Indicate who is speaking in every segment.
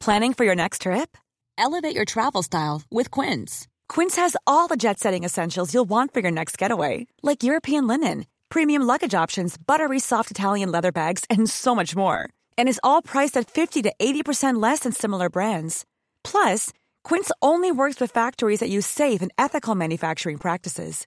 Speaker 1: Planning for your next trip? Elevate your travel style with Quince. Quince has all the jet-setting essentials you'll want for your next getaway, like European linen, premium luggage options, buttery soft Italian leather bags, and so much more. And is all priced at 50 to 80% less than similar brands. Plus, Quince only works with factories that use safe and ethical manufacturing practices.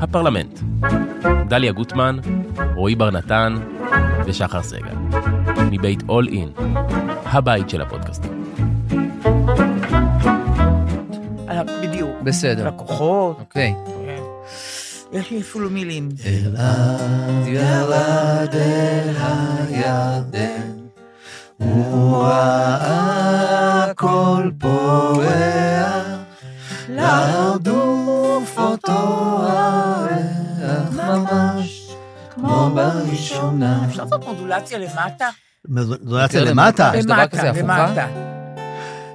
Speaker 2: הפרלמנט. דליה גוטמן, רועי בר נתן ושחר סגל. מבית All In, הבית של הפודקאסטים.
Speaker 3: אה, בדיוק.
Speaker 4: בסדר.
Speaker 3: לקוחות.
Speaker 4: אוקיי.
Speaker 3: יש לי אפילו מילים.
Speaker 5: אה,
Speaker 4: אליו ירד אל הירדן, הוא
Speaker 6: ah,
Speaker 4: ראה הכל פורח, להרדוף אותו הריח ממש, כמו בראשונה.
Speaker 3: אפשר לעשות מודולציה למטה?
Speaker 5: מזולציה למטה.
Speaker 4: כן, יש דבר כזה, הפוכה? אה,
Speaker 3: למטה.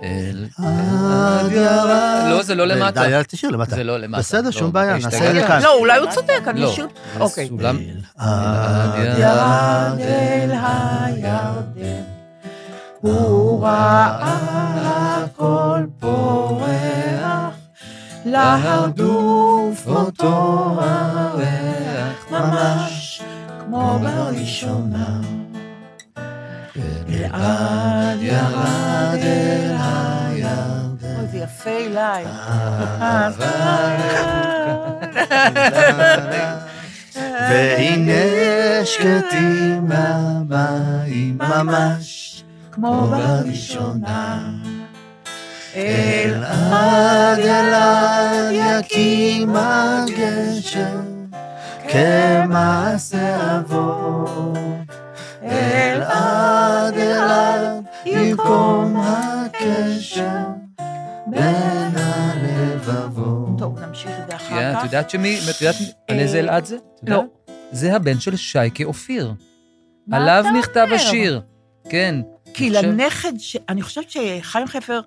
Speaker 4: אל-
Speaker 5: אה, עד ירד.
Speaker 4: לא, זה לא למטה.
Speaker 5: די, אה, אל תשאיר למטה.
Speaker 4: זה לא למטה.
Speaker 5: בסדר,
Speaker 4: לא,
Speaker 5: שום בעיה,
Speaker 4: יש
Speaker 5: נעשה את
Speaker 4: תגיד.
Speaker 5: זה כאן. אה,
Speaker 3: לא, אה, אולי הוא צודק, אני
Speaker 4: לא.
Speaker 3: אשאיר... אוקיי.
Speaker 4: סולם. אה,
Speaker 5: עד
Speaker 3: ירד אל הירדן, הוא
Speaker 6: ah,
Speaker 3: ראה הכל
Speaker 6: e,
Speaker 3: פורח, Ah, להרדוף אותו הריח, ממש כמו בראשונה. אלעד ירד אל הירדן. אוי, זה יפה אליי.
Speaker 5: והנה שקטים המים ממש
Speaker 3: כמו
Speaker 5: בראשונה.
Speaker 3: אל
Speaker 5: עד ילד יקים הגשם כמעשה אבות. אל עד אליו במקום הקשר בין הלבבות.
Speaker 3: טוב, נמשיך את זה אחר
Speaker 4: כן,
Speaker 3: כך. אה,
Speaker 4: את יודעת שמי, את יודעת על איזה אלעד זה? את יודעת?
Speaker 3: לא.
Speaker 4: אה, זה הבן של שייקה אופיר.
Speaker 3: מה
Speaker 4: עליו
Speaker 3: אתה
Speaker 4: נכתב
Speaker 3: אומר?
Speaker 4: השיר. כן.
Speaker 3: כי
Speaker 4: אני חושב-
Speaker 3: לנכד, ש- אני חושבת שחיים חפר,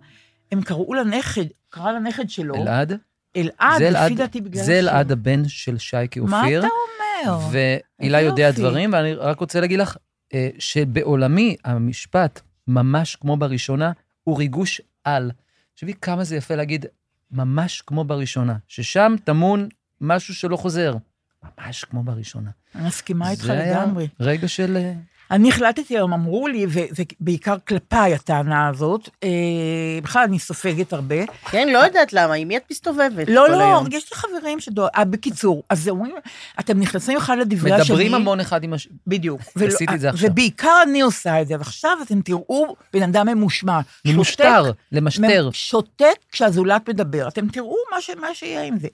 Speaker 3: הם קראו לנכד, קרא לנכד שלו,
Speaker 4: אלעד?
Speaker 3: אלעד,
Speaker 4: זה
Speaker 3: לפי
Speaker 4: אלעד-
Speaker 3: דעתי בגלל...
Speaker 4: זה
Speaker 3: השם.
Speaker 4: אלעד הבן של שייקה
Speaker 3: מה
Speaker 4: אופיר.
Speaker 3: אתה אומר?
Speaker 4: והילה
Speaker 3: איזה
Speaker 4: יודע
Speaker 3: יופי.
Speaker 4: דברים, ואני רק רוצה להגיד לך אה, שבעולמי המשפט, ממש כמו בראשונה, הוא ריגוש על. תחשבי כמה זה יפה להגיד, ממש כמו בראשונה, ששם טמון משהו שלא חוזר. ממש כמו בראשונה.
Speaker 3: אני מסכימה איתך
Speaker 4: זה היה
Speaker 3: לגמרי.
Speaker 4: רגע של... אה,
Speaker 3: אני החלטתי היום, אמרו לי, וזה בעיקר כלפיי הטענה הזאת, אה, בכלל אני סופגת הרבה.
Speaker 7: כן, לא יודעת למה, עם מי את מסתובבת
Speaker 3: לא,
Speaker 7: כל
Speaker 3: לא,
Speaker 7: היום?
Speaker 3: יש לי חברים שדואגים, בקיצור, אז אומרים, אתם נכנסים אחד לדברי השני.
Speaker 4: מדברים המון אחד עם השני.
Speaker 3: בדיוק. אה,
Speaker 4: עשיתי את זה עכשיו.
Speaker 3: ובעיקר אני עושה את זה, ועכשיו אתם תראו בן אדם ממושמע.
Speaker 4: ממושטר,
Speaker 3: שותק,
Speaker 4: למשטר.
Speaker 3: מ- שותק כשהזולת מדבר. אתם תראו מה, ש... מה שיהיה עם זה.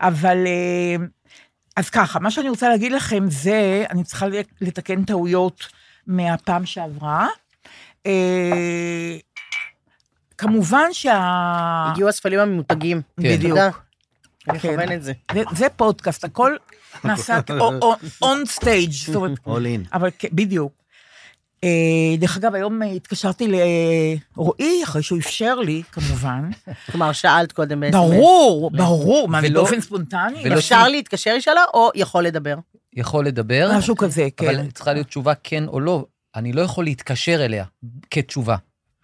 Speaker 3: אבל... אה, אז ככה, מה שאני רוצה להגיד לכם זה, אני צריכה לתקן טעויות מהפעם שעברה. אה, כמובן שה...
Speaker 7: הגיעו הספלים הממותגים.
Speaker 3: כן. בדיוק.
Speaker 7: תודה. אני
Speaker 3: כן.
Speaker 7: אכוון את זה.
Speaker 3: זה, זה פודקאסט, הכל נעשה on stage, זאת אומרת,
Speaker 5: All in.
Speaker 3: אבל כ- בדיוק. אה, דרך אגב, היום אה, התקשרתי לרועי, אחרי שהוא אפשר לי, כמובן.
Speaker 7: כלומר, שאלת קודם בעצם.
Speaker 3: ברור, ברור, מה,
Speaker 4: ולא-
Speaker 3: באופן ספונטני?
Speaker 4: ולא-
Speaker 7: אפשר להתקשר ישאלה או יכול לדבר?
Speaker 4: יכול לדבר,
Speaker 3: משהו כזה, כן.
Speaker 4: אבל צריכה להיות תשובה כן או לא. אני לא יכול להתקשר אליה כתשובה.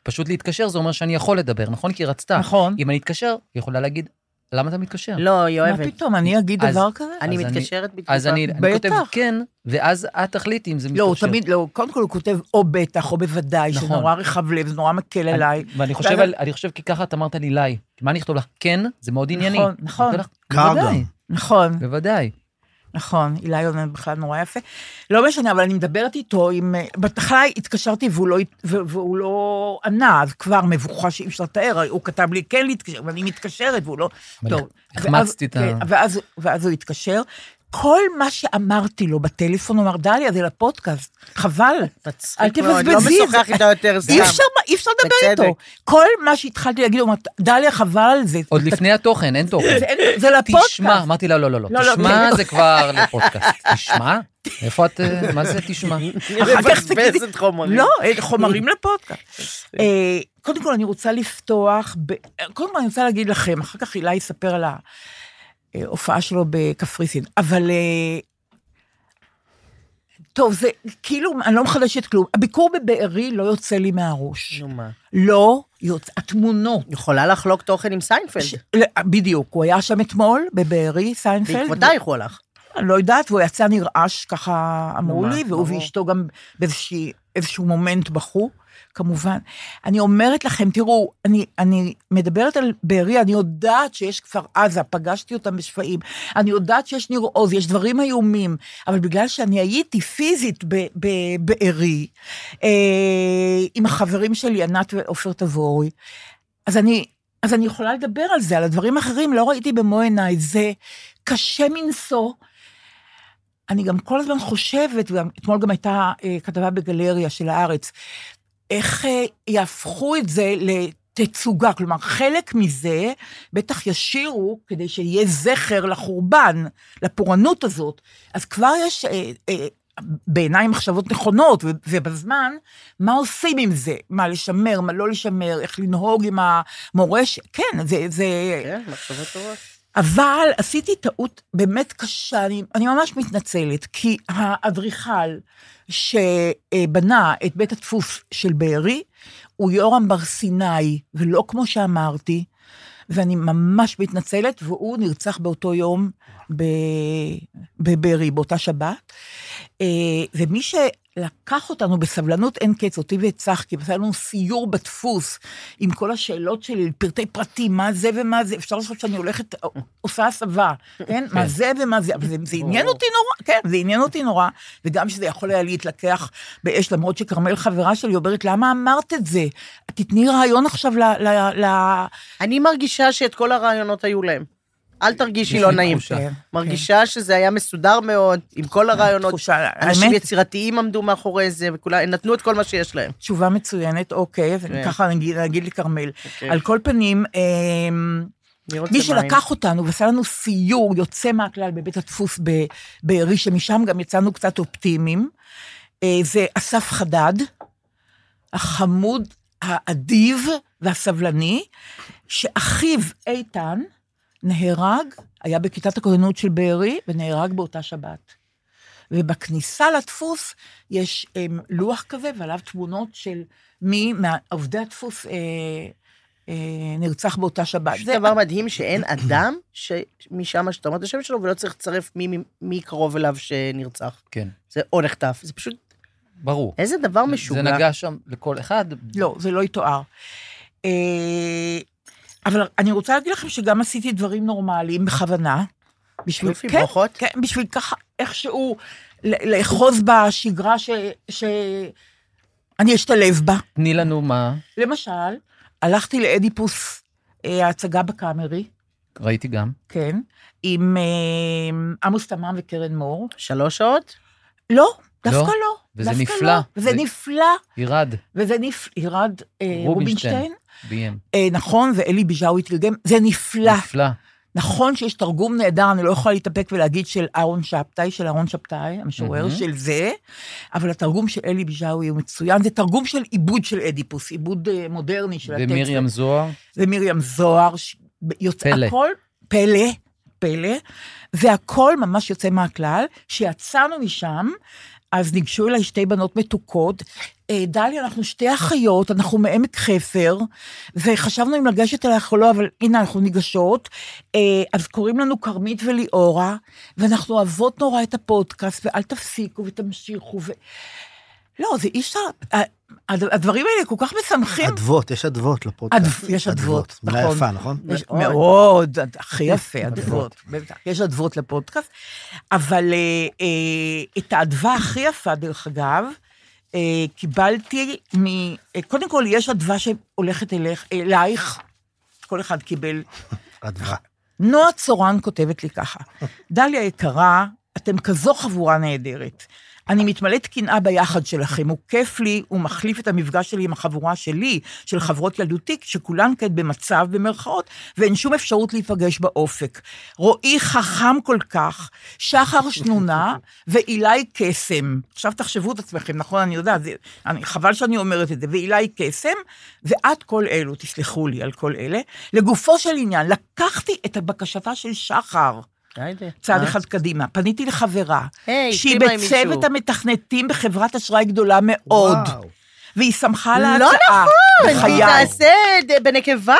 Speaker 4: פשוט להתקשר זה אומר שאני יכול לדבר, נכון? כי היא רצתה.
Speaker 3: נכון.
Speaker 4: אם אני אתקשר, היא יכולה להגיד, למה אתה מתקשר?
Speaker 7: לא, היא
Speaker 3: מה
Speaker 7: אוהבת.
Speaker 3: פתאום, אני אגיד
Speaker 4: אז-
Speaker 3: דבר כזה?
Speaker 7: אני
Speaker 4: אז אני-
Speaker 7: מתקשרת בתגובה.
Speaker 4: אז אני, אני כותב
Speaker 3: בטח.
Speaker 4: כן, ואז את תחליטי אם זה מתקשר.
Speaker 3: לא, הוא תמיד, לא, קודם כל הוא כותב או בטח או בוודאי, שזה
Speaker 4: נכון.
Speaker 3: נורא רחב לב, זה נורא מקל
Speaker 4: אני-
Speaker 3: עליי.
Speaker 4: ואני חושב,
Speaker 3: ואז-
Speaker 4: על, אני חושב כי ככה את אמרת לי לי. מה אני אכתוב לך? כן, זה מאוד ענייני.
Speaker 3: נכון, נכון.
Speaker 4: אני אכתוב לך,
Speaker 5: קר
Speaker 4: בוודאי,
Speaker 5: גם.
Speaker 3: נכון,
Speaker 4: בוודאי.
Speaker 3: נכון, אילי עונה בכלל נורא יפה. לא משנה, אבל אני מדברת איתו עם... אה, בהתחלה התקשרתי והוא לא, הת- ו- והוא לא ענה, אז כבר מבוכה שאי אפשר לתאר, הוא כתב לי כן להתקשר, ואני מתקשרת והוא לא...
Speaker 4: אבל
Speaker 3: טוב.
Speaker 4: החמצתי
Speaker 3: ואז-
Speaker 4: את ה-
Speaker 3: כן, ואז, ואז הוא התקשר. כל מה שאמרתי לו בטלפון, הוא אמר, דליה, זה לפודקאסט, חבל, אל
Speaker 7: מאוד,
Speaker 3: תבזבזי.
Speaker 7: לא
Speaker 3: את זה."
Speaker 7: משוחח איתה יותר סתם.
Speaker 3: אי אפשר, אי אפשר לדבר
Speaker 7: בצדק.
Speaker 3: איתו. כל מה שהתחלתי להגיד, הוא אמר, דליה, חבל על זה.
Speaker 4: עוד לפני התוכן, אין תוכן.
Speaker 3: זה אין- זה לפודקאסט.
Speaker 4: תשמע, אמרתי לה, לא, לא, לא,
Speaker 3: לא, לא,
Speaker 4: תשמע
Speaker 3: כן.
Speaker 4: זה כבר לפודקאסט. תשמע? איפה את, אה, מה זה תשמע?
Speaker 3: אחר כך תגידי-
Speaker 7: מבזבזת חומרים.
Speaker 3: לא, אין חומרים לפודקאסט. אה, קודם כל, אני רוצה לפתוח, ב... קודם כל, אני רוצה להגיד לכם, אחר כך הילה יספר על ההופעה שלו בקפריסין, אבל... אה, טוב, זה כאילו, אני לא מחדשת כלום. הביקור בבארי לא יוצא לי מהראש.
Speaker 7: נו מה.
Speaker 3: לא יוצא, התמונות.
Speaker 7: יכולה לחלוק תוכן עם
Speaker 3: ש-
Speaker 7: סיינפלד.
Speaker 3: לא, בדיוק, הוא היה שם אתמול, בבארי, סיינפלד.
Speaker 7: בעקבותייך הוא הלך.
Speaker 3: אני לא יודעת, והוא יצא נרעש, ככה אמרו
Speaker 7: נו, מה,
Speaker 3: לי, והוא
Speaker 7: ברור.
Speaker 3: ואשתו גם באיזשהו מומנט בכו, כמובן. אני אומרת לכם, תראו, אני, אני מדברת על בארי, אני יודעת שיש כפר עזה, פגשתי אותם בשפיים, אני יודעת שיש ניר עוז, יש דברים איומים, אבל בגלל שאני הייתי פיזית ב- בבארי, אה, עם החברים שלי, ענת ועופר תבורי, אז אני, אז אני יכולה לדבר על זה, על הדברים האחרים, לא ראיתי במו עיניי, זה קשה מנשוא. אני גם כל הזמן חושבת, וגם- אתמול גם הייתה אה, כתבה בגלריה של הארץ, איך אה, יהפכו את זה לתצוגה, כלומר, חלק מזה בטח ישירו כדי שיהיה זכר לחורבן, לפורענות הזאת. אז כבר יש אה, אה, בעיניי מחשבות נכונות ו- ובזמן, מה עושים עם זה? מה לשמר, מה לא לשמר, איך לנהוג עם המורשת? כן, זה... זה...
Speaker 7: כן, מחשבות טובות.
Speaker 3: אבל עשיתי טעות באמת קשה, אני, אני ממש מתנצלת, כי האדריכל שבנה את בית הדפוס של בארי הוא יורם בר סיני, ולא כמו שאמרתי, ואני ממש מתנצלת, והוא נרצח באותו יום ב- בבארי, באותה שבת. אה, ומי שלקח אותנו בסבלנות אין קץ, אותי ואת צחקי, ועשה לנו סיור בדפוס עם כל השאלות שלי, פרטי פרטים, מה זה ומה זה, אפשר לחשוב שאני הולכת, עושה הסבה, כן? מה זה ומה זה, אבל זה, זה עניין אותי נורא, כן, זה עניין אותי נורא, וגם שזה יכול היה להתלקח באש, למרות שכרמל חברה שלי אומרת, למה אמרת את זה? תתני רעיון עכשיו ל... ל, ל
Speaker 7: אני מרגישה שאת כל הרעיונות לא היו להם. אל תרגישי לא
Speaker 4: לי
Speaker 7: נעים.
Speaker 4: תחושה.
Speaker 3: כן,
Speaker 7: מרגישה שזה היה מסודר מאוד, עם כל הרעיונות.
Speaker 3: אה, תחושה,
Speaker 7: אנשים
Speaker 3: האמת,
Speaker 7: יצירתיים עמדו מאחורי זה, וכולם נתנו את כל מה שיש להם.
Speaker 3: תשובה מצוינת, אוקיי, אז
Speaker 7: כן.
Speaker 3: ככה נגיד, נגיד לכרמל.
Speaker 7: אוקיי.
Speaker 3: על כל פנים, אמ,
Speaker 7: אני רוצה
Speaker 3: מי
Speaker 7: מים.
Speaker 3: שלקח אותנו ועשה לנו סיור יוצא מהכלל בבית הדפוס ב- בארי, שמשם גם יצאנו קצת אופטימיים, אה, זה אסף חדד, החמוד, האדיב והסבלני, שאחיו איתן נהרג, היה בכיתת הכוננות של בארי, ונהרג באותה שבת. ובכניסה לדפוס יש הם, לוח כזה, ועליו תמונות של מי מעובדי הדפוס אה, אה, נרצח באותה שבת.
Speaker 7: זה דבר מדהים שאין אדם שמשם שאתה אומר את השם שלו ולא צריך לצרף מי- מי- מי קרוב אליו שנרצח.
Speaker 4: כן,
Speaker 7: זה או נחטף, זה פשוט,
Speaker 4: ברור.
Speaker 7: איזה דבר
Speaker 4: זה
Speaker 7: משוגע.
Speaker 4: נגע שם לכל אחד.
Speaker 3: לא, זה לא יתואר. אה, אבל אני רוצה להגיד לכם שגם עשיתי דברים נורמליים בכוונה. בשביל,
Speaker 7: יופי,
Speaker 3: כן,
Speaker 7: ברכות.
Speaker 3: כן, בשביל ככה איכשהו ל- לאחוז בשגרה ש... ש... אני אשתלב בה.
Speaker 4: תני לנו מה,
Speaker 3: למשל, הלכתי לאדיפוס, אה, ההצגה בקאמרי,
Speaker 4: ראיתי גם.
Speaker 3: כן, עם אה, עמוס תמם וקרן מור.
Speaker 7: שלוש שעות?
Speaker 3: לא, דווקא
Speaker 4: לא?
Speaker 3: לא.
Speaker 4: וזה
Speaker 3: דווקא
Speaker 4: נפלא.
Speaker 3: לא. וזה
Speaker 4: זה-
Speaker 3: נפלא,
Speaker 4: ירד,
Speaker 3: וזה נפלא, ירד אה,
Speaker 4: רובינשטיין.
Speaker 3: רובינשטיין.
Speaker 4: ביים.
Speaker 3: אה, נכון, ואלי ביז'או התרגם, זה נפלא,
Speaker 4: נפלא.
Speaker 3: נכון שיש תרגום נהדר, אני לא יכולה להתאפק ולהגיד של אהרון שבתאי, של אהרון שבתאי, המשורר
Speaker 4: מהמם.
Speaker 3: של זה, אבל התרגום של אלי ביז'אווי הוא מצוין, זה תרגום של עיבוד של אדיפוס, עיבוד אה, מודרני של הטקסט.
Speaker 4: ומרים זוהר,
Speaker 3: ומרים זוהר, ש- יוצא
Speaker 4: פלא.
Speaker 3: הכל, פלא, פלא, והכל ממש יוצא מהכלל. כשיצאנו משם, אז ניגשו אליי שתי בנות מתוקות. אה, דליה, אנחנו שתי אחיות, אנחנו מעמק חפר, וחשבנו אם לגשת אלייך או לא, אבל הנה, אנחנו ניגשות. אה, אז קוראים לנו כרמית וליאורה, ואנחנו אוהבות נורא את הפודקאסט, ואל תפסיקו ותמשיכו. ו... לא, זה אי אפשר, ה- הד- הדברים האלה כל כך משמחים.
Speaker 5: אדוות, יש אדוות לפודקאסט.
Speaker 3: אדו- יש אדוות,
Speaker 5: מילה
Speaker 3: נכון.
Speaker 5: יפה, נכון?
Speaker 3: יש מאוד, את- הכי יפה, אדוות, בטח. יש אדוות לפודקאסט, אבל אה, אה, את האדווה הכי יפה, דרך אגב, אה, קיבלתי מ... אה, קודם כל, יש אדווה שהולכת אלייך, אלייך, כל אחד קיבל.
Speaker 5: אדווה.
Speaker 3: נועה צורן כותבת לי ככה, דליה יקרה, אתם כזו חבורה נהדרת. אני מתמלאת קנאה ביחד שלכם, הוא כיף לי, הוא מחליף את המפגש שלי עם החבורה שלי, של חברות ילדותי, שכולן כעת במצב, במרכאות, ואין שום אפשרות להיפגש באופק. רועי חכם כל כך, שחר שנונה ואילי קסם. עכשיו תחשבו את עצמכם, נכון, אני יודעת, זה- אני, חבל שאני אומרת את זה, ואילי קסם, ואת כל אלו, תסלחו לי על כל אלה. לגופו של עניין, לקחתי את בקשתה של שחר.
Speaker 7: אה,
Speaker 3: צעד
Speaker 4: אה?
Speaker 3: אחד קדימה. פניתי לחברה,
Speaker 7: היי,
Speaker 3: שהיא
Speaker 7: הסכימה עם
Speaker 3: בצוות
Speaker 7: מישהו.
Speaker 3: המתכנתים בחברת אשראי גדולה מאוד,
Speaker 5: וואו.
Speaker 3: והיא שמחה על
Speaker 7: לא
Speaker 3: ההצעה.
Speaker 7: היא
Speaker 3: בחיי.
Speaker 7: תעשה ד- בנקבה?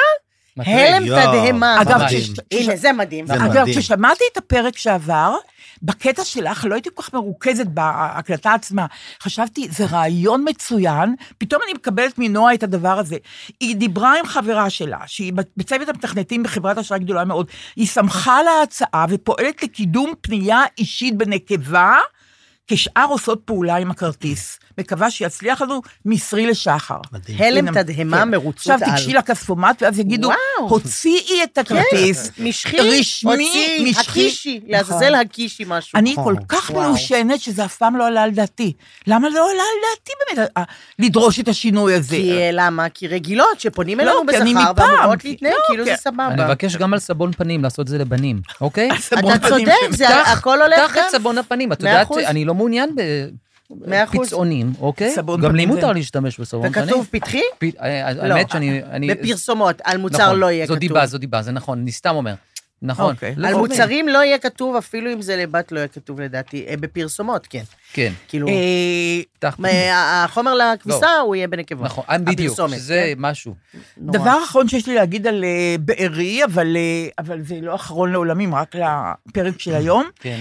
Speaker 7: הלם
Speaker 5: יואו,
Speaker 7: תדהמה.
Speaker 3: אגב,
Speaker 4: מדהים.
Speaker 3: כש-
Speaker 7: הנה, זה מדהים.
Speaker 5: זה
Speaker 3: אגב,
Speaker 5: מדהים.
Speaker 3: כששמעתי את הפרק שעבר, בקטע שלך לא הייתי כל כך מרוכזת בהקלטה עצמה. חשבתי, זה רעיון מצוין, פתאום אני מקבלת מנועה את הדבר הזה. היא דיברה עם חברה שלה, שהיא בצוות המתכנתים בחברת אשראי גדולה מאוד, היא שמחה על ההצעה ופועלת לקידום פנייה אישית בנקבה, כשאר עושות פעולה עם הכרטיס. מקווה שיצליח לנו מסרי לשחר.
Speaker 5: מדהים.
Speaker 7: הלם
Speaker 3: הנה,
Speaker 7: תדהמה
Speaker 3: כן.
Speaker 7: מרוצות על.
Speaker 3: עכשיו תיגשי לכספומט, ואז יגידו,
Speaker 7: וואו.
Speaker 3: הוציאי את הכרטיס.
Speaker 7: משחי,
Speaker 3: רשמי,
Speaker 7: הוציא,
Speaker 3: משחי.
Speaker 7: הקישי, לעזאזל
Speaker 3: נכון.
Speaker 7: הקישי משהו.
Speaker 3: אני כל כך
Speaker 7: וואו.
Speaker 3: מיושנת שזה אף פעם לא עלה על דעתי. למה לא עלה על דעתי באמת ה- ה- לדרוש את השינוי הזה?
Speaker 7: כי אה, למה? כי רגילות שפונים
Speaker 3: לא,
Speaker 7: אלינו
Speaker 3: כי אני
Speaker 7: בשכר
Speaker 3: מפעם.
Speaker 7: ואמורות להתנהג,
Speaker 3: לא,
Speaker 7: כאילו
Speaker 3: כי-
Speaker 7: זה
Speaker 4: אני
Speaker 7: סבבה.
Speaker 4: מבקש גם על סבון פנים, לעשות את זה לבנים, אוקיי?
Speaker 3: סבון
Speaker 7: אתה
Speaker 3: פנים
Speaker 7: צודק, זה
Speaker 3: שמתחת-
Speaker 7: הכל הולך
Speaker 4: קח את
Speaker 7: גם.
Speaker 4: סבון הפנים, את
Speaker 7: מאה
Speaker 4: יודעת,
Speaker 7: אחוז.
Speaker 4: אני לא מעוניין
Speaker 7: מאה אחוז.
Speaker 4: בפצעונים, אוקיי?
Speaker 3: סבון
Speaker 4: גם לי
Speaker 3: פנים זה-
Speaker 4: מותר להשתמש בסבון פנים.
Speaker 7: וכתוב פתחי?
Speaker 4: פ- אה,
Speaker 7: לא.
Speaker 4: האמת שאני... אני-
Speaker 7: בפרסומות, על מוצר
Speaker 4: נכון,
Speaker 7: לא יהיה
Speaker 4: זו
Speaker 7: כתוב.
Speaker 4: דיבה, זו דיבה, זה נכון, אני סתם אומר. נכון.
Speaker 3: אוקיי.
Speaker 4: לא,
Speaker 7: על
Speaker 4: אוקיי.
Speaker 7: מוצרים לא יהיה כתוב, אפילו אם זה לבת לא יהיה כתוב לדעתי. אה, בפרסומות, כן.
Speaker 4: כן,
Speaker 7: כאילו,
Speaker 3: אה,
Speaker 4: פתח
Speaker 7: מה, החומר לכביסה הוא יהיה בנקבה.
Speaker 4: נכון, אה, בדיוק,
Speaker 7: הפרסומת,
Speaker 4: שזה
Speaker 7: כן?
Speaker 4: משהו.
Speaker 7: נורא.
Speaker 3: דבר אחרון שיש לי להגיד על אה, בארי, אבל אה, אבל זה לא אחרון לעולמים, רק לפרק של היום.
Speaker 4: כן.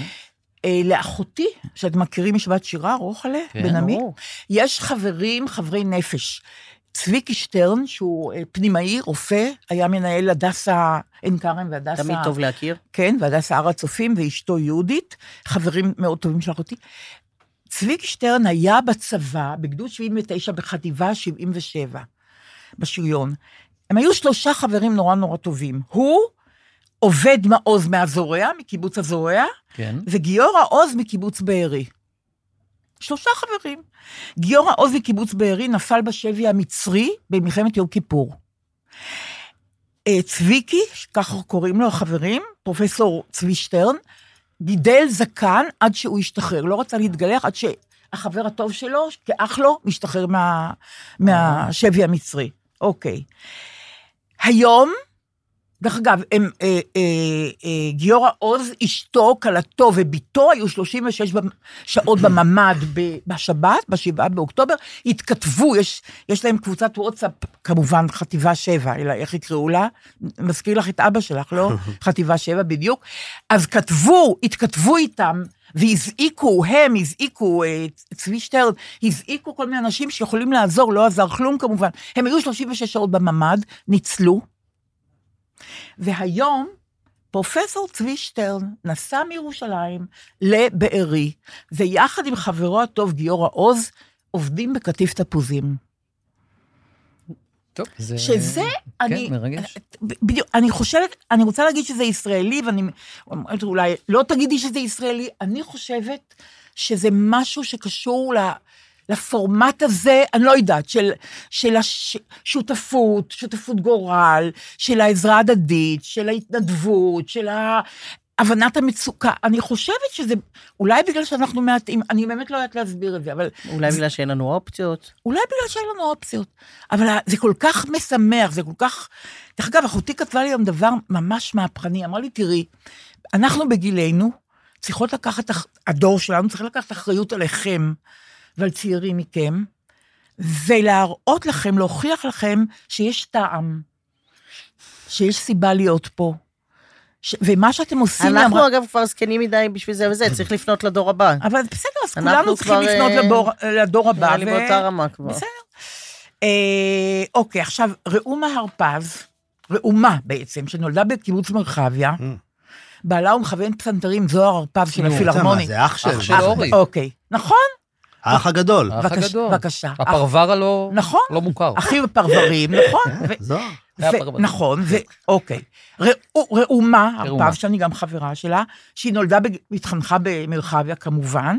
Speaker 3: אה, לאחותי, שאת מכירים משבת שירה, רוחלה,
Speaker 4: כן,
Speaker 3: בן עמי,
Speaker 7: ברור.
Speaker 3: יש חברים, חברי נפש. צביקי שטרן, שהוא אה, פנימאי, רופא, היה מנהל הדסה עין כרם והדסה...
Speaker 7: תמיד טוב להכיר.
Speaker 3: כן, והדסה הר הצופים, ואשתו יהודית, חברים מאוד טובים של אחותי. צביקי שטרן היה בצבא, בגדוד 79, בחטיבה 77, בשריון. הם היו שלושה חברים נורא נורא טובים. הוא, עובד מעוז מהזורע, מקיבוץ הזורע,
Speaker 4: כן.
Speaker 3: וגיורא עוז מקיבוץ בארי. שלושה חברים. גיורא עוז מקיבוץ בארי נפל בשבי המצרי במלחמת יום כיפור. אה, צביקי, ככה קוראים לו החברים, פרופסור צבי שטרן, גידל זקן עד שהוא השתחרר. לא רצה להתגלח עד שהחבר הטוב שלו, כאח לו, משתחרר מה, מהשבי המצרי. אוקיי. היום, דרך אגב, הם, אה, אה, אה, גיורא עוז, אשתו, כלתו ובתו היו 36 במ- שעות בממ"ד ב- בשבת, ב-7 באוקטובר, התכתבו, יש, יש להם קבוצת וואטסאפ, כמובן חטיבה 7, אלא איך יקראו לה? מזכיר לך את אבא שלך, לא? חטיבה 7 בדיוק. אז כתבו, התכתבו איתם. והזעיקו, הם הזעיקו, אה, צבי שטרן, הזעיקו כל מיני אנשים שיכולים לעזור, לא עזר כלום כמובן. הם היו 36 שעות בממ"ד, ניצלו, והיום פרופסור צבי שטרן נסע מירושלים לבארי, ויחד עם חברו הטוב גיורא עוז, עובדים בקטיף תפוזים.
Speaker 4: טוב, זה...
Speaker 3: שזה, אני...
Speaker 4: כן, מרגש.
Speaker 3: בדיוק, אני חושבת, אני רוצה להגיד שזה ישראלי, ואני אומרת אולי, לא תגידי שזה ישראלי, אני חושבת שזה משהו שקשור ל... לפורמט הזה, אני לא יודעת, של, של השותפות, שותפות גורל, של העזרה ההדדית, של ההתנדבות, של ה... הבנת המצוקה, אני חושבת שזה, אולי בגלל שאנחנו מעטים, אני באמת לא יודעת להסביר את זה, אבל
Speaker 7: אולי בגלל שאין לנו אופציות.
Speaker 3: אולי בגלל שאין לנו אופציות. אבל ה- זה כל כך משמח, זה כל כך... דרך אגב, אחותי כתבה לי היום דבר ממש מהפכני, אמרה לי, תראי, אנחנו בגילנו צריכות לקחת, אח- הדור שלנו צריך לקחת אחריות עליכם ועל צעירים מכם, ולהראות לכם, להוכיח לכם שיש טעם, שיש סיבה להיות פה. ש... ומה שאתם עושים, היא אמרה-
Speaker 7: אנחנו, אגב, כבר זקנים מדי בשביל זה וזה, צריך לפנות לדור הבא.
Speaker 3: אבל בסדר, אז
Speaker 7: אנחנו
Speaker 3: כולנו צריכים
Speaker 7: כבר,
Speaker 3: לפנות
Speaker 7: אה,
Speaker 3: לבור, לדור הבא.
Speaker 7: נראה לי
Speaker 3: ו-
Speaker 7: באותה רמה כבר.
Speaker 3: בסדר. אה, אוקיי, עכשיו, ראומה הרפז, ראומה בעצם, שנולדה בקיבוץ מרחביה,
Speaker 5: Mm.
Speaker 3: בעלה הוא מכוון פסנתרים זוהר הרפז של
Speaker 4: נו,
Speaker 5: מה,
Speaker 3: הפילהרמונית.
Speaker 5: זה אח של
Speaker 4: אח של אורי.
Speaker 3: אוקיי, נכון,
Speaker 5: האח הגדול.
Speaker 4: האח
Speaker 3: בבקשה,
Speaker 4: הגדול.
Speaker 3: בבקשה.
Speaker 4: הפרבר הלא
Speaker 3: נכון.
Speaker 4: לא מוכר.
Speaker 3: אחים בפרברים, נכון? ו-
Speaker 5: זו.
Speaker 4: זה
Speaker 3: ו-
Speaker 4: הפרברים.
Speaker 3: נכון, ו- אוקיי. ראו- ראומה
Speaker 4: ראומה.
Speaker 3: הרפז, שאני גם חברה שלה, שהיא נולדה בג- והתחנכה במרחביה כמובן,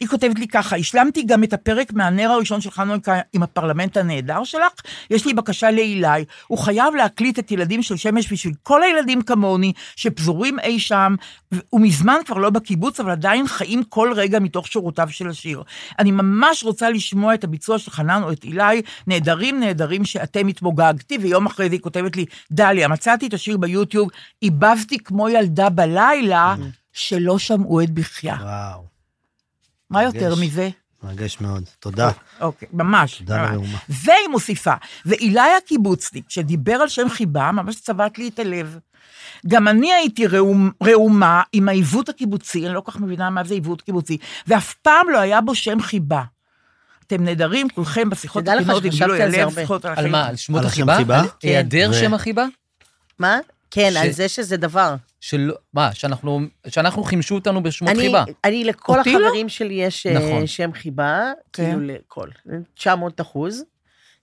Speaker 3: היא כותבת לי ככה, השלמתי גם את הפרק מהנר הראשון של חנוכה עם הפרלמנט הנהדר שלך, יש לי בקשה לאילי, הוא חייב להקליט את ילדים של שמש בשביל כל הילדים כמוני, שפזורים אי שם, ו- ומזמן כבר לא בקיבוץ, אבל עדיין חיים כל רגע מתוך שורותיו של השיר. אני ממש רוצה לשמוע את הביצוע של חנן או את אילי, נהדרים נהדרים שאתם התמוגגתי, ויום אחרי זה היא כותבת לי, דליה, מצאתי את השיר ביוטיוב, עיבבתי כמו ילדה בלילה, שלא שמעו את בחייה.
Speaker 5: Mm-hmm. וואו,
Speaker 3: מה יותר
Speaker 5: מרגש.
Speaker 3: מזה?
Speaker 5: מרגש מאוד.
Speaker 4: אה,
Speaker 5: תודה.
Speaker 3: אוקיי, ממש.
Speaker 5: תודה
Speaker 3: ממש.
Speaker 5: לראומה.
Speaker 3: והיא מוסיפה, ואילי הקיבוצניק, שדיבר על שם חיבה, ממש צבט לי את הלב. גם אני הייתי ראומ, ראומה עם העיוות הקיבוצי, אני לא כל כך מבינה מה זה עיוות קיבוצי, ואף פעם לא היה בו שם חיבה. אתם נהדרים, כולכם בשיחות
Speaker 7: תדע לך
Speaker 3: הכנות עם
Speaker 7: שחשבתי
Speaker 3: גילוי
Speaker 7: על זה
Speaker 3: הלב,
Speaker 7: הרבה.
Speaker 3: שיחות על
Speaker 4: על
Speaker 3: החיים.
Speaker 4: מה? על שמות
Speaker 5: על השם
Speaker 4: החיבה?
Speaker 5: חיבה?
Speaker 4: על
Speaker 5: כן.
Speaker 4: היעדר
Speaker 5: ו-
Speaker 4: שם החיבה?
Speaker 7: מה? כן,
Speaker 4: ש-
Speaker 7: על זה שזה דבר.
Speaker 4: שלא, מה, שאנחנו, שאנחנו חימשו אותנו בשמות
Speaker 7: אני-
Speaker 4: חיבה.
Speaker 7: אני, לכל
Speaker 4: אותי לא?
Speaker 7: החברים שלי יש אה,
Speaker 4: נכון.
Speaker 7: שם חיבה,
Speaker 3: כן.
Speaker 7: כאילו לכל, 900 אחוז,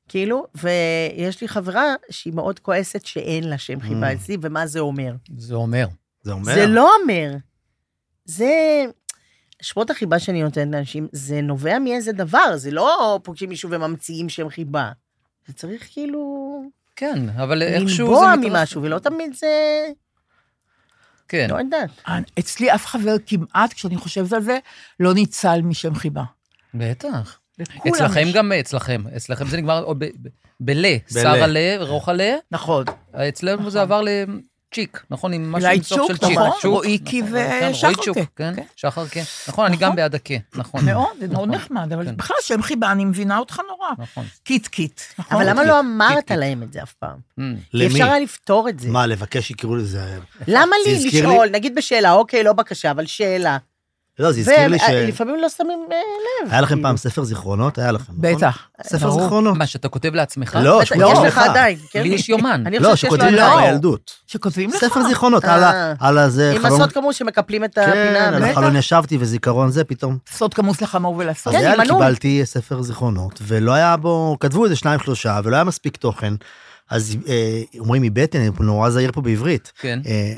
Speaker 7: כאילו, ויש לי חברה שהיא מאוד כועסת שאין לה שם חיבה
Speaker 5: Mm.
Speaker 7: אצלי, ומה זה אומר.
Speaker 4: זה אומר.
Speaker 5: זה אומר.
Speaker 7: זה לא אומר. זה... שמות החיבה שאני נותנת לאנשים, זה נובע מאיזה דבר, זה לא פוגשים מישהו וממציאים שם חיבה. זה צריך כאילו
Speaker 4: כן, אבל איכשהו זה...
Speaker 7: לנבוע
Speaker 4: מתרחש.
Speaker 7: ממשהו, ולא תמיד זה...
Speaker 4: כן.
Speaker 7: לא יודעת.
Speaker 3: אצלי אף חבר כמעט, כשאני חושבת על זה, לא ניצל משם חיבה.
Speaker 4: בטח.
Speaker 3: לכולם
Speaker 4: אצלכם
Speaker 3: יש-
Speaker 4: גם, אצלכם. אצלכם זה נגמר עוד ב- ב- בלה, שרה לה, רוחלה,
Speaker 3: נכון.
Speaker 4: אצלנו זה עבר לצ'יק, נכון? עם משהו
Speaker 3: אולי
Speaker 4: עם סוף של
Speaker 3: צ'וק,
Speaker 4: צ'יק.
Speaker 3: נכון?
Speaker 4: צ'וק,
Speaker 3: רואיקי
Speaker 4: נכון,
Speaker 3: ושחר
Speaker 4: רואי צ'וק,
Speaker 3: קה,
Speaker 4: כן,
Speaker 3: כן.
Speaker 4: שחר כן. נכון, אני גם
Speaker 3: נכון.
Speaker 4: בעד הכה, נכון.
Speaker 3: מאוד, זה מאוד
Speaker 4: נכון,
Speaker 3: נחמד, אבל
Speaker 4: כן.
Speaker 3: בכלל שם חיבה, אני מבינה אותך נורא.
Speaker 4: נכון.
Speaker 3: קיט קיט, נכון?
Speaker 7: אבל למה
Speaker 4: אוקיי,
Speaker 7: לא אמרת
Speaker 4: אוקיי.
Speaker 7: להם את זה אף פעם?
Speaker 4: אמ,
Speaker 7: כי אפשר היה לפתור את זה.
Speaker 5: מה, לבקש שיקראו לזה...
Speaker 7: למה
Speaker 5: זה
Speaker 7: לי
Speaker 5: הזכיר
Speaker 7: לשאול, נגיד בשאלה, אוקיי, לא בקשה, אבל שאלה.
Speaker 5: לא, זה הזכיר לי ש...
Speaker 7: ולפעמים לא שמים אה, לב.
Speaker 5: היה לכם
Speaker 7: כאילו.
Speaker 5: פעם ספר זיכרונות? היה לכם, נכון?
Speaker 3: בטח.
Speaker 5: ספר
Speaker 4: ברור.
Speaker 5: זיכרונות.
Speaker 4: מה, שאתה כותב לעצמך?
Speaker 5: לא,
Speaker 7: בטח,
Speaker 5: שמותים
Speaker 7: יש
Speaker 5: לך.
Speaker 7: לך עדיין, כן?
Speaker 4: לי יש יומן.
Speaker 7: אני
Speaker 5: לא,
Speaker 7: חושבת שיש לו
Speaker 5: שכותבים לך
Speaker 3: לא.
Speaker 7: עדיין.
Speaker 5: בילדות.
Speaker 3: שכותבים לך.
Speaker 5: ספר זיכרונות,
Speaker 7: אה.
Speaker 5: על ה- על הזה,
Speaker 7: עם הסוד כמוס שמקפלים את הפינה.
Speaker 5: כן, על
Speaker 7: המלאה.
Speaker 5: החלון ישבתי וזיכרון זה פתאום.
Speaker 3: סוד כמוס לחמור
Speaker 5: אז
Speaker 3: ולסוד.
Speaker 7: כן,
Speaker 5: היה לי,
Speaker 7: עם מנוי.
Speaker 5: קיבלתי ספר זיכרונות, ולא היה בו, כתבו איזה שניים שלושה, ולא היה מספיק תוכן. אז אה, אומרים איבדתי, אני נורא זהיר פה בעברית.
Speaker 4: כן.
Speaker 5: אה,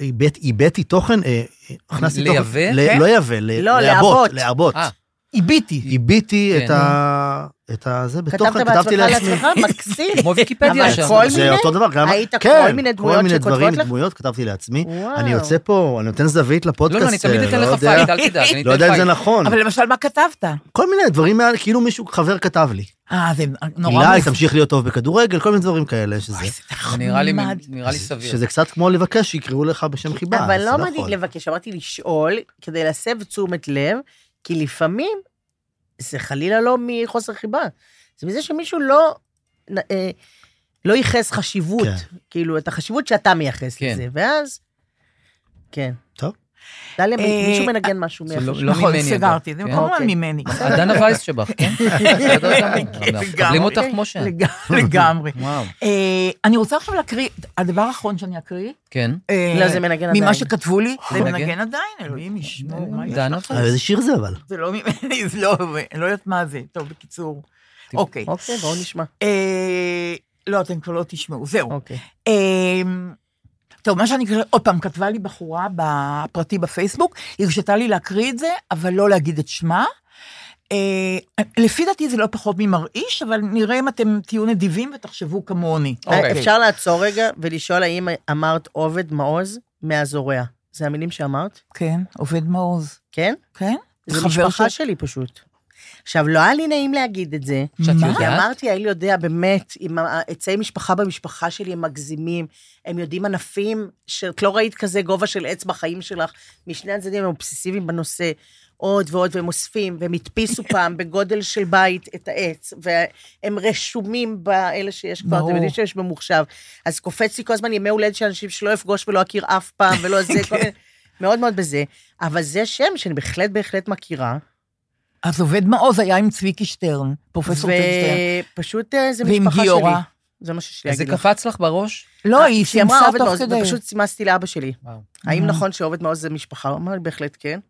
Speaker 5: איבד- איבדתי תוכן, אה, הכנסתי תוכן.
Speaker 4: לייבא?
Speaker 5: ל-
Speaker 3: כן.
Speaker 5: לא יבא, ל-
Speaker 7: לא,
Speaker 5: לעבות.
Speaker 7: לעבות.
Speaker 5: לעבות.
Speaker 4: אה.
Speaker 3: עיביתי.
Speaker 5: איביתי את
Speaker 4: כן.
Speaker 5: ה... את ה... זה
Speaker 7: כתבת
Speaker 5: בתוכן,
Speaker 7: בעצמך
Speaker 5: כתבתי לעצמי.
Speaker 7: לעצמך, מקסים.
Speaker 4: כמו ויקיפדיה
Speaker 7: אבל
Speaker 4: שם.
Speaker 7: כל
Speaker 5: זה
Speaker 7: מיני?
Speaker 5: אותו דבר, גם...
Speaker 7: היית
Speaker 5: כן,
Speaker 7: כל מיני דמויות
Speaker 5: כל מיני
Speaker 7: שכותבות
Speaker 5: דברים,
Speaker 7: לך?
Speaker 5: דמויות כתבתי לעצמי.
Speaker 7: וואו.
Speaker 5: אני יוצא פה, אני נותן זווית
Speaker 4: לא,
Speaker 5: לפודקאסט.
Speaker 4: לא, אני תמיד
Speaker 5: אה,
Speaker 4: אתן
Speaker 5: לא
Speaker 4: לך
Speaker 5: יודע-
Speaker 4: פייט, אל תדאג. אני
Speaker 5: לא יודע
Speaker 4: אתן
Speaker 5: אם זה
Speaker 4: פייט.
Speaker 5: נכון.
Speaker 3: אבל למשל, מה כתבת?
Speaker 5: כל מיני דברים, מעל- כאילו מישהו, חבר כתב לי.
Speaker 3: אה, זה נורא
Speaker 5: הילה,
Speaker 3: מופ-
Speaker 5: תמשיך להיות טוב בכדורגל, כל מיני דברים כאלה, שזה...
Speaker 4: זה נראה לי-
Speaker 3: נחמד.
Speaker 4: נראה לי סביר.
Speaker 5: שזה קצת כמו לבקש שיקראו לך בשם חיבה. נכון.
Speaker 7: אבל
Speaker 5: אז
Speaker 7: לא
Speaker 5: אתה
Speaker 7: אמרתי
Speaker 5: יכול.
Speaker 7: לבקש, אמרתי לשאול, כדי להסב תשומת לב, כי לפעמים זה חלילה לא מחוסר חיבה. זה מזה שמישהו לא... נ- אה, לא ייחס חשיבות,
Speaker 5: כן.
Speaker 7: כאילו, את החשיבות שאתה מייחס
Speaker 4: כן.
Speaker 7: לזה, ואז... כן.
Speaker 5: טוב.
Speaker 7: דליה,
Speaker 3: אה,
Speaker 7: מישהו מנגן משהו
Speaker 4: זה לא-
Speaker 7: מהחשיבות.
Speaker 4: לא
Speaker 3: נכון,
Speaker 4: ממני, אגב.
Speaker 3: סגרתי, זה
Speaker 4: כן.
Speaker 3: כמובן
Speaker 7: אוקיי.
Speaker 3: ממני.
Speaker 4: הדנה וייס שבך, כן? בסדר גמור.
Speaker 7: כן,
Speaker 4: מקבלים אותך כמו שאת.
Speaker 3: לג- לגמרי.
Speaker 4: וואו.
Speaker 3: אה, אני רוצה עכשיו להקריא, הדבר האחרון שאני אקריא,
Speaker 4: כן.
Speaker 3: אה,
Speaker 7: לא, זה מנגן
Speaker 3: ממה
Speaker 7: עדיין.
Speaker 3: שכתבו לי, זה
Speaker 4: מנגן?
Speaker 3: מנגן עדיין, אלוהים ישמור, מה יש?
Speaker 4: דנה
Speaker 5: אבל
Speaker 4: וייס.
Speaker 5: איזה שיר זה אבל?
Speaker 3: זה לא ממני, זה לא, אני לא יודעת מה זה. טוב, בקיצור. אוקיי.
Speaker 7: אוקיי, בואו נשמע.
Speaker 3: אה, לא, אתם כבר לא תשמעו, זהו.
Speaker 7: אוקיי.
Speaker 3: אמ, טוב, מה שאני אקריא, עוד פעם, כתבה לי בחורה בפרטי בפייסבוק, היא הרשתה לי להקריא את זה, אבל לא להגיד את שמה. אה, לפי דעתי זה לא פחות ממרעיש, אבל נראה אם אתם תהיו נדיבים ותחשבו כמוני. אה,
Speaker 4: אוקיי.
Speaker 7: אפשר לעצור רגע ולשאול האם אמרת עובד מעוז מהזורע. זה המילים שאמרת?
Speaker 3: כן, עובד מעוז.
Speaker 7: כן?
Speaker 3: כן?
Speaker 7: זה
Speaker 3: חבר
Speaker 7: משפחה
Speaker 3: ש-
Speaker 7: שלי פשוט. עכשיו, לא היה לי נעים להגיד את זה.
Speaker 4: שאת
Speaker 7: כי
Speaker 3: מה?
Speaker 4: יודעת?
Speaker 7: אמרתי, האל יודע, באמת, עם ה- עצי משפחה במשפחה שלי הם מגזימים, הם יודעים ענפים שאת לא ראית כזה גובה של עץ בחיים שלך, משני הצדדים הם אובססיביים בנושא, עוד ועוד, והם אוספים, והם הדפיסו פעם בגודל של בית את העץ, והם רשומים באלה שיש כבר,
Speaker 3: ברור.
Speaker 7: אתם יודעים שיש במוחשב. אז קופץ לי כל הזמן ימי הולדת של אנשים שלא אפגוש ולא אכיר אף פעם, ולא זה, כל מיני, מאוד מאוד בזה. אבל זה שם שאני בהחלט בהחלט מכירה.
Speaker 3: אז עובד מעוז היה עם צביקי שטרן, פרופסור צביקי שטרן.
Speaker 7: ופשוט אה, זה
Speaker 3: ועם
Speaker 7: משפחה שלי.
Speaker 3: גיורא.
Speaker 7: זה מה שיש לי
Speaker 4: אז זה
Speaker 7: להגיד לך.
Speaker 4: קפץ לך בראש?
Speaker 3: לא, היא
Speaker 7: כשהיא אמרה
Speaker 3: שימסה
Speaker 7: עובד
Speaker 3: תוך
Speaker 7: מעוז,
Speaker 3: כדי.
Speaker 7: ופשוט סימסתי לאבא שלי.
Speaker 4: וואו.
Speaker 7: האם
Speaker 3: Mhm.
Speaker 7: נכון שעובד מעוז זה משפחה? הוא אמר לי, בהחלט כן.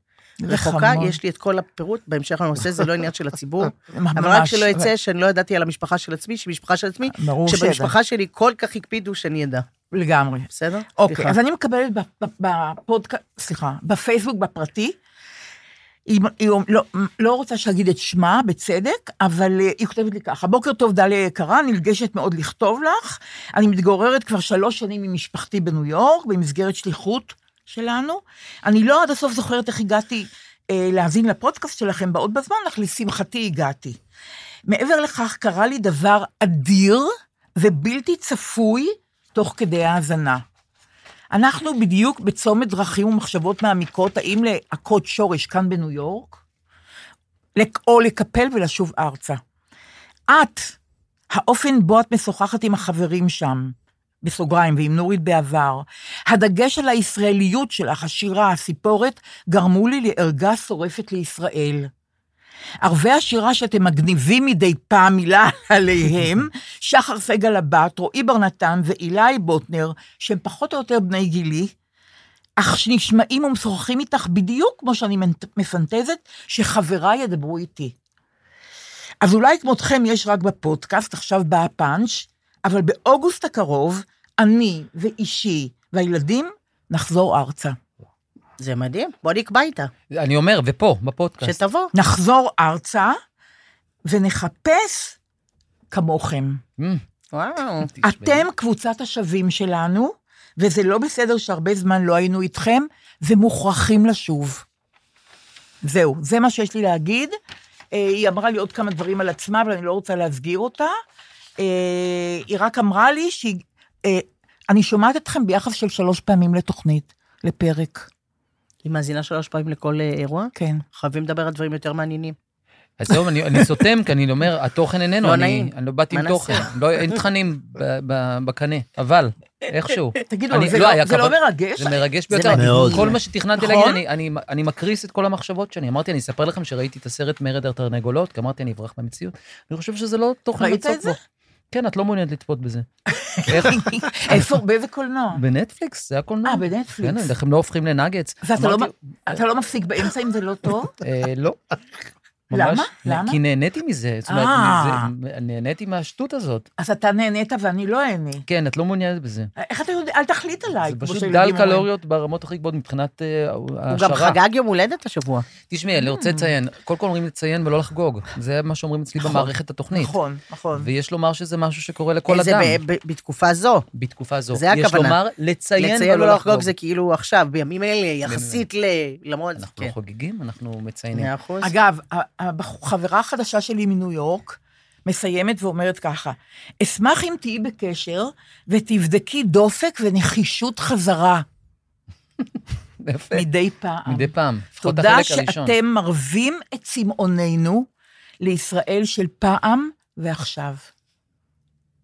Speaker 3: זה
Speaker 7: רחוקה,
Speaker 3: חמור.
Speaker 7: יש לי את כל הפירוט בהמשך לנושא, זה לא עניין של הציבור.
Speaker 3: ממש.
Speaker 7: אבל רק שלא יצא שאני לא ידעתי על המשפחה של עצמי, שמשפחה של עצמי,
Speaker 3: ברור שידע.
Speaker 7: שבמשפחה שלי כל כך הקפידו שאני אדע.
Speaker 3: לגמרי.
Speaker 7: בסדר?
Speaker 3: אוקיי,
Speaker 7: סליחה.
Speaker 3: אז אני מקבלת בפודקאסט, סליחה, בפייסבוק בפרטי, היא, היא לא, לא רוצה שאגיד את שמה, בצדק, אבל אה, היא כותבת לי ככה, בוקר טוב, דליה יקרה, נרגשת מאוד לכתוב לך. אני מתגוררת כבר שלוש שנים עם משפחתי בניו יורק, במסגרת שליחות שלנו. אני לא עד הסוף זוכרת איך הגעתי אה, להאזין לפודקאסט שלכם בעוד בזמן, אך לשמחתי הגעתי. מעבר לכך, קרה לי דבר אדיר ובלתי צפוי תוך כדי ההאזנה. אנחנו בדיוק בצומת דרכים ומחשבות מעמיקות, האם להכות שורש כאן בניו יורק, לק- או לקפל ולשוב ארצה. את, האופן בו את משוחחת עם החברים שם, בסוגריים, ועם נורית בעבר, הדגש על הישראליות שלך, השירה, הסיפורת, גרמו לי לערגה שורפת לישראל. ערבי השירה שאתם מגניבים מדי פעם מילה עליהם, שחר סגל הבת, רועי בר נתן ואילי בוטנר, שהם פחות או יותר בני גילי, אך שנשמעים ומשוחחים איתך בדיוק כמו שאני מנט- מפנטזת, שחבריי ידברו איתי. אז אולי כמותכם יש רק בפודקאסט, עכשיו בא הפאנץ', אבל באוגוסט הקרוב, אני ואישי והילדים נחזור ארצה.
Speaker 7: זה מדהים, בוא נקבע איתה,
Speaker 4: אני אומר, ופה, בפודקאסט.
Speaker 7: שתבוא.
Speaker 3: נחזור ארצה ונחפש כמוכם.
Speaker 4: אמ,
Speaker 7: וואו.
Speaker 3: אתם קבוצת השווים שלנו, וזה לא בסדר שהרבה זמן לא היינו איתכם, ומוכרחים לשוב. זהו, זה מה שיש לי להגיד. אה, היא אמרה לי עוד כמה דברים על עצמה, אבל אני לא רוצה להסגיר אותה. אה, היא רק אמרה לי שהיא... אה, אני שומעת אתכם ביחס של שלוש פעמים לתוכנית, לפרק.
Speaker 7: היא מאזינה שלוש פעמים לכל אה, אירוע?
Speaker 3: כן.
Speaker 7: חייבים לדבר על דברים יותר מעניינים.
Speaker 4: אז זהו, אני אני סותם, כי אני אומר, התוכן איננו,
Speaker 7: לא
Speaker 4: אני-
Speaker 7: נעים.
Speaker 4: אני לא באתי
Speaker 7: מה
Speaker 4: עם תוכן,
Speaker 7: נעשה?
Speaker 4: לא- אין תכנים ב- ב- בקנה, אבל, איכשהו.
Speaker 3: תגידו,
Speaker 4: אני-
Speaker 3: זה
Speaker 4: לא, היה
Speaker 3: לא- זה לא
Speaker 4: כוון-
Speaker 3: מרגש?
Speaker 4: זה מרגש ביותר.
Speaker 7: מדהים.
Speaker 5: מאוד.
Speaker 4: כל מה שתכננתי
Speaker 3: נכון?
Speaker 4: להגיד, אני- אני- אני מקריס את כל המחשבות שלי. אמרתי, אני אספר לכם שראיתי את הסרט מרד התרנגולות, כי אמרתי, אני אברח מהמציאות. אני חושב שזה לא תוכן
Speaker 3: ראית
Speaker 4: לצפות
Speaker 3: את זה?
Speaker 4: בו. כן, את לא מעוניינת לצפות בזה.
Speaker 3: איפה, באיזה קולנוע?
Speaker 4: בנטפליקס, זה הקולנוע.
Speaker 3: אה, בנטפליקס.
Speaker 4: כן, איך הם לא הופכים לנאגץ.
Speaker 3: ואתה לא,
Speaker 4: אמרתי,
Speaker 3: אתה לא מפסיק באמצע אם זה לא טוב?
Speaker 4: אה, לא.
Speaker 3: למה?
Speaker 4: ממש,
Speaker 3: למה?
Speaker 4: כי נהניתי מזה. זאת אומרת,
Speaker 3: אה.
Speaker 4: זה- נהניתי מהשטות הזאת.
Speaker 3: אז אתה נהנית ואני לא אהנה.
Speaker 4: כן, את לא מעוניינת בזה.
Speaker 3: איך אתה יודע? אל תחליט עליי.
Speaker 4: זה
Speaker 3: כמו
Speaker 4: פשוט
Speaker 3: שהילדים
Speaker 4: דל
Speaker 3: אומרים.
Speaker 4: קלוריות ברמות הכי גבוהות מבחינת אה,
Speaker 7: הוא גם
Speaker 4: העשרה.
Speaker 7: חגג יום הולדת השבוע.
Speaker 4: תשמעי, אני רוצה לציין, קודם כל אומרים לציין ולא לחגוג. זה מה שאומרים אצלי
Speaker 3: נכון,
Speaker 4: במערכת התוכנית.
Speaker 3: נכון, נכון.
Speaker 4: ויש לומר שזה משהו שקורה לכל
Speaker 7: זה
Speaker 4: אדם
Speaker 7: ב- ב- בתקופה זו.
Speaker 4: בתקופה זו.
Speaker 7: זה
Speaker 4: יש
Speaker 7: הכוונה.
Speaker 4: לומר לציין
Speaker 7: לציין
Speaker 4: ולא
Speaker 7: ולא לחגוג
Speaker 4: לחגוג.
Speaker 7: זה כאילו עכשיו, בימים אלה, יחסית ל... למרות זה,
Speaker 4: אנחנו
Speaker 7: כן.
Speaker 4: לא חוגגים, אנחנו מציינים.
Speaker 3: נכון.
Speaker 7: מאה אחוז.
Speaker 3: אגב, החברה החדשה שלי מניו יורק מסיימת ואומרת ככה, אשמח אם תהיי בקשר ותבדקי דופק ונחישות חזרה
Speaker 4: יפה.
Speaker 3: מדי פעם.
Speaker 4: מדי פעם. לפחות
Speaker 3: תודה
Speaker 4: החלק הראשון.
Speaker 3: שאתם מרווים את צמאוננו לישראל של פעם ועכשיו.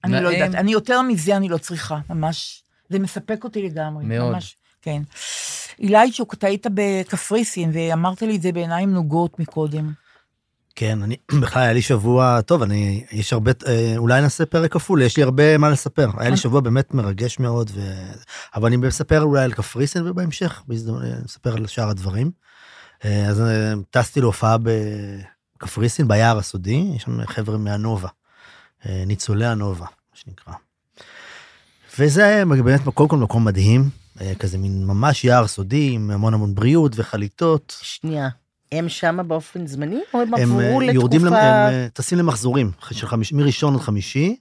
Speaker 3: אני לא
Speaker 4: נעים.
Speaker 3: יודעת, אני יותר מזה אני לא צריכה, ממש. זה מספק אותי לגמרי.
Speaker 4: מאוד.
Speaker 3: ממש, כן. אילי צ'וק, אתה היית בקפריסין, ואמרת לי את זה בעיניים נוגות מקודם.
Speaker 5: כן, אני בכלל היה לי שבוע טוב, אני, יש הרבה, אה, אולי נעשה פרק כפול, יש לי הרבה מה לספר. היה לי שבוע באמת מרגש מאוד, ו... אבל אני מספר אולי על קפריסין ובהמשך, בהזדמנות, אה, נספר על שאר הדברים. אה, אז אה, טסתי להופעה בקפריסין, ביער הסודי, יש שם חבר'ה מהנובה, אה, ניצולי הנובה, מה שנקרא. וזה היה באמת, קודם כל מקום מדהים, אה, כזה מין ממש יער סודי, עם המון המון בריאות וחליטות.
Speaker 7: שנייה. הם שמה באופן זמני, או הם
Speaker 5: הם
Speaker 7: עברו
Speaker 5: אה,
Speaker 7: לתקופה...
Speaker 5: יורדים, למ- הם אה, טסים למחזורים, של חמיש- מראשון עד חמישי,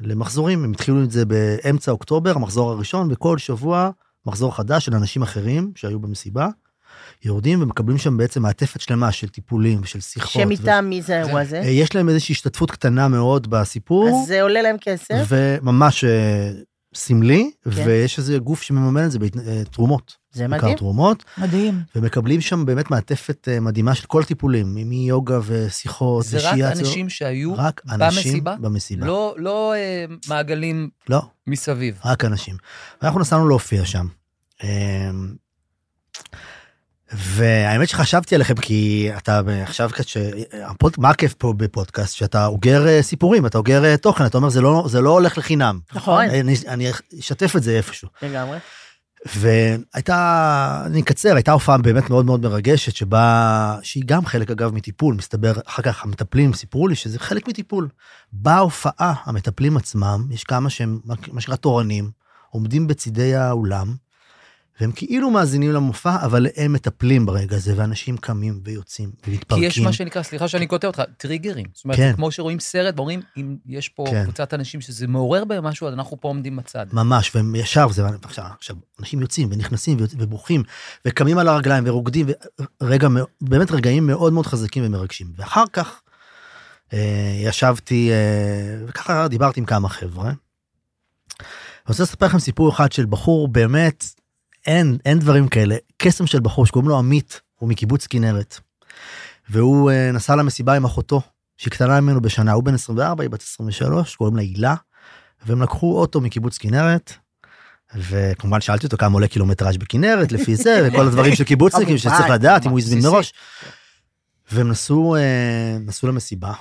Speaker 5: למחזורים, הם התחילו את זה באמצע אוקטובר, המחזור הראשון, וכל שבוע מחזור חדש של אנשים אחרים שהיו במסיבה. יורדים ומקבלים שם בעצם מעטפת שלמה של טיפולים ושל שיחות.
Speaker 7: שם
Speaker 5: ו-
Speaker 7: איתם, מי זה האירוע הזה?
Speaker 5: אה, יש להם איזושהי השתתפות קטנה מאוד בסיפור.
Speaker 7: אז אה, זה עולה להם כסף.
Speaker 5: וממש אה, סמלי,
Speaker 7: כן.
Speaker 5: ויש איזה גוף שמממן את זה בתרומות.
Speaker 7: זה מדהים.
Speaker 5: תרומות,
Speaker 3: מדהים.
Speaker 5: ומקבלים שם באמת מעטפת אה, מדהימה של כל הטיפולים, מיוגה ושיחות
Speaker 4: זה רק
Speaker 5: ושיאצו.
Speaker 4: אנשים שהיו
Speaker 5: רק אנשים
Speaker 4: במסיבה?
Speaker 5: במסיבה.
Speaker 4: לא, לא אה, מעגלים
Speaker 5: לא,
Speaker 4: מסביב.
Speaker 5: רק אנשים. ואנחנו נסענו להופיע שם. אמ, והאמת שחשבתי עליכם כי אתה עכשיו כש... הפוד- מה הכיף פה בפודקאסט? שאתה אוגר אה, סיפורים, אתה אוגר אה, תוכן, אתה אומר זה לא, זה לא הולך לחינם.
Speaker 7: נכון.
Speaker 5: אני, אני אשתף את זה איפשהו.
Speaker 7: לגמרי.
Speaker 5: והייתה, אני אקצר, הייתה הופעה באמת מאוד מאוד מרגשת, שבה, שהיא גם חלק אגב מטיפול, מסתבר, אחר כך המטפלים סיפרו לי שזה חלק מטיפול. בהופעה, המטפלים עצמם, יש כמה שהם, מה שנקרא תורנים, עומדים בצידי האולם, והם כאילו מאזינים למופע, אבל הם מטפלים ברגע הזה, ואנשים קמים ויוצאים
Speaker 4: כי
Speaker 5: ומתפרקים.
Speaker 4: יש מה שנקרא, סליחה שאני קוטע אותך, טריגרים. זאת אומרת,
Speaker 5: כן.
Speaker 4: זה כמו שרואים סרט, ואומרים, אם יש פה
Speaker 5: כן.
Speaker 4: קבוצת אנשים שזה מעורר בהם משהו, אז אנחנו פה עומדים בצד.
Speaker 5: ממש, והם ישר, וזה, עכשיו, עכשיו, אנשים יוצאים ונכנסים ויוצאים ובורחים, וקמים על הרגליים ורוקדים, ורגע, מאו- באמת רגעים מאוד מאוד חזקים ומרגשים. ואחר כך אה, ישבתי, אה, וככה דיברתי עם כמה חבר'ה. אני רוצה לספר לכם סיפור אחד של בחור, באמת, אין, אין דברים כאלה, קסם של בחור שקוראים לו עמית, הוא מקיבוץ כנרת. והוא אה, נסע למסיבה עם אחותו, שהיא קטנה ממנו בשנה, הוא בן 24, היא בת 23, קוראים לה הילה. והם לקחו אוטו מקיבוץ כנרת, וכמובן שאלתי אותו כמה עולה קילומטראז' בכנרת, לפי זה, וכל הדברים של קיבוצניקים
Speaker 7: כמובן,
Speaker 5: שצריך לדעת, אם
Speaker 4: כמובן,
Speaker 5: הוא הזמין
Speaker 4: בסיסי.
Speaker 5: מראש. והם נסעו, אה, נסעו למסיבה,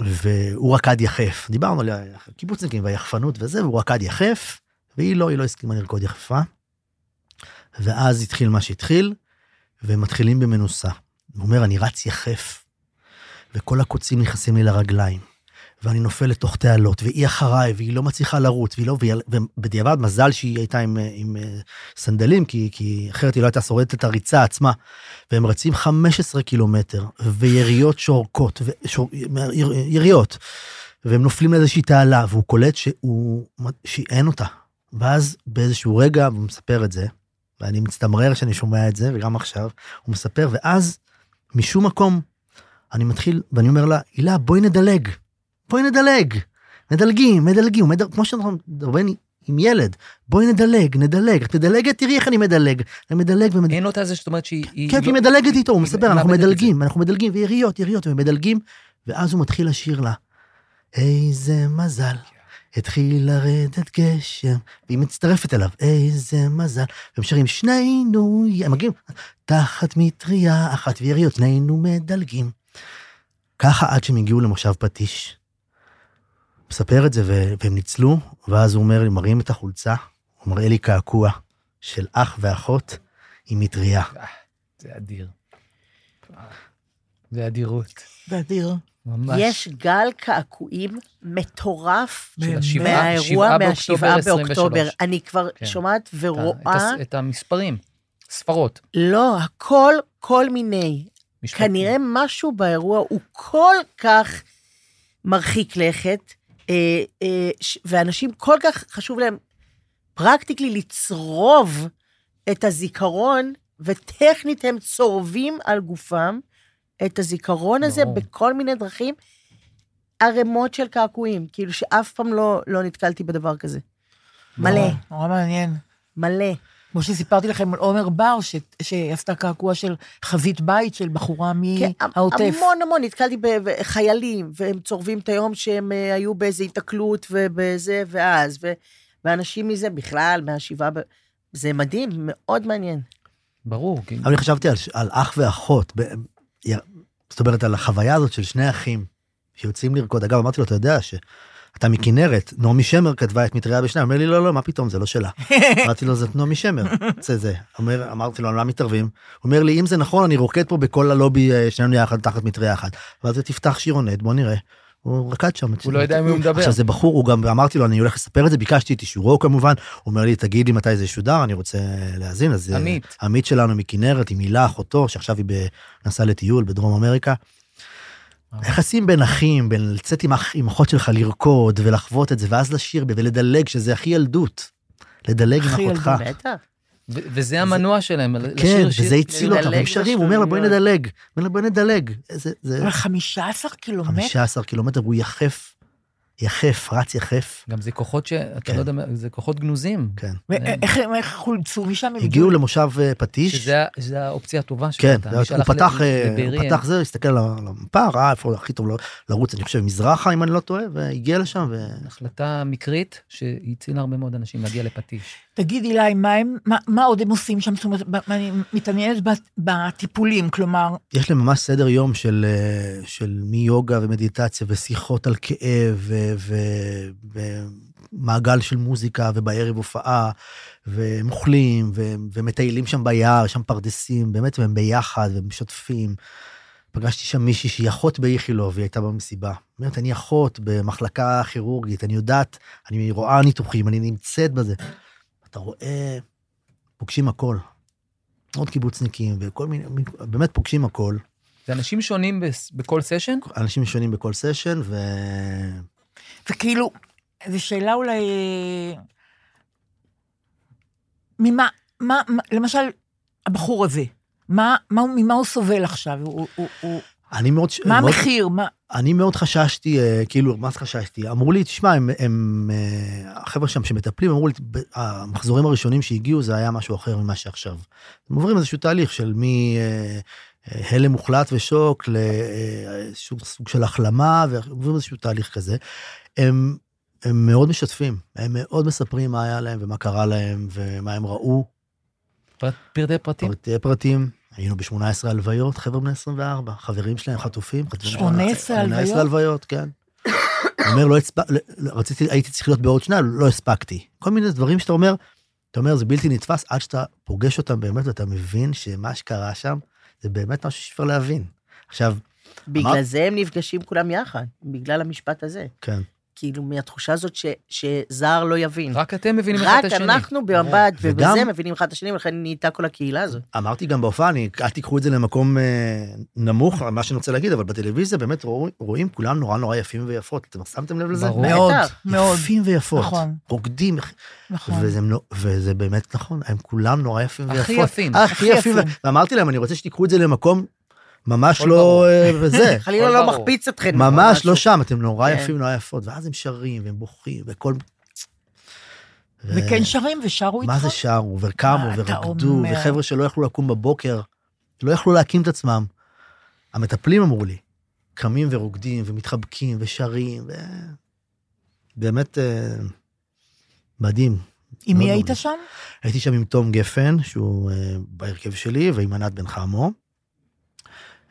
Speaker 5: והוא רקד יחף. דיברנו על הקיבוצניקים והיחפנות וזה, והוא רקד יחף, והיא לא, היא לא הסכימה לרקוד יחפה. ואז התחיל מה שהתחיל, והם מתחילים במנוסה. הוא אומר, אני רץ יחף, וכל הקוצים נכנסים לי לרגליים. ואני נופל לתוך תעלות, והיא אחריי, והיא לא מצליחה לרוץ, והיא לא, והיא- ובדיעבד מזל שהיא הייתה עם, אה, עם אה, סנדלים, כי, כי אחרת היא לא הייתה שורדת את הריצה עצמה. והם רצים 15 קילומטר, ויריות שורקות, ושור, יר, יריות, והם נופלים לאיזושהי תעלה, והוא קולט שהוא, שהיא אין אותה. ואז באיזשהו רגע, הוא מספר את זה, ואני מצטמרר שאני שומע את זה, וגם עכשיו, הוא מספר, ואז משום מקום, אני מתחיל, ואני אומר לה, הילה, בואי נדלג. בואי נדלג. מדלגים, מדלגים, מדל... כמו שאנחנו מדברים עם ילד, בואי נדלג, נדלג, את מדלגת, תראי איך אני מדלג. אני מדלג ומדלג.
Speaker 4: אין אותה זה שאת אומרת שהיא...
Speaker 5: כן,
Speaker 4: לא-
Speaker 5: והיא מדלגת איתו, הוא
Speaker 4: היא
Speaker 5: מספר, אנחנו
Speaker 4: מאבדת את זה.
Speaker 5: מדלגים, אנחנו מדלגים, ויריות, יריות, ומדלגים, ואז הוא מתחיל לשיר לה, איזה מזל, התחיל לרדת גשם, והיא מצטרפת אליו, איזה מזל, והם שרים, שנינו, י-" הם מגיעים, תחת מטריה אחת ויריות, שנינו מדלגים. ככה עד שהם הגיעו למושב פטיש. מספר את זה, ו- והם ניצלו, ואז הוא אומר, לי, מראים את החולצה, הוא מראה לי קעקוע של אח ואחות עם מטריה.
Speaker 4: אה. זה אדיר. זה אדירות.
Speaker 3: זה אדיר.
Speaker 4: ממש.
Speaker 7: יש גל קעקועים מטורף
Speaker 4: של
Speaker 3: באמת.
Speaker 4: השבעה-
Speaker 7: מהאירוע
Speaker 4: שבעה באוקטובר
Speaker 7: מהשבעה
Speaker 4: 23.
Speaker 7: באוקטובר. אני כבר
Speaker 4: כן.
Speaker 7: שומעת
Speaker 4: את ה-
Speaker 7: ורואה,
Speaker 4: את הס- את המספרים, ספרות.
Speaker 7: לא, הכל, כל מיני.
Speaker 4: משפטים.
Speaker 7: כנראה משהו באירוע הוא כל כך מרחיק לכת, אה, אה, ש- ואנשים כל כך חשוב להם פרקטיקלי לצרוב את הזיכרון, וטכנית הם צורבים על גופם את הזיכרון הזה
Speaker 4: ברור.
Speaker 7: בכל מיני דרכים, ערימות של קעקועים, כאילו שאף פעם לא, לא נתקלתי בדבר כזה. מלא,
Speaker 3: נורא, נורא מעניין.
Speaker 7: אה. מלא.
Speaker 3: כמו שסיפרתי לכם על עומר בר, ש... שעשתה קעקוע של חבית בית של בחורה
Speaker 7: כן,
Speaker 3: מהעוטף.
Speaker 7: המון המון, נתקלתי בחיילים, והם צורבים את היום שהם אה, היו באיזו התקלות ובזה ואז, ו- ואנשים מזה בכלל, מהשבעה, ב- זה מדהים, מאוד מעניין.
Speaker 4: ברור, כי
Speaker 5: אבל אני חשבתי על, ש- על אח ואחות, ב, י- זאת אומרת, על החוויה הזאת של שני אחים שיוצאים לרקוד. אגב, אמרתי לו, אתה יודע שאתה מכנרת, נעמי שמר כתבה את מטריה בשניים. אומר לי, לא, לא, מה פתאום, זה לא שלה. אמרתי לו, זאת נעמי שמר, זה זה. אומר, אמרתי לו, למה מתערבים? הוא אומר לי, אם זה נכון, אני רוקד פה בכל הלובי, אה, שנינו יחד, תחת מטריה אחת. אמרתי, לו, תפתח שירונט, בוא נראה. הוא רקד שם.
Speaker 4: הוא לא יודע אם הוא מדבר.
Speaker 5: עכשיו, זה בחור, הוא גם, אמרתי לו, אני הולך לספר את זה, ביקשתי את אישורו כמובן, הוא אומר לי, תגיד לי מתי זה ישודר, אני רוצה להאזין. אז אה,
Speaker 4: עמית.
Speaker 5: עמית שלנו מכנרת, עם הילה אחותו, שעכשיו היא ב- נסעה לטיול בדרום אמריקה. היחסים בין אחים, בין לצאת עם, אח, עם אחות שלך לרקוד ולחוות את זה, ואז לשיר ב- ולדלג, שזה הכי ילדות. לדלג עם
Speaker 3: הכי
Speaker 5: אחותך.
Speaker 3: ילדות.
Speaker 7: בטח.
Speaker 4: ו- וזה המנוע שלהם, ל-
Speaker 5: כן,
Speaker 4: לשיר שיר.
Speaker 5: וזה הציל
Speaker 7: לדלג
Speaker 5: אותם, הם שרים, הוא אומר לה, בואי
Speaker 7: לשטויות."
Speaker 5: נדלג. אומר לה, בואי נדלג. זה- זה
Speaker 3: אבל 15 קילומטר?
Speaker 5: 15 קילומטר, הוא יחף, יחף, רץ יחף.
Speaker 4: גם זה כוחות ש... אתה
Speaker 5: כן.
Speaker 4: לא יודע, מה- זה כוחות גנוזים. אה,
Speaker 5: כן.
Speaker 3: ואיך הם- איך חולצו משם? הם
Speaker 5: הגיעו למושב אה, פטיש.
Speaker 4: שזה ה- שזה האופציה הטובה שלו.
Speaker 5: כן,
Speaker 4: אתה
Speaker 5: הוא
Speaker 4: שהלך ל-
Speaker 5: פתח, אה,
Speaker 4: לבארי,
Speaker 5: הוא פתח זה, הסתכל על המפה, ראה איפה הכי טוב ל- לרוץ, אני חושב, מזרחה, אם אני לא טועה, והגיע לשם, ו-
Speaker 4: החלטה מקרית שהצילה הרבה מאוד אנשים להגיע לפטיש.
Speaker 3: תגיד, אילי, מה הם- מה- מה עוד הם עושים שם? זאת אומרת, ב- אני מתעניינת ב- בטיפולים, כלומר,
Speaker 5: יש להם ממש סדר יום של, אה, של מיוגה ומדיטציה ושיחות על כאב ומעגל של מוזיקה ובערב הופעה והם אוכלים ו- ומטיילים שם ביער, שם פרדסים, באמת, והם ביחד והם משתפים. פגשתי שם מישהי שהיא אחות באיכילוב, היא הייתה במסיבה. היא אומרת, אני אחות במחלקה כירורגית, אני יודעת, אני רואה ניתוחים, אני נמצאת בזה. אתה רואה, פוגשים הכל. עוד קיבוצניקים וכל מיני, באמת פוגשים הכל.
Speaker 4: זה אנשים שונים בס- בכל סשן?
Speaker 5: אנשים שונים בכל סשן, ו...
Speaker 3: וכאילו, זו שאלה אולי... אה, ממה, מה, מה- למשל, הבחור הזה, מה, מה, הוא- ממה הוא סובל עכשיו? הוא, הוא, הוא,
Speaker 5: אני מאוד...
Speaker 3: מה
Speaker 5: מאוד-
Speaker 3: המחיר? מה...
Speaker 5: אני מאוד חששתי, אה, כאילו, מה זה חששתי? אמרו לי, תשמע, הם, הם, אה, החבר'ה שם שמטפלים, אמרו לי, "ב- המחזורים הראשונים שהגיעו זה היה משהו אחר ממה שעכשיו. הם עוברים איזשהו תהליך של מי... אה, אה, הלם מוחלט ושוק לסוג סוג של החלמה, ועוברים איזשהו תהליך כזה. הם, הם מאוד משתפים, הם מאוד מספרים מה היה להם ומה קרה להם ומה הם ראו.
Speaker 4: פרט- פרטי פרטים?
Speaker 5: פרטי פרטים, היינו ב-18 הלוויות, חבר'ה בני 24, חברים שלהם חטופים. חטופים.
Speaker 3: 18 הלוויות?
Speaker 5: 18 הלוויות, כן. הוא אומר, לא הספק, רציתי, הייתי צריך להיות בעוד שנה, לא הספקתי. כל מיני דברים שאתה אומר, אתה אומר, זה בלתי נתפס עד שאתה פוגש אותם באמת, ואתה מבין שמה שקרה שם, זה באמת משהו שאי אפשר להבין. עכשיו,
Speaker 7: בגלל
Speaker 5: אמר-
Speaker 7: זה הם נפגשים כולם יחד, בגלל המשפט הזה.
Speaker 5: כן,
Speaker 7: כאילו, מהתחושה הזאת ש- שזר לא יבין.
Speaker 4: רק אתם מבינים אחד
Speaker 7: רק
Speaker 4: את השני.
Speaker 7: אנחנו במבט
Speaker 5: וגם-
Speaker 7: ובזה מבינים אחד את השני, ולכן נהייתה כל הקהילה הזאת.
Speaker 5: אמרתי גם בהופעה, אני, אל תיקחו את זה למקום אה, נמוך, מה שאני רוצה להגיד, אבל בטלוויזיה באמת רואו- רואים כולם נורא נורא יפים ויפות. אתם שמתם לב לזה?
Speaker 4: ברור.
Speaker 3: מאוד,
Speaker 7: בטח,
Speaker 3: מאוד.
Speaker 5: יפים ויפות.
Speaker 3: נכון.
Speaker 5: רוקדים,
Speaker 3: נכון.
Speaker 5: וזה, נו- וזה באמת נכון, הם כולם נורא יפים ויפות. אה,
Speaker 4: הכי יפים,
Speaker 5: הכי
Speaker 3: הכי
Speaker 5: יפים.
Speaker 3: יפים.
Speaker 5: ואמרתי להם, אני רוצה שתיקחו את זה למקום ממש
Speaker 4: הכל
Speaker 5: לא...
Speaker 4: ברור.
Speaker 5: אה, וזה.
Speaker 7: חלילה
Speaker 4: הכל
Speaker 7: לא
Speaker 4: ברור.
Speaker 7: מחפיץ אתכם.
Speaker 5: ממש לא
Speaker 7: משהו.
Speaker 5: שם, אתם נורא
Speaker 7: כן.
Speaker 5: יפים, נורא יפות. ואז הם שרים, והם בוכים, וכל... ו-
Speaker 3: וכן שרים ושרו איתך?
Speaker 5: אה. מה זה שרו, וקמו,
Speaker 3: מה אתה
Speaker 5: ורקדו,
Speaker 3: אומר?
Speaker 5: וחבר'ה שלא יכלו לקום בבוקר, לא יכלו להקים את עצמם. המטפלים אמרו לי, קמים ורוקדים, ומתחבקים, ושרים, ו... באמת אה, מדהים.
Speaker 3: עם מי
Speaker 5: מאוד
Speaker 3: היית
Speaker 5: מאוד.
Speaker 3: שם?
Speaker 5: הייתי שם עם תום גפן, שהוא אה, בהרכב שלי, ועם ענת בן חמו.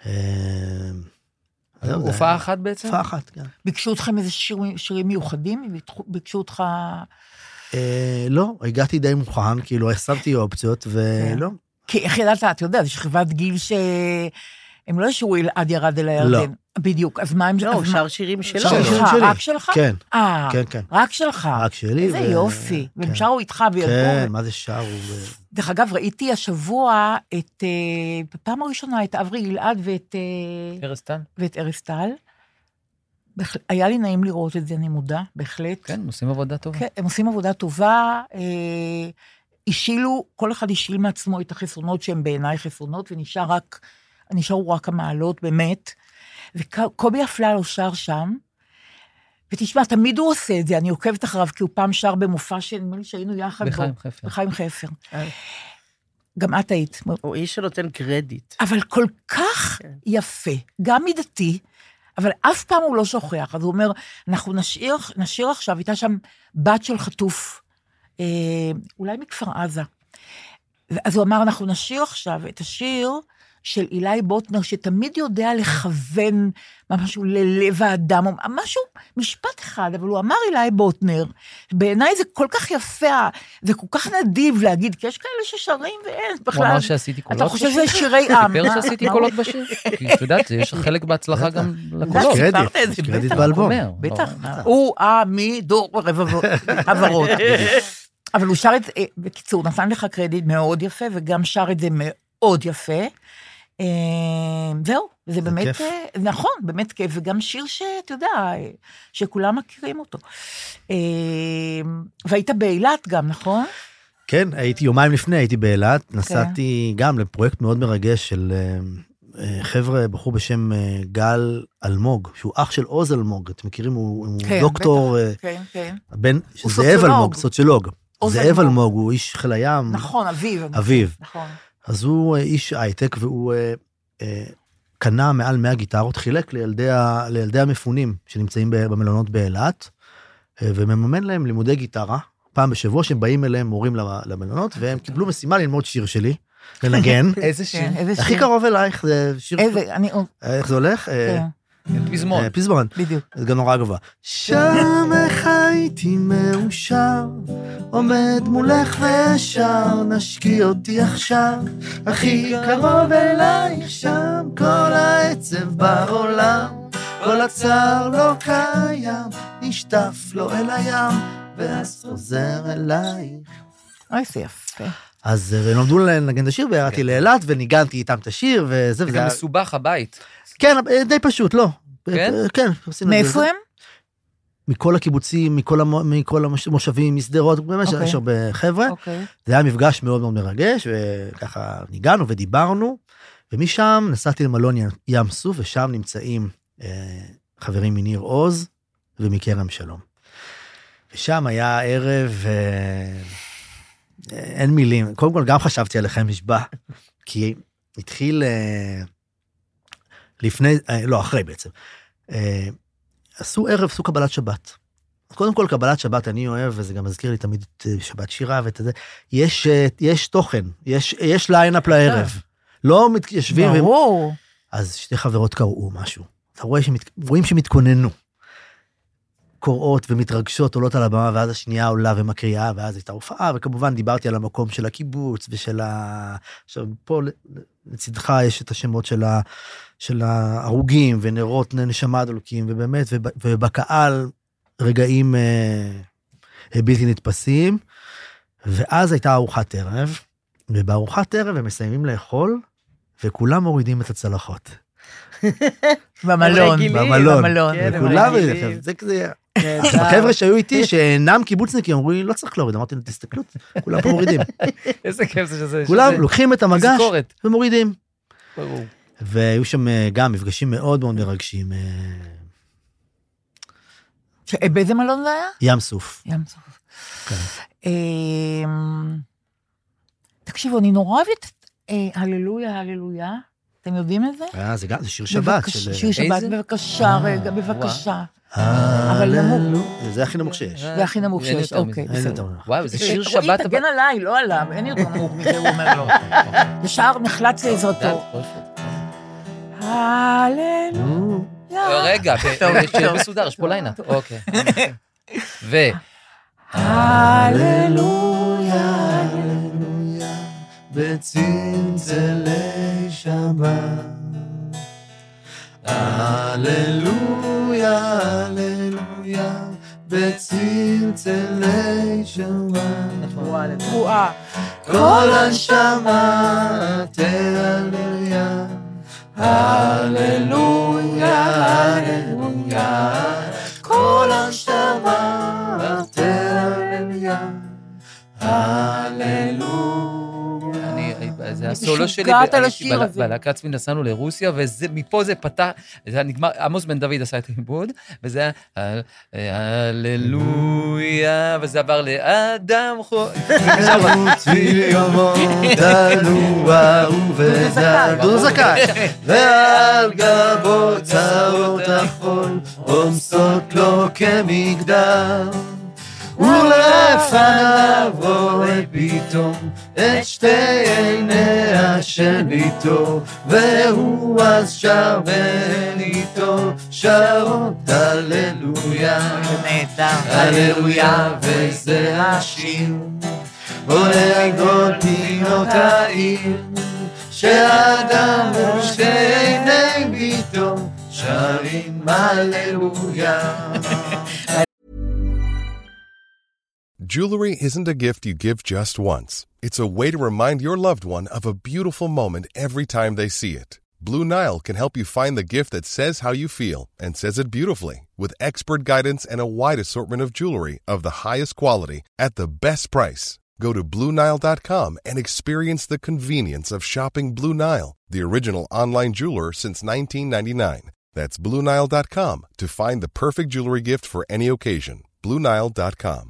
Speaker 5: אה, זהו, זה
Speaker 4: הופעה
Speaker 5: היה-
Speaker 4: אחת בעצם?
Speaker 5: אה, הופעה אחת, כן.
Speaker 3: ביקשו אתכם איזה שירים, שירים מיוחדים? ביקשו- ביקשו אותך...
Speaker 5: אה, לא, הגעתי די מוכן, כאילו, שמתי אופציות, ולא.
Speaker 3: כן. כי איך ידעת, אתה יודע, זו שכבת גיל ש... הם לא ישרו אלעד ירד אל הירדן.
Speaker 5: לא.
Speaker 3: בדיוק, אז מה הם...
Speaker 7: לא,
Speaker 3: אז
Speaker 7: הוא
Speaker 3: מה-
Speaker 7: שר שירים שלו.
Speaker 5: שר שירים
Speaker 3: שלך,
Speaker 5: שלי.
Speaker 3: רק שלך?
Speaker 5: כן,
Speaker 3: אה,
Speaker 5: כן, כן.
Speaker 3: רק שלך.
Speaker 5: רק שלי.
Speaker 3: איזה
Speaker 5: ו-
Speaker 3: יופי.
Speaker 5: כן.
Speaker 3: והם שרו איתך
Speaker 5: כן,
Speaker 3: וירדו.
Speaker 5: מה זה שרו? ו-
Speaker 3: דרך אגב, ראיתי השבוע את... אה, בפעם הראשונה את אברי גלעד ואת אה,
Speaker 4: ארז טל?
Speaker 3: ואת ארז טל. בהחל- היה לי נעים לראות את זה, אני מודה, בהחלט.
Speaker 4: כן, הם עושים עבודה טובה.
Speaker 3: כן, הם עושים עבודה טובה. אה, השילו, כל אחד השיל מעצמו את החסרונות שהם בעיניי חסרונות, ונשאר רק, נשארו רק המעלות, באמת. וקובי אפללו שר שם, ותשמע, תמיד הוא עושה את זה, אני עוקבת אחריו, כי הוא פעם שר במופע שנדמה לי שהיינו יחד
Speaker 4: בחיים
Speaker 3: בו.
Speaker 4: חפר. אה.
Speaker 3: בחיים חפר. גם את היית.
Speaker 7: הוא איש שנותן קרדיט.
Speaker 3: אבל כל כך
Speaker 7: כן.
Speaker 3: יפה, גם מידתי, אבל אף פעם הוא לא שוכח. אז הוא אומר, אנחנו נשאיר, נשאיר עכשיו, הייתה שם בת של חטוף, אה, אולי מכפר עזה. אז הוא אמר, אנחנו נשאיר עכשיו את השיר של אילי בוטנר, שתמיד יודע לכוון משהו ללב האדם, או משהו, משפט אחד, אבל הוא אמר אילי בוטנר, בעיניי זה כל כך יפה, זה כל כך נדיב להגיד, כי יש כאלה ששרים ואין, בכלל.
Speaker 4: הוא אמר שעשיתי קולות
Speaker 3: אתה חושב שזה שירי עם. כן.
Speaker 4: סיפר שעשיתי קולות בשיר? כי את יודעת, יש חלק בהצלחה גם לקולות.
Speaker 3: סיפרת
Speaker 5: קרדיט,
Speaker 3: את זה,
Speaker 5: יש קרדיט
Speaker 3: בטח.
Speaker 5: באלבום.
Speaker 4: אומר,
Speaker 3: בטח,
Speaker 4: לא,
Speaker 3: הוא עמידור ברבבות, הוורוד. אבל הוא שר את זה, אה, בקיצור, נתן לך קרדיט מאוד יפה, וגם שר את זה מאוד יפה. אה, זהו, זה באמת,
Speaker 5: כיף.
Speaker 3: אה, נכון, באמת כיף, וגם שיר שאתה יודע, אה, שכולם מכירים אותו. אה, והיית באילת גם, נכון?
Speaker 5: כן, הייתי יומיים לפני, הייתי
Speaker 3: כן.
Speaker 5: באילת, נסעתי גם לפרויקט מאוד מרגש של אה, אה, חבר'ה, בחור בשם אה, גל אלמוג, שהוא אח של עוז אלמוג, אתם מכירים, הוא הוא
Speaker 3: כן,
Speaker 5: דוקטור, אה,
Speaker 3: כן, כן.
Speaker 5: בן,
Speaker 3: הוא
Speaker 5: זאב
Speaker 3: סוציולוג.
Speaker 5: אלמוג, סוציולוג.
Speaker 3: עוז
Speaker 5: זאב
Speaker 3: אלמוג.
Speaker 5: אלמוג הוא איש חיל הים,
Speaker 3: נכון, אביב.
Speaker 5: אביו.
Speaker 3: נכון.
Speaker 5: אז הוא אה, איש הייטק, והוא אה, אה, קנה מעל 100 גיטרות, חילק לילדי, ה, לילדי המפונים שנמצאים ב- במלונות באילת, אה, ומממן להם לימודי גיטרה, פעם בשבוע שהם באים אליהם מורים למ- למלונות, והם קיבלו משימה ללמוד שיר שלי, לנגן.
Speaker 4: איזה שיר.
Speaker 3: כן, איזה
Speaker 5: הכי
Speaker 3: שיר.
Speaker 5: קרוב אלייך, זה שיר...
Speaker 3: איזה, אני,
Speaker 5: איך זה הולך? אה,
Speaker 3: כן,
Speaker 4: פזמון.
Speaker 5: אה, פזמון.
Speaker 3: בדיוק.
Speaker 5: זה גם נורא גבוה. שם איך הייתי מאושר, עומד מולך ושר, נשקי אותי עכשיו, הכי קרוב אלייך שם, כל העצב בעולם, כל הצער לא קיים, נשטף לו אל הים, ואז חוזר אלייך.
Speaker 3: אוי, זה אה, יפה.
Speaker 5: אז אה, למדו לנגן את השיר, וירדתי לאילת, וניגנתי איתם את השיר, וזה,
Speaker 4: זה
Speaker 5: וזה
Speaker 4: גם
Speaker 5: היה...
Speaker 4: מסובך הבית.
Speaker 5: כן, אה, די פשוט, לא.
Speaker 4: כן?
Speaker 5: אה, כן, עשינו את זה.
Speaker 3: מאיפה הם?
Speaker 5: מכל הקיבוצים, מכל, המו, מכל המוש- המושבים, משדרות, באמת
Speaker 3: אוקיי.
Speaker 5: יש הרבה חבר'ה.
Speaker 3: אוקיי.
Speaker 5: זה היה מפגש מאוד מאוד מרגש, וככה ניגענו ודיברנו, ומשם נסעתי למלון ים- ים סוף, ושם נמצאים אה, חברים מניר עוז ומכרם שלום. ושם היה ערב, אה, אין מילים, קודם כל גם חשבתי עליכם נשבע, כי התחיל אה, לפני, אה, לא, אחרי בעצם. אה, עשו ערב, עשו קבלת שבת. קודם כל, קבלת שבת אני אוהב, וזה גם מזכיר לי תמיד את אה, שבת שירה ואת זה. יש, אה, יש תוכן, יש, יש ליינאפ לערב. לא מתיישבים... ו-
Speaker 3: ברור.
Speaker 5: אז שתי חברות קראו משהו. אתה רואה שמת... רואים שהם התכוננו. קוראות ומתרגשות, עולות על הבמה, ואז השנייה עולה ומקריאה, ואז הייתה הופעה, וכמובן דיברתי על המקום של הקיבוץ ושל ה... עכשיו, פה ל- לצדך יש את השמות של, ה... של ההרוגים, ונרות נשמה דולקים, ובאמת, וב... ובקהל רגעים אה... בלתי נתפסים. ואז הייתה ארוחת ערב, ובארוחת ערב הם מסיימים לאכול, וכולם מורידים את הצלחות.
Speaker 3: במלון.
Speaker 7: רגילים,
Speaker 5: במלון.
Speaker 3: במלון.
Speaker 7: כן, הם
Speaker 5: וכולם,
Speaker 7: רגילים.
Speaker 5: זה כזה,
Speaker 4: כן,
Speaker 5: החבר'ה שהיו איתי שאינם קיבוצניקים אמרו לי, לא צריך להוריד, אמרתי להם, תסתכלו, כולם פה מורידים.
Speaker 4: איזה כיף זה שזה...
Speaker 5: כולם
Speaker 4: שזה-
Speaker 5: לוקחים את המגש
Speaker 4: תזכורת.
Speaker 5: ומורידים.
Speaker 4: ברור.
Speaker 5: והיו שם אה, גם מפגשים מאוד מאוד מרגשים, אה,
Speaker 3: ש- באיזה מלון זה היה?
Speaker 5: ים סוף.
Speaker 3: ים סוף. אמ, תקשיבו, אני נורא אוהבת את אה, הללויה, הללויה. אתם יודעים את זה?
Speaker 5: אה, זה גם, זה שיר שבת
Speaker 3: בבקשה,
Speaker 5: של... אה,
Speaker 3: שיר שבת,
Speaker 4: איזה?
Speaker 3: בבקשה, רגע, בבקשה. אבל נמוך.
Speaker 5: זה הכי נמוך שיש.
Speaker 3: זה הכי נמוך
Speaker 4: אין
Speaker 3: שיש,
Speaker 4: יותר מזה.
Speaker 3: אוקיי,
Speaker 5: אין
Speaker 3: בסדר.
Speaker 5: יותר נמוך.
Speaker 4: וואו, זה שיר
Speaker 3: רועי,
Speaker 4: שבת.
Speaker 3: תגן עליי, לא עליו, אין לי יותר נמוך מזה, הוא אומר לו. ישר נחלץ לעזרתו.
Speaker 4: אוקיי.
Speaker 3: הללויה.
Speaker 4: לא, רגע,
Speaker 3: טוב,
Speaker 4: ב- שיהיה
Speaker 3: טוב.
Speaker 4: מסודר, יש פה ליינה. אוקיי. ו...
Speaker 3: הללויה.
Speaker 5: בצלצלי שבת. הללויה, הללויה, בצלצלי שבת.
Speaker 3: תרועה.
Speaker 5: כל הנשמה תהללויה. הללויה, הללויה, כל הנשמה תהללויה. הללויה.
Speaker 4: אני, אה, זה הסולו
Speaker 3: משוגעת
Speaker 4: שלי,
Speaker 3: על
Speaker 4: והייתי
Speaker 3: השיר
Speaker 4: בלה-
Speaker 3: הזה.
Speaker 4: בלהקה עצמי נסענו לרוסיה, ומפה זה פתח, זה היה נגמר, עמוס בן דוד עשה את העיבוד, וזה היה "הל- הללויה, וזה עבר לאדם חו...
Speaker 3: לא
Speaker 4: לא
Speaker 5: דודו זכאי. ועל גבו צרות החול, רומסות לו כמגדל. ולפניו רואה פתאום
Speaker 4: את שתי עיניה של ביתו, והוא אז שר בן איתו, שרות הללויה. הללויה, וזה השיר, עולה גדול פינות העיר, שהאדם ושתי עיני ביתו, שרים הללויה.
Speaker 8: Jewelry isn't a gift you give just once. It's a way to remind your loved one of a beautiful moment every time they see it. Blue Nile can help you find the gift that says how you feel and says it beautifully with expert guidance and a wide assortment of jewelry of the highest quality at the best price. Go to BlueNile.com and experience the convenience of shopping Blue Nile, the original online jeweler since 1999. That's BlueNile.com to find the perfect jewelry gift for any occasion. BlueNile.com.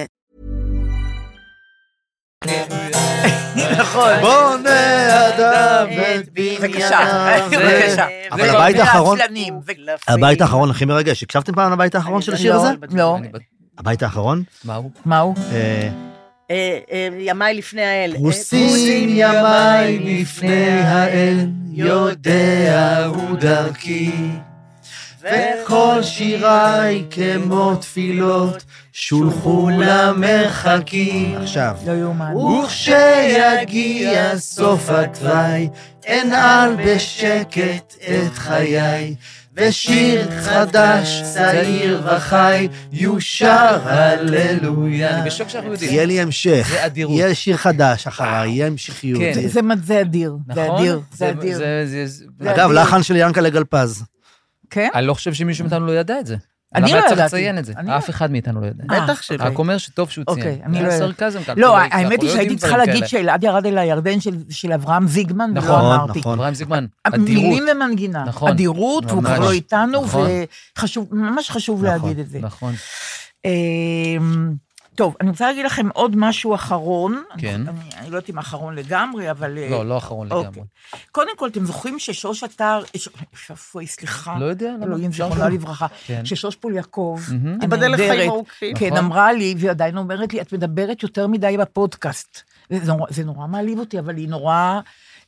Speaker 3: נכון.
Speaker 4: בונה אדם את
Speaker 3: בבקשה, לא- בבקשה.
Speaker 5: אבל הבית האחרון-
Speaker 3: ועצלנים, ו-
Speaker 5: הבית האחרון הכי מרגש. הקשבתם פעם לבית האחרון של השיר
Speaker 3: לא,
Speaker 5: הזה?
Speaker 3: לא.
Speaker 4: אני בט-
Speaker 5: הבית האחרון?
Speaker 4: מה הוא?
Speaker 3: מה הוא?
Speaker 5: אה,
Speaker 7: אה, אה, ימיי לפני האל. אה,
Speaker 5: פרוסים ימיי לפני האל, יודע הוא דרכי, וכל שיריי כמו תפילות, שולחו למרחקים. עכשיו.
Speaker 3: לא יאומן.
Speaker 5: וכשיגיע סוף התוואי, אנעל בשקט את חיי, ושיר חדש, צעיר וחי, יושר הללויה.
Speaker 4: אני בשוק שאנחנו יודעים.
Speaker 5: יהיה לי המשך.
Speaker 4: זה אדירות.
Speaker 5: יהיה שיר חדש אחריי, יהיה המשכיות.
Speaker 4: כן.
Speaker 5: זה-
Speaker 3: זה מד- זה אדיר, זה
Speaker 4: נכון?
Speaker 3: אדיר, זה אדיר.
Speaker 4: זה- זה- זה-
Speaker 5: אגב,
Speaker 3: אדיר.
Speaker 5: לחן של ינקלה גלפז.
Speaker 3: כן?
Speaker 4: אני לא חושב שמישהו מאיתנו לא ידע את זה.
Speaker 3: אני
Speaker 4: למה
Speaker 3: לא
Speaker 4: צריך
Speaker 3: ידעתי.
Speaker 4: לציין את זה?
Speaker 3: אני לא-
Speaker 4: אף אחד מאיתנו לא ידע.
Speaker 3: אה,
Speaker 7: בטח שלא.
Speaker 4: רק אומר שטוב שהוא ציין.
Speaker 3: אוקיי, אני
Speaker 4: זה
Speaker 3: לא-
Speaker 4: סרקזם כאן.
Speaker 3: לא,
Speaker 4: אנחנו
Speaker 3: האמת היא
Speaker 4: יודעים
Speaker 3: שהייתי צריכה
Speaker 4: דברים
Speaker 3: להגיד
Speaker 4: כאלה.
Speaker 3: שאלעד ירד אל הירדן של- של אברהם זיגמן, ולא
Speaker 4: נכון,
Speaker 3: אמרתי.
Speaker 5: נכון.
Speaker 4: אברהם זיגמן, אדירות.
Speaker 3: מילים ומנגינה.
Speaker 4: נכון.
Speaker 3: אדירות, והוא כבר
Speaker 4: ממש.
Speaker 3: לא איתנו,
Speaker 4: נכון.
Speaker 3: וחשוב, ממש חשוב להגיד את זה.
Speaker 4: נכון.
Speaker 3: אמ, טוב, אני רוצה להגיד לכם עוד משהו אחרון.
Speaker 4: כן.
Speaker 3: אני, אני לא יודעת אם האחרון לגמרי, אבל... אה,
Speaker 4: לא, לא אחרון
Speaker 3: אוקיי.
Speaker 4: לגמרי.
Speaker 3: קודם כל, אתם זוכרים ששוש אתר... ש- שפוי, סליחה.
Speaker 4: לא יודע, למה?
Speaker 3: אלוהים,
Speaker 4: אפשר
Speaker 3: זיכרונה
Speaker 4: גם.
Speaker 3: לברכה.
Speaker 4: כן.
Speaker 3: ששוש פול יעקב,
Speaker 7: תיבדל לחיים
Speaker 3: הנהדרת,
Speaker 7: ארוכים.
Speaker 3: כן,
Speaker 4: נכון.
Speaker 3: אמרה לי, והיא עדיין אומרת לי, את מדברת יותר מדי בפודקאסט. זה נורא, זה נורא מעליב אותי, אבל היא נורא...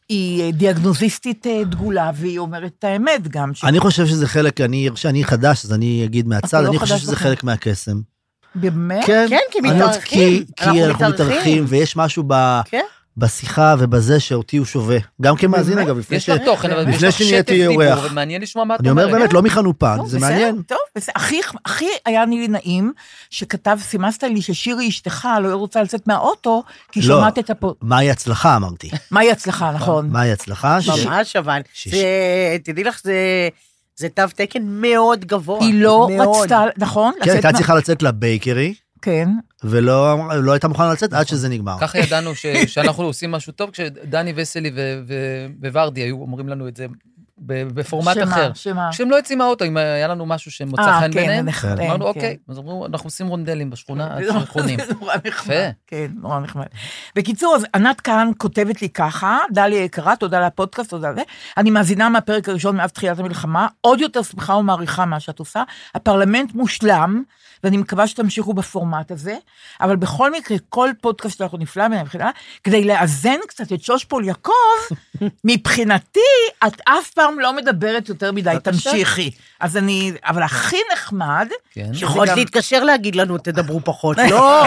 Speaker 3: היא אה, דיאגנוזיסטית אה, דגולה, והיא אומרת את האמת גם. ש-
Speaker 5: אני חושב שזה חלק, אני שאני חדש, אז אני אגיד מהצד,
Speaker 3: לא
Speaker 5: אני חושב
Speaker 3: חדש
Speaker 5: שזה
Speaker 3: לכם.
Speaker 5: חלק מהקסם.
Speaker 3: באמת?
Speaker 7: כן, כי
Speaker 5: אני לא-
Speaker 7: מתארחים.
Speaker 5: כי- כי אנחנו מתארחים, ויש משהו ב-
Speaker 7: כן.
Speaker 5: בשיחה ובזה שאותי הוא שווה. גם כמאזין, אגב, לפני
Speaker 4: יש
Speaker 5: ש...
Speaker 4: לך תוכן, אבל
Speaker 5: לפני
Speaker 4: יש לך
Speaker 5: שנהייתי
Speaker 4: שטף דיבור,
Speaker 5: אורח.
Speaker 4: ומעניין לשמוע מה את
Speaker 5: אני אומר
Speaker 4: אומרת.
Speaker 5: באמת, לא
Speaker 7: כן.
Speaker 5: מחנופן,
Speaker 3: טוב,
Speaker 5: זה
Speaker 3: כן? בסדר,
Speaker 5: מעניין.
Speaker 3: טוב, בסדר. הכי, הכי היה לי נעים שכתב, סימסת לי ששירי אשתך לא רוצה לצאת מהאוטו, כי
Speaker 5: לא.
Speaker 3: שמעת את הפו...
Speaker 5: מהי הצלחה, אמרתי.
Speaker 3: מהי הצלחה, נכון.
Speaker 5: מהי הצלחה? ש-
Speaker 7: ממש אבל.
Speaker 5: שיש-
Speaker 7: זה- תדעי לך, זה- זה תו תקן מאוד גבוה.
Speaker 3: היא לא
Speaker 7: מאוד.
Speaker 3: רצתה, נכון?
Speaker 5: כן,
Speaker 3: לצאת
Speaker 5: הייתה
Speaker 3: מה-
Speaker 5: צריכה לצאת לבייקרי,
Speaker 3: כן.
Speaker 5: ולא לא הייתה מוכנה לצאת עד שזה נגמר.
Speaker 4: ככה ידענו ש- שאנחנו עושים משהו טוב, כשדני וסלי ו- ו- וורדי היו אומרים לנו את זה ב- בפורמט
Speaker 3: שמה,
Speaker 4: אחר.
Speaker 3: שמה?
Speaker 4: כשהם לא יוצאים מהאוטו, אם היה לנו משהו שמוצא
Speaker 3: אה,
Speaker 4: חן
Speaker 3: כן,
Speaker 4: ביניהם,
Speaker 3: נכון,
Speaker 4: אמרנו,
Speaker 3: כן.
Speaker 4: אוקיי, אז אמרו, אנחנו עושים רונדלים בשכונה,
Speaker 3: זה נורא-
Speaker 4: חונים.
Speaker 3: זה נורא נחמד.
Speaker 4: יפה.
Speaker 3: כן, נורא נחמד. בקיצור, אז ענת כהן כותבת לי ככה, דליה יקרה, תודה על הפודקאסט, תודה על זה. אני מאזינה מהפרק הראשון מאז תחילת המלחמה, עוד יותר שמחה ומעריכה מה שאת עושה. הפרלמנט מושלם, ואני מקווה שתמשיכו בפורמט הזה, אבל בכל מקרה, כל פודקאסט שלך הוא נפלא בעיניי מבחינה, כדי לאזן קצת את שוש פול יעקב, מבחינתי, את אף פעם לא מדברת יותר מדי, תמשיכי. אז אני, אבל הכי נחמד,
Speaker 4: כן.
Speaker 3: שזה
Speaker 7: יכולת
Speaker 3: גם-
Speaker 7: להתקשר להגיד לנו, תדברו פחות, לא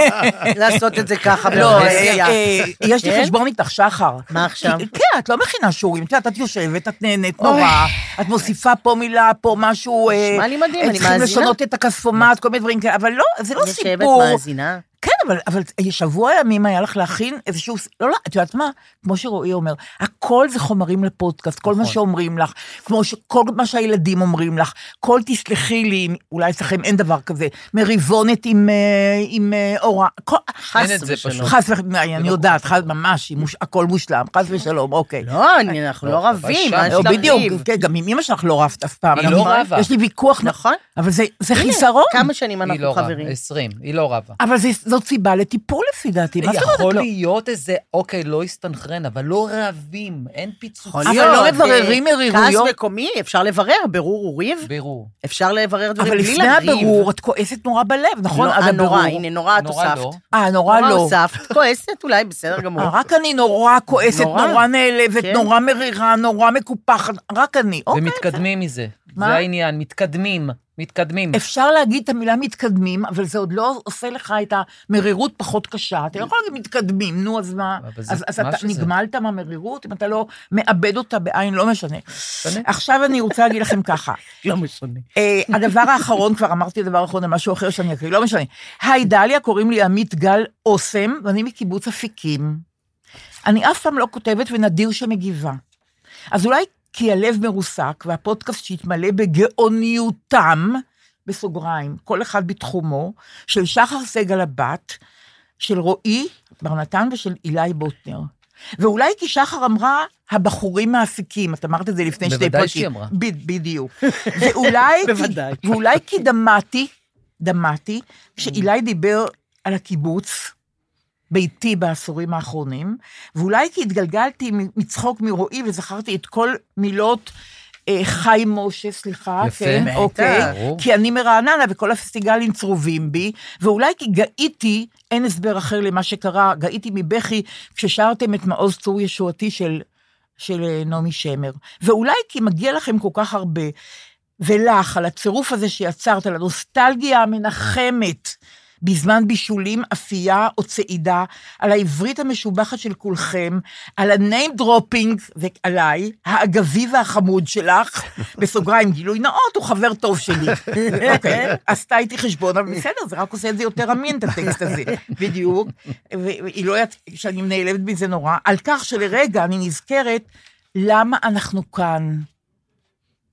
Speaker 7: לעשות את זה ככה.
Speaker 3: לא,
Speaker 7: בפרהסיה.
Speaker 3: אה, אה, יש לי
Speaker 7: כן?
Speaker 3: חשבון איתך, שחר.
Speaker 7: מה עכשיו?
Speaker 3: כי- כן, את לא מכינה שיעורים, את יודעת, את יושבת, את נהנית נורא, את מוסיפה פה מילה, פה משהו... אה,
Speaker 7: נשמע לי מדהים, אני
Speaker 3: צריכים
Speaker 7: מאזינה.
Speaker 3: לשנות את הכספומט, כל מיני דברים כאלה, אבל לא, זה לא
Speaker 7: יושבת
Speaker 3: סיפור.
Speaker 7: מאזינה.
Speaker 3: כן, אבל, אבל שבוע ימים היה לך להכין איזשהו, לא, לא, את יודעת מה? כמו שרועי אומר, הכל זה חומרים לפודקאסט, כל
Speaker 7: נכון.
Speaker 3: מה שאומרים לך, כמו ש, כל מה שהילדים אומרים לך, כל תסלחי לי, אולי אצלכם אין דבר כזה, מריבונת עם, אה, עם אה, אורה, כל, חס
Speaker 4: את זה
Speaker 3: ושלום.
Speaker 4: פשוט.
Speaker 3: חס ושלום, אני יודעת, חס, ממש, היא מוש, הכל מושלם, חס ושלום, אוקיי.
Speaker 7: לא, אני- אנחנו לא רבים, מה יש
Speaker 3: לא,
Speaker 7: לך
Speaker 3: בדיוק,
Speaker 7: ריב?
Speaker 3: כן, גם עם אמא שלך לא רבת אף פעם.
Speaker 4: היא לא
Speaker 3: נכון?
Speaker 4: רבה.
Speaker 3: יש לי ויכוח,
Speaker 7: נכון.
Speaker 3: אבל זה- זה
Speaker 7: הנה,
Speaker 3: חיסרון.
Speaker 7: כמה שנים
Speaker 4: היא
Speaker 7: אנחנו
Speaker 4: לא רבה,
Speaker 7: חברים.
Speaker 4: 20, היא לא רבה.
Speaker 3: אבל זה- זאת סיבה לטיפול לפי דעתי, מה זאת אומרת
Speaker 4: יכול
Speaker 3: לא?
Speaker 4: להיות איזה, אוקיי, לא הסתנכרן, אבל לא רבים, אין פיצוצים.
Speaker 3: אבל לא מבררים
Speaker 7: אה, כעס
Speaker 3: מרירויות.
Speaker 7: מקומי, אפשר לברר, ברור הוא ריב,
Speaker 4: בירור.
Speaker 7: אפשר לברר דברים
Speaker 3: אבל
Speaker 7: בלי
Speaker 3: לפני
Speaker 7: לריב.
Speaker 3: הבירור, את כועסת נורא בלב, נכון? עד
Speaker 7: נורא, נורא,
Speaker 3: הבירור.
Speaker 7: הנה, נורא את
Speaker 4: נורא לא.
Speaker 7: הוספת.
Speaker 3: אה, נורא לא.
Speaker 7: הוספת, כועסת אולי, בסדר גמור.
Speaker 3: אה, רק אני נורא כועסת,
Speaker 7: נורא.
Speaker 3: נורא נעלבת,
Speaker 7: כן.
Speaker 3: נורא מרירה, נורא מקופחת, רק אני. אוקיי.
Speaker 4: ומתקדמים מזה.
Speaker 3: מה?
Speaker 4: זה העניין, מתקדמים, מתקדמים.
Speaker 3: אפשר להגיד את המילה מתקדמים, אבל זה עוד לא עושה לך את המרירות פחות קשה. אתה לא יכול להגיד מתקדמים, נו, אז מה?
Speaker 4: אבל זה-
Speaker 3: אז אז
Speaker 4: מה
Speaker 3: אתה
Speaker 4: שזה.
Speaker 3: נגמלת מהמרירות, אם אתה לא מאבד אותה בעין, לא משנה.
Speaker 4: משנה.
Speaker 3: עכשיו אני רוצה להגיד לכם ככה.
Speaker 7: לא משנה.
Speaker 3: אה, הדבר האחרון, כבר אמרתי הדבר האחרון על משהו אחר שאני אקריא, לא משנה. היי דליה, קוראים לי עמית גל אוסם, ואני מקיבוץ אפיקים. אני אף פעם לא כותבת ונדיר שמגיבה. אז אולי כי הלב מרוסק, והפודקאסט שהתמלא בגאוניותם, בסוגריים, כל אחד בתחומו, של שחר סגל הבת, של רועי בר נתן ושל אילי בוטנר. ואולי כי שחר אמרה, הבחורים מעסיקים, את אמרת את זה לפני שתי פרקים.
Speaker 4: בוודאי שהיא אמרה.
Speaker 3: ב- בדיוק. ואולי,
Speaker 7: בוודאי.
Speaker 3: כי, ואולי כי דמעתי, דמעתי, כשאילי דיבר על הקיבוץ, ביתי בעשורים האחרונים, ואולי כי התגלגלתי מ- מצחוק מרועי וזכרתי את כל מילות אה, חי משה, סליחה,
Speaker 4: יפה.
Speaker 3: כן,
Speaker 4: בטח.
Speaker 3: אוקיי,
Speaker 4: ברור.
Speaker 3: כי אני מרעננה וכל הפסטיגלים צרובים בי, ואולי כי גאיתי, אין הסבר אחר למה שקרה, גאיתי מבכי כששרתם את מעוז צור ישועתי של, של אה, נעמי שמר, ואולי כי מגיע לכם כל כך הרבה, ולך, על הצירוף הזה שיצרת, על הנוסטלגיה המנחמת בזמן בישולים, אפייה או צעידה, על העברית המשובחת של כולכם, על ה-name dropping, זה עליי, האגבי והחמוד שלך, בסוגריים, גילוי נאות, הוא חבר טוב שלי. אוקיי, עשתה איתי חשבון, אבל בסדר, זה רק עושה את זה יותר אמין, את הטקסט הזה, בדיוק. ו- והיא לא יודעת שאני נעלבת מזה נורא, על כך שלרגע אני נזכרת למה אנחנו כאן.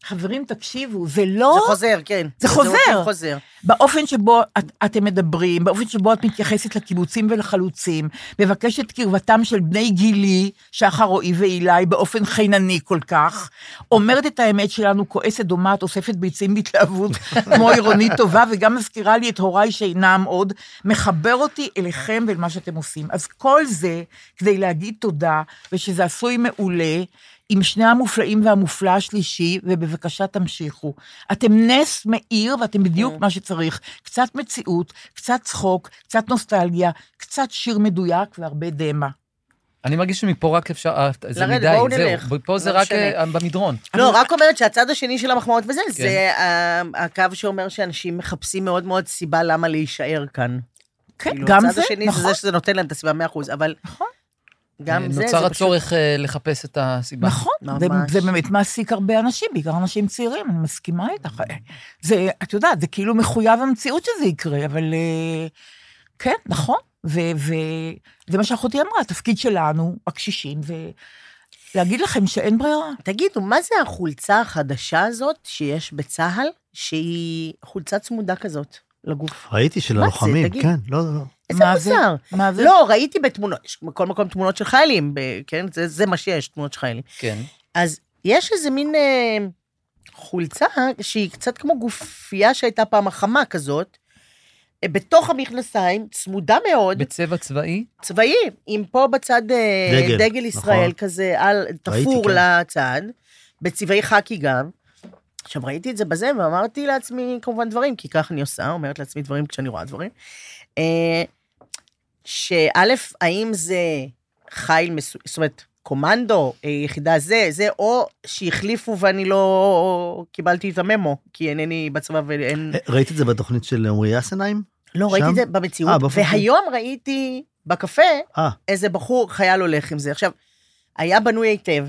Speaker 3: חברים, תקשיבו, זה לא...
Speaker 7: זה חוזר, כן.
Speaker 3: זה חוזר.
Speaker 7: חוזר.
Speaker 3: באופן שבו את, אתם מדברים, באופן שבו את מתייחסת לקיבוצים ולחלוצים, מבקשת קרבתם של בני גילי, שחר, רועי ואילי, באופן חינני כל כך, אומרת את האמת שלנו, כועסת, דומעת, אוספת ביצים בהתלהבות, כמו עירונית טובה, וגם מזכירה לי את הוריי שאינם עוד, מחבר אותי אליכם ואל מה שאתם עושים. אז כל זה כדי להגיד תודה, ושזה עשוי מעולה. עם שני המופלאים והמופלא השלישי, ובבקשה תמשיכו. אתם נס מאיר ואתם בדיוק מה שצריך. קצת מציאות, קצת צחוק, קצת נוסטלגיה, קצת שיר מדויק והרבה דמע.
Speaker 4: אני מרגיש שמפה רק אפשר, אה, זה
Speaker 7: לרדת,
Speaker 4: מדי,
Speaker 7: בואו נלך.
Speaker 4: זהו. פה זה
Speaker 7: לא
Speaker 4: רק
Speaker 7: משנה.
Speaker 4: אה, במדרון.
Speaker 7: לא, רק אומרת שהצד השני של המחמאות וזה,
Speaker 4: כן.
Speaker 7: זה ה- הקו שאומר שאנשים מחפשים מאוד מאוד סיבה למה להישאר כאן.
Speaker 3: כן,
Speaker 7: כאילו,
Speaker 3: גם זה,
Speaker 7: הצד השני זה
Speaker 3: נכון,
Speaker 7: זה שזה נותן להם את הסיבה 100%, אבל...
Speaker 3: נכון.
Speaker 7: גם זה,
Speaker 4: נוצר
Speaker 7: זה פשוט...
Speaker 4: הצורך אה, לחפש את הסיבה.
Speaker 3: נכון. זה,
Speaker 7: ממש.
Speaker 3: זה באמת מעסיק הרבה אנשים, בעיקר אנשים צעירים, אני מסכימה איתך.
Speaker 7: Mm-hmm.
Speaker 3: זה, את יודעת, זה כאילו מחויב המציאות שזה יקרה, אבל אה, כן, נכון. וזה מה שאחותי אמרה, התפקיד שלנו, הקשישים, זה להגיד לכם שאין ברירה.
Speaker 7: תגידו, מה זה החולצה החדשה הזאת שיש בצה"ל, שהיא חולצה צמודה כזאת לגוף?
Speaker 5: ראיתי של
Speaker 7: מה זה?
Speaker 5: הלוחמים,
Speaker 7: תגיד.
Speaker 5: כן, לא, לא.
Speaker 7: איזה
Speaker 3: מה זה?
Speaker 7: מוזר.
Speaker 3: מה זה?
Speaker 7: לא, ראיתי בתמונות, יש בכל מקום תמונות של חיילים, ב- כן? זה, זה מה שיש, תמונות של חיילים.
Speaker 4: כן.
Speaker 7: אז יש איזה מין אה, חולצה שהיא קצת כמו גופייה שהייתה פעם החמה כזאת, אה, בתוך המכנסיים, צמודה מאוד,
Speaker 4: בצבע צבאי,
Speaker 7: צבאי, עם פה בצד אה,
Speaker 5: דגל,
Speaker 7: דגל ישראל
Speaker 5: נכון.
Speaker 7: כזה, על, תפור
Speaker 5: כן.
Speaker 7: לצד, בצבעי חאקי גם. עכשיו, ראיתי את זה בזה, ואמרתי לעצמי כמובן דברים, כי כך אני עושה, אומרת לעצמי דברים כשאני רואה דברים. אה, שא', האם זה חיל מסו... זאת אומרת, קומנדו, אה, יחידה זה, זה, או שהחליפו ואני לא קיבלתי את הממו, כי אינני בצבא ואין...
Speaker 5: אה, ראית את זה בתוכנית של עמרי אסנהיים?
Speaker 7: לא,
Speaker 5: שם?
Speaker 7: ראיתי את זה
Speaker 5: אה,
Speaker 7: במציאות.
Speaker 5: באופן כללי.
Speaker 7: והיום ראיתי בקפה
Speaker 5: אה,
Speaker 7: איזה בחור, חייל הולך עם זה. עכשיו, היה בנוי היטב,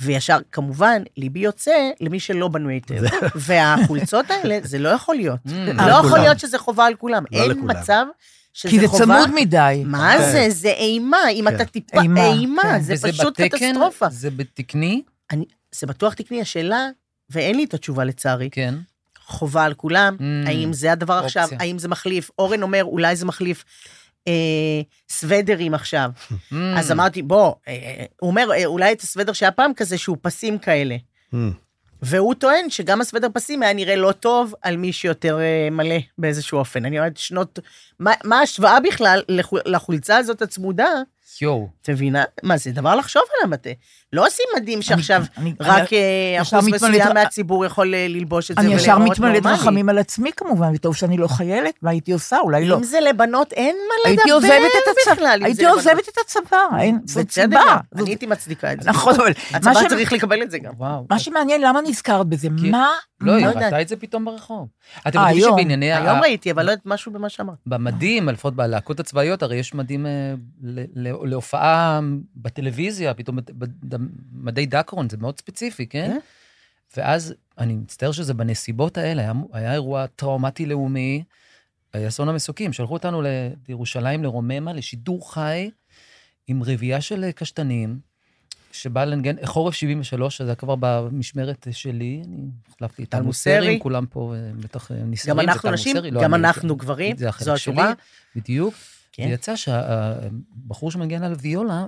Speaker 7: וישר, כמובן, ליבי יוצא למי שלא בנוי היטב. והחולצות האלה, זה לא יכול להיות.
Speaker 4: Mm.
Speaker 7: לא
Speaker 5: על
Speaker 7: יכול
Speaker 5: כולם.
Speaker 7: להיות שזה חובה על כולם.
Speaker 5: לא
Speaker 7: אין
Speaker 5: לכולם.
Speaker 7: מצב שזה
Speaker 3: כי זה
Speaker 7: חובה.
Speaker 3: צמוד מדי. כן.
Speaker 7: מה
Speaker 4: כן.
Speaker 7: זה? זה אימה. אם אתה טיפה...
Speaker 3: אימה,
Speaker 7: אימה.
Speaker 3: כן.
Speaker 7: זה
Speaker 4: וזה
Speaker 7: פשוט
Speaker 4: בתקן?
Speaker 7: קטסטרופה.
Speaker 4: זה בתקני,
Speaker 7: אני- זה בטוח תקני. השאלה, ואין לי את התשובה לצערי,
Speaker 4: כן.
Speaker 7: חובה על כולם,
Speaker 4: Mm,
Speaker 7: האם זה הדבר
Speaker 4: אופציה.
Speaker 7: עכשיו, האם זה מחליף, אורן אומר, אולי זה מחליף אה, סוודרים עכשיו.
Speaker 4: Mm.
Speaker 7: אז אמרתי, בוא, אה, אה, הוא אומר, אה, אולי את הסוודר שהיה פעם כזה, שהוא פסים כאלה. והוא טוען שגם הסוודר פסים היה נראה לא טוב על מי שיותר אה, מלא באיזשהו אופן. אני אומרת, שנות... מה, מה ההשוואה בכלל לחו- לחולצה הזאת הצמודה?
Speaker 4: יואו.
Speaker 7: את מבינה? מה, זה דבר לחשוב עליו, אתה. לא עושים מדים שעכשיו
Speaker 3: אני-
Speaker 7: רק
Speaker 3: אני-
Speaker 7: אה,
Speaker 3: ישר
Speaker 7: אחוז
Speaker 3: מתמלאת-
Speaker 7: מסוים מהציבור יכול אה, ללבוש את זה
Speaker 3: אני
Speaker 7: ולהיראות
Speaker 3: ישר
Speaker 7: נורמלי.
Speaker 3: מתמלאת רחמים על עצמי כמובן, וטוב שאני לא חיילת, מה הייתי עושה? אולי לא.
Speaker 7: אם זה לבנות, אין מה לדבר
Speaker 3: הייתי עוזבת את הצבא,
Speaker 7: בכלל, אם
Speaker 3: הייתי
Speaker 7: זה
Speaker 3: עוזבת את הצבא, אין,
Speaker 7: לבנות.
Speaker 3: זאת
Speaker 7: בצדק,
Speaker 3: סיבה.
Speaker 7: גם. אני הייתי מצדיקה את זה.
Speaker 3: נכון, אבל מה
Speaker 7: הצבא
Speaker 3: ש-
Speaker 7: צריך לקבל את זה גם.
Speaker 4: וואו.
Speaker 3: מה שמעניין, למה נזכרת בזה?
Speaker 4: כי-
Speaker 3: מה?
Speaker 4: לא, היא
Speaker 7: לא יודעת.
Speaker 4: ראתה את זה פתאום ברחוב. אתם
Speaker 3: אה,
Speaker 4: יודעים
Speaker 3: היום.
Speaker 4: שבענייני... ה-
Speaker 7: היום ראיתי, אבל לא יודעת משהו במה שאמרת.
Speaker 4: במדים, לפחות בלהקות הצבאיות, הרי יש מדים אה, ל- ל- להופעה בטלוויזיה, פתאום בת- בד- מדי דקרון, זה מאוד ספציפי, כן?
Speaker 7: כן.
Speaker 4: ואז, אני מצטער שזה בנסיבות האלה, היה, היה אירוע טראומטי לאומי, היה אסון המסוקים, שלחו אותנו ל- לירושלים, לרוממה, לשידור חי, עם רביעייה של אה, קשתנים, שבאה לנגן, חורף 73, שזה היה כבר במשמרת שלי, אני החלפתי את
Speaker 7: טל
Speaker 4: טל
Speaker 7: מוסרי.
Speaker 4: מוסרי, כולם פה אה, בטח אה, נסערים,
Speaker 7: גם
Speaker 4: זה
Speaker 7: אנחנו
Speaker 4: טל
Speaker 7: נשים,
Speaker 4: מוסרי, לא
Speaker 7: גם
Speaker 4: אני,
Speaker 7: אנחנו גברים,
Speaker 4: זה החלק
Speaker 7: זו
Speaker 4: שלי.
Speaker 7: התשובה.
Speaker 4: בדיוק.
Speaker 7: כן.
Speaker 4: כן. ויצא שהבחור שמנגן על ויולה,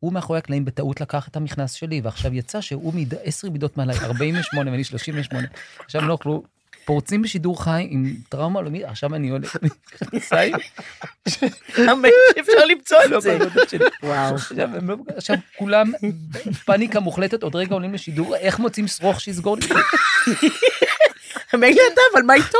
Speaker 4: הוא מאחורי הקלעים בטעות לקח את המכנס שלי, ועכשיו יצא שהוא מיד, עשר מידות מעלי, 48 ואני 38. עכשיו לא אוכלו, פורצים בשידור חי עם טראומה עולמית, עכשיו אני עולה מכנסיים,
Speaker 7: אפשר למצוא
Speaker 4: לא
Speaker 7: את זה.
Speaker 4: בעבודות שלי.
Speaker 7: וואו.
Speaker 4: עכשיו, הם לא- עכשיו כולם פאניקה מוחלטת, עוד רגע עולים לשידור, איך מוצאים שרוך שיסגור לי?
Speaker 7: מילא אתה, אבל מה איתו?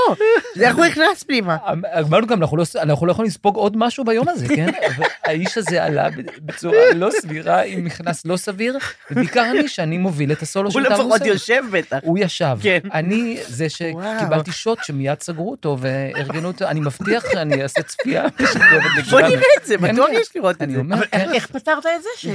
Speaker 7: זה איך הוא נכנס פנימה.
Speaker 4: אמרנו גם, אנחנו לא, אנחנו לא יכולים לספוג עוד משהו ביום הזה, כן? אבל האיש הזה עלה בצורה לא סבירה, עם מכנס לא סביר, ובעיקר אני, שאני מוביל את הסולו
Speaker 7: הוא
Speaker 4: של טל
Speaker 7: לפחות
Speaker 4: מוסר.
Speaker 7: יושב בטח.
Speaker 4: הוא ישב.
Speaker 7: כן.
Speaker 4: אני זה שקיבלתי שוט שמיד סגרו אותו וארגנו אותו, אני מבטיח שאני אעשה צפייה משלבת לכולנו.
Speaker 7: בוא נראה את זה,
Speaker 4: כן,
Speaker 7: בטוח
Speaker 4: כן.
Speaker 7: יש לראות את
Speaker 4: אני
Speaker 7: זה.
Speaker 4: אומר, כן,
Speaker 3: איך פתרת את זה? ש-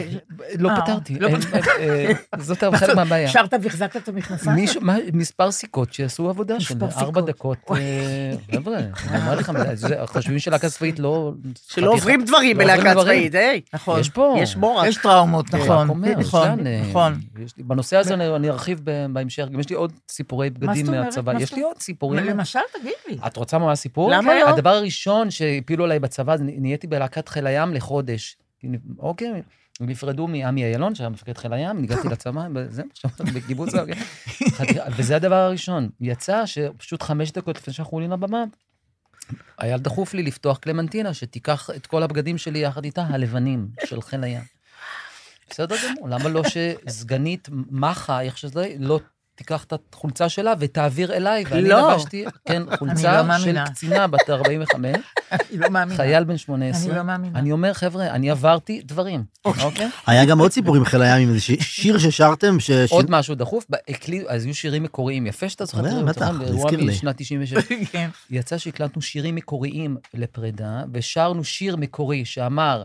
Speaker 4: לא
Speaker 3: אה,
Speaker 4: פתרתי.
Speaker 3: לא
Speaker 4: אה, אה, אה, זאת חלק מהבעיה.
Speaker 3: שרת והחזקת את המכנסיים?
Speaker 4: מישהו- מה- מספר סיכות שיעשו עבודה של
Speaker 3: מספר
Speaker 4: ארבע
Speaker 3: סיכות.
Speaker 4: דקות. אה, חבר'ה, אני אומר לך, זה- חושבים שלהקה צבאית לא...
Speaker 7: שלא עוברים דברים
Speaker 4: לא עוברים
Speaker 7: בלהקה
Speaker 4: דברים.
Speaker 7: הצבאית, היי.
Speaker 3: נכון.
Speaker 4: יש פה... אה,
Speaker 7: יש מורק.
Speaker 3: יש טראומות, נכון.
Speaker 4: רק אומר,
Speaker 3: נכון,
Speaker 4: סלן, אה,
Speaker 3: נכון.
Speaker 4: יש לי- בנושא הזה אני אני ארחיב ב- בהמשך, גם יש לי עוד סיפורי בגדים
Speaker 3: זאת אומרת?
Speaker 4: מהצבא.
Speaker 3: מה
Speaker 4: יש
Speaker 3: זאת
Speaker 4: לי עוד סיפורים.
Speaker 3: למשל, תגיד לי.
Speaker 4: את רוצה ממש סיפור?
Speaker 7: למה
Speaker 4: כן.
Speaker 7: לא?
Speaker 4: הדבר הראשון שהפילו עליי בצבא, זה נהייתי בלהקת חיל הים לחודש. אוקיי, הם נפרדו מעמי אילון, שהיה מפקד חיל הים, ניגשתי לצבא, זה מה שאמרת, בקיבוץ, אוקיי. חד- וזה הדבר הראשון. יצא שפשוט חמש דקות לפני שאנחנו עולים לבמה, היה דחוף לי לפתוח קלמנטינה, שתיקח את כל הבגדים שלי יחד איתה, הלבנים של חיל הים. בסדר גמור, למה לא שסגנית מח"א, איך שזה, לא תיקח את החולצה שלה ותעביר אליי, ואני
Speaker 7: לא.
Speaker 4: לבשתי, כן, חולצה
Speaker 3: לא
Speaker 4: של
Speaker 3: מאמינה.
Speaker 4: קצינה בת 45,
Speaker 3: אני לא מאמינה.
Speaker 4: חייל בן
Speaker 3: אני
Speaker 4: 18.
Speaker 3: לא מאמינה.
Speaker 4: אני אומר, חבר'ה, אני עברתי דברים, אוקיי?
Speaker 5: היה גם עוד סיפור עם חיל הים, עם איזה ש- שיר ששרתם, ש...
Speaker 4: עוד משהו דחוף, ב- הקליטו, אז היו שירים מקוריים, יפה שאתה זוכר את
Speaker 5: אה,
Speaker 4: זה,
Speaker 5: בטח,
Speaker 4: נכון?
Speaker 5: זה
Speaker 4: באירוע
Speaker 5: הזכיר לי.
Speaker 4: משנת 96.
Speaker 3: כן.
Speaker 4: יצא שהקלטנו שירים מקוריים לפרידה, ושרנו שיר מקורי שאמר,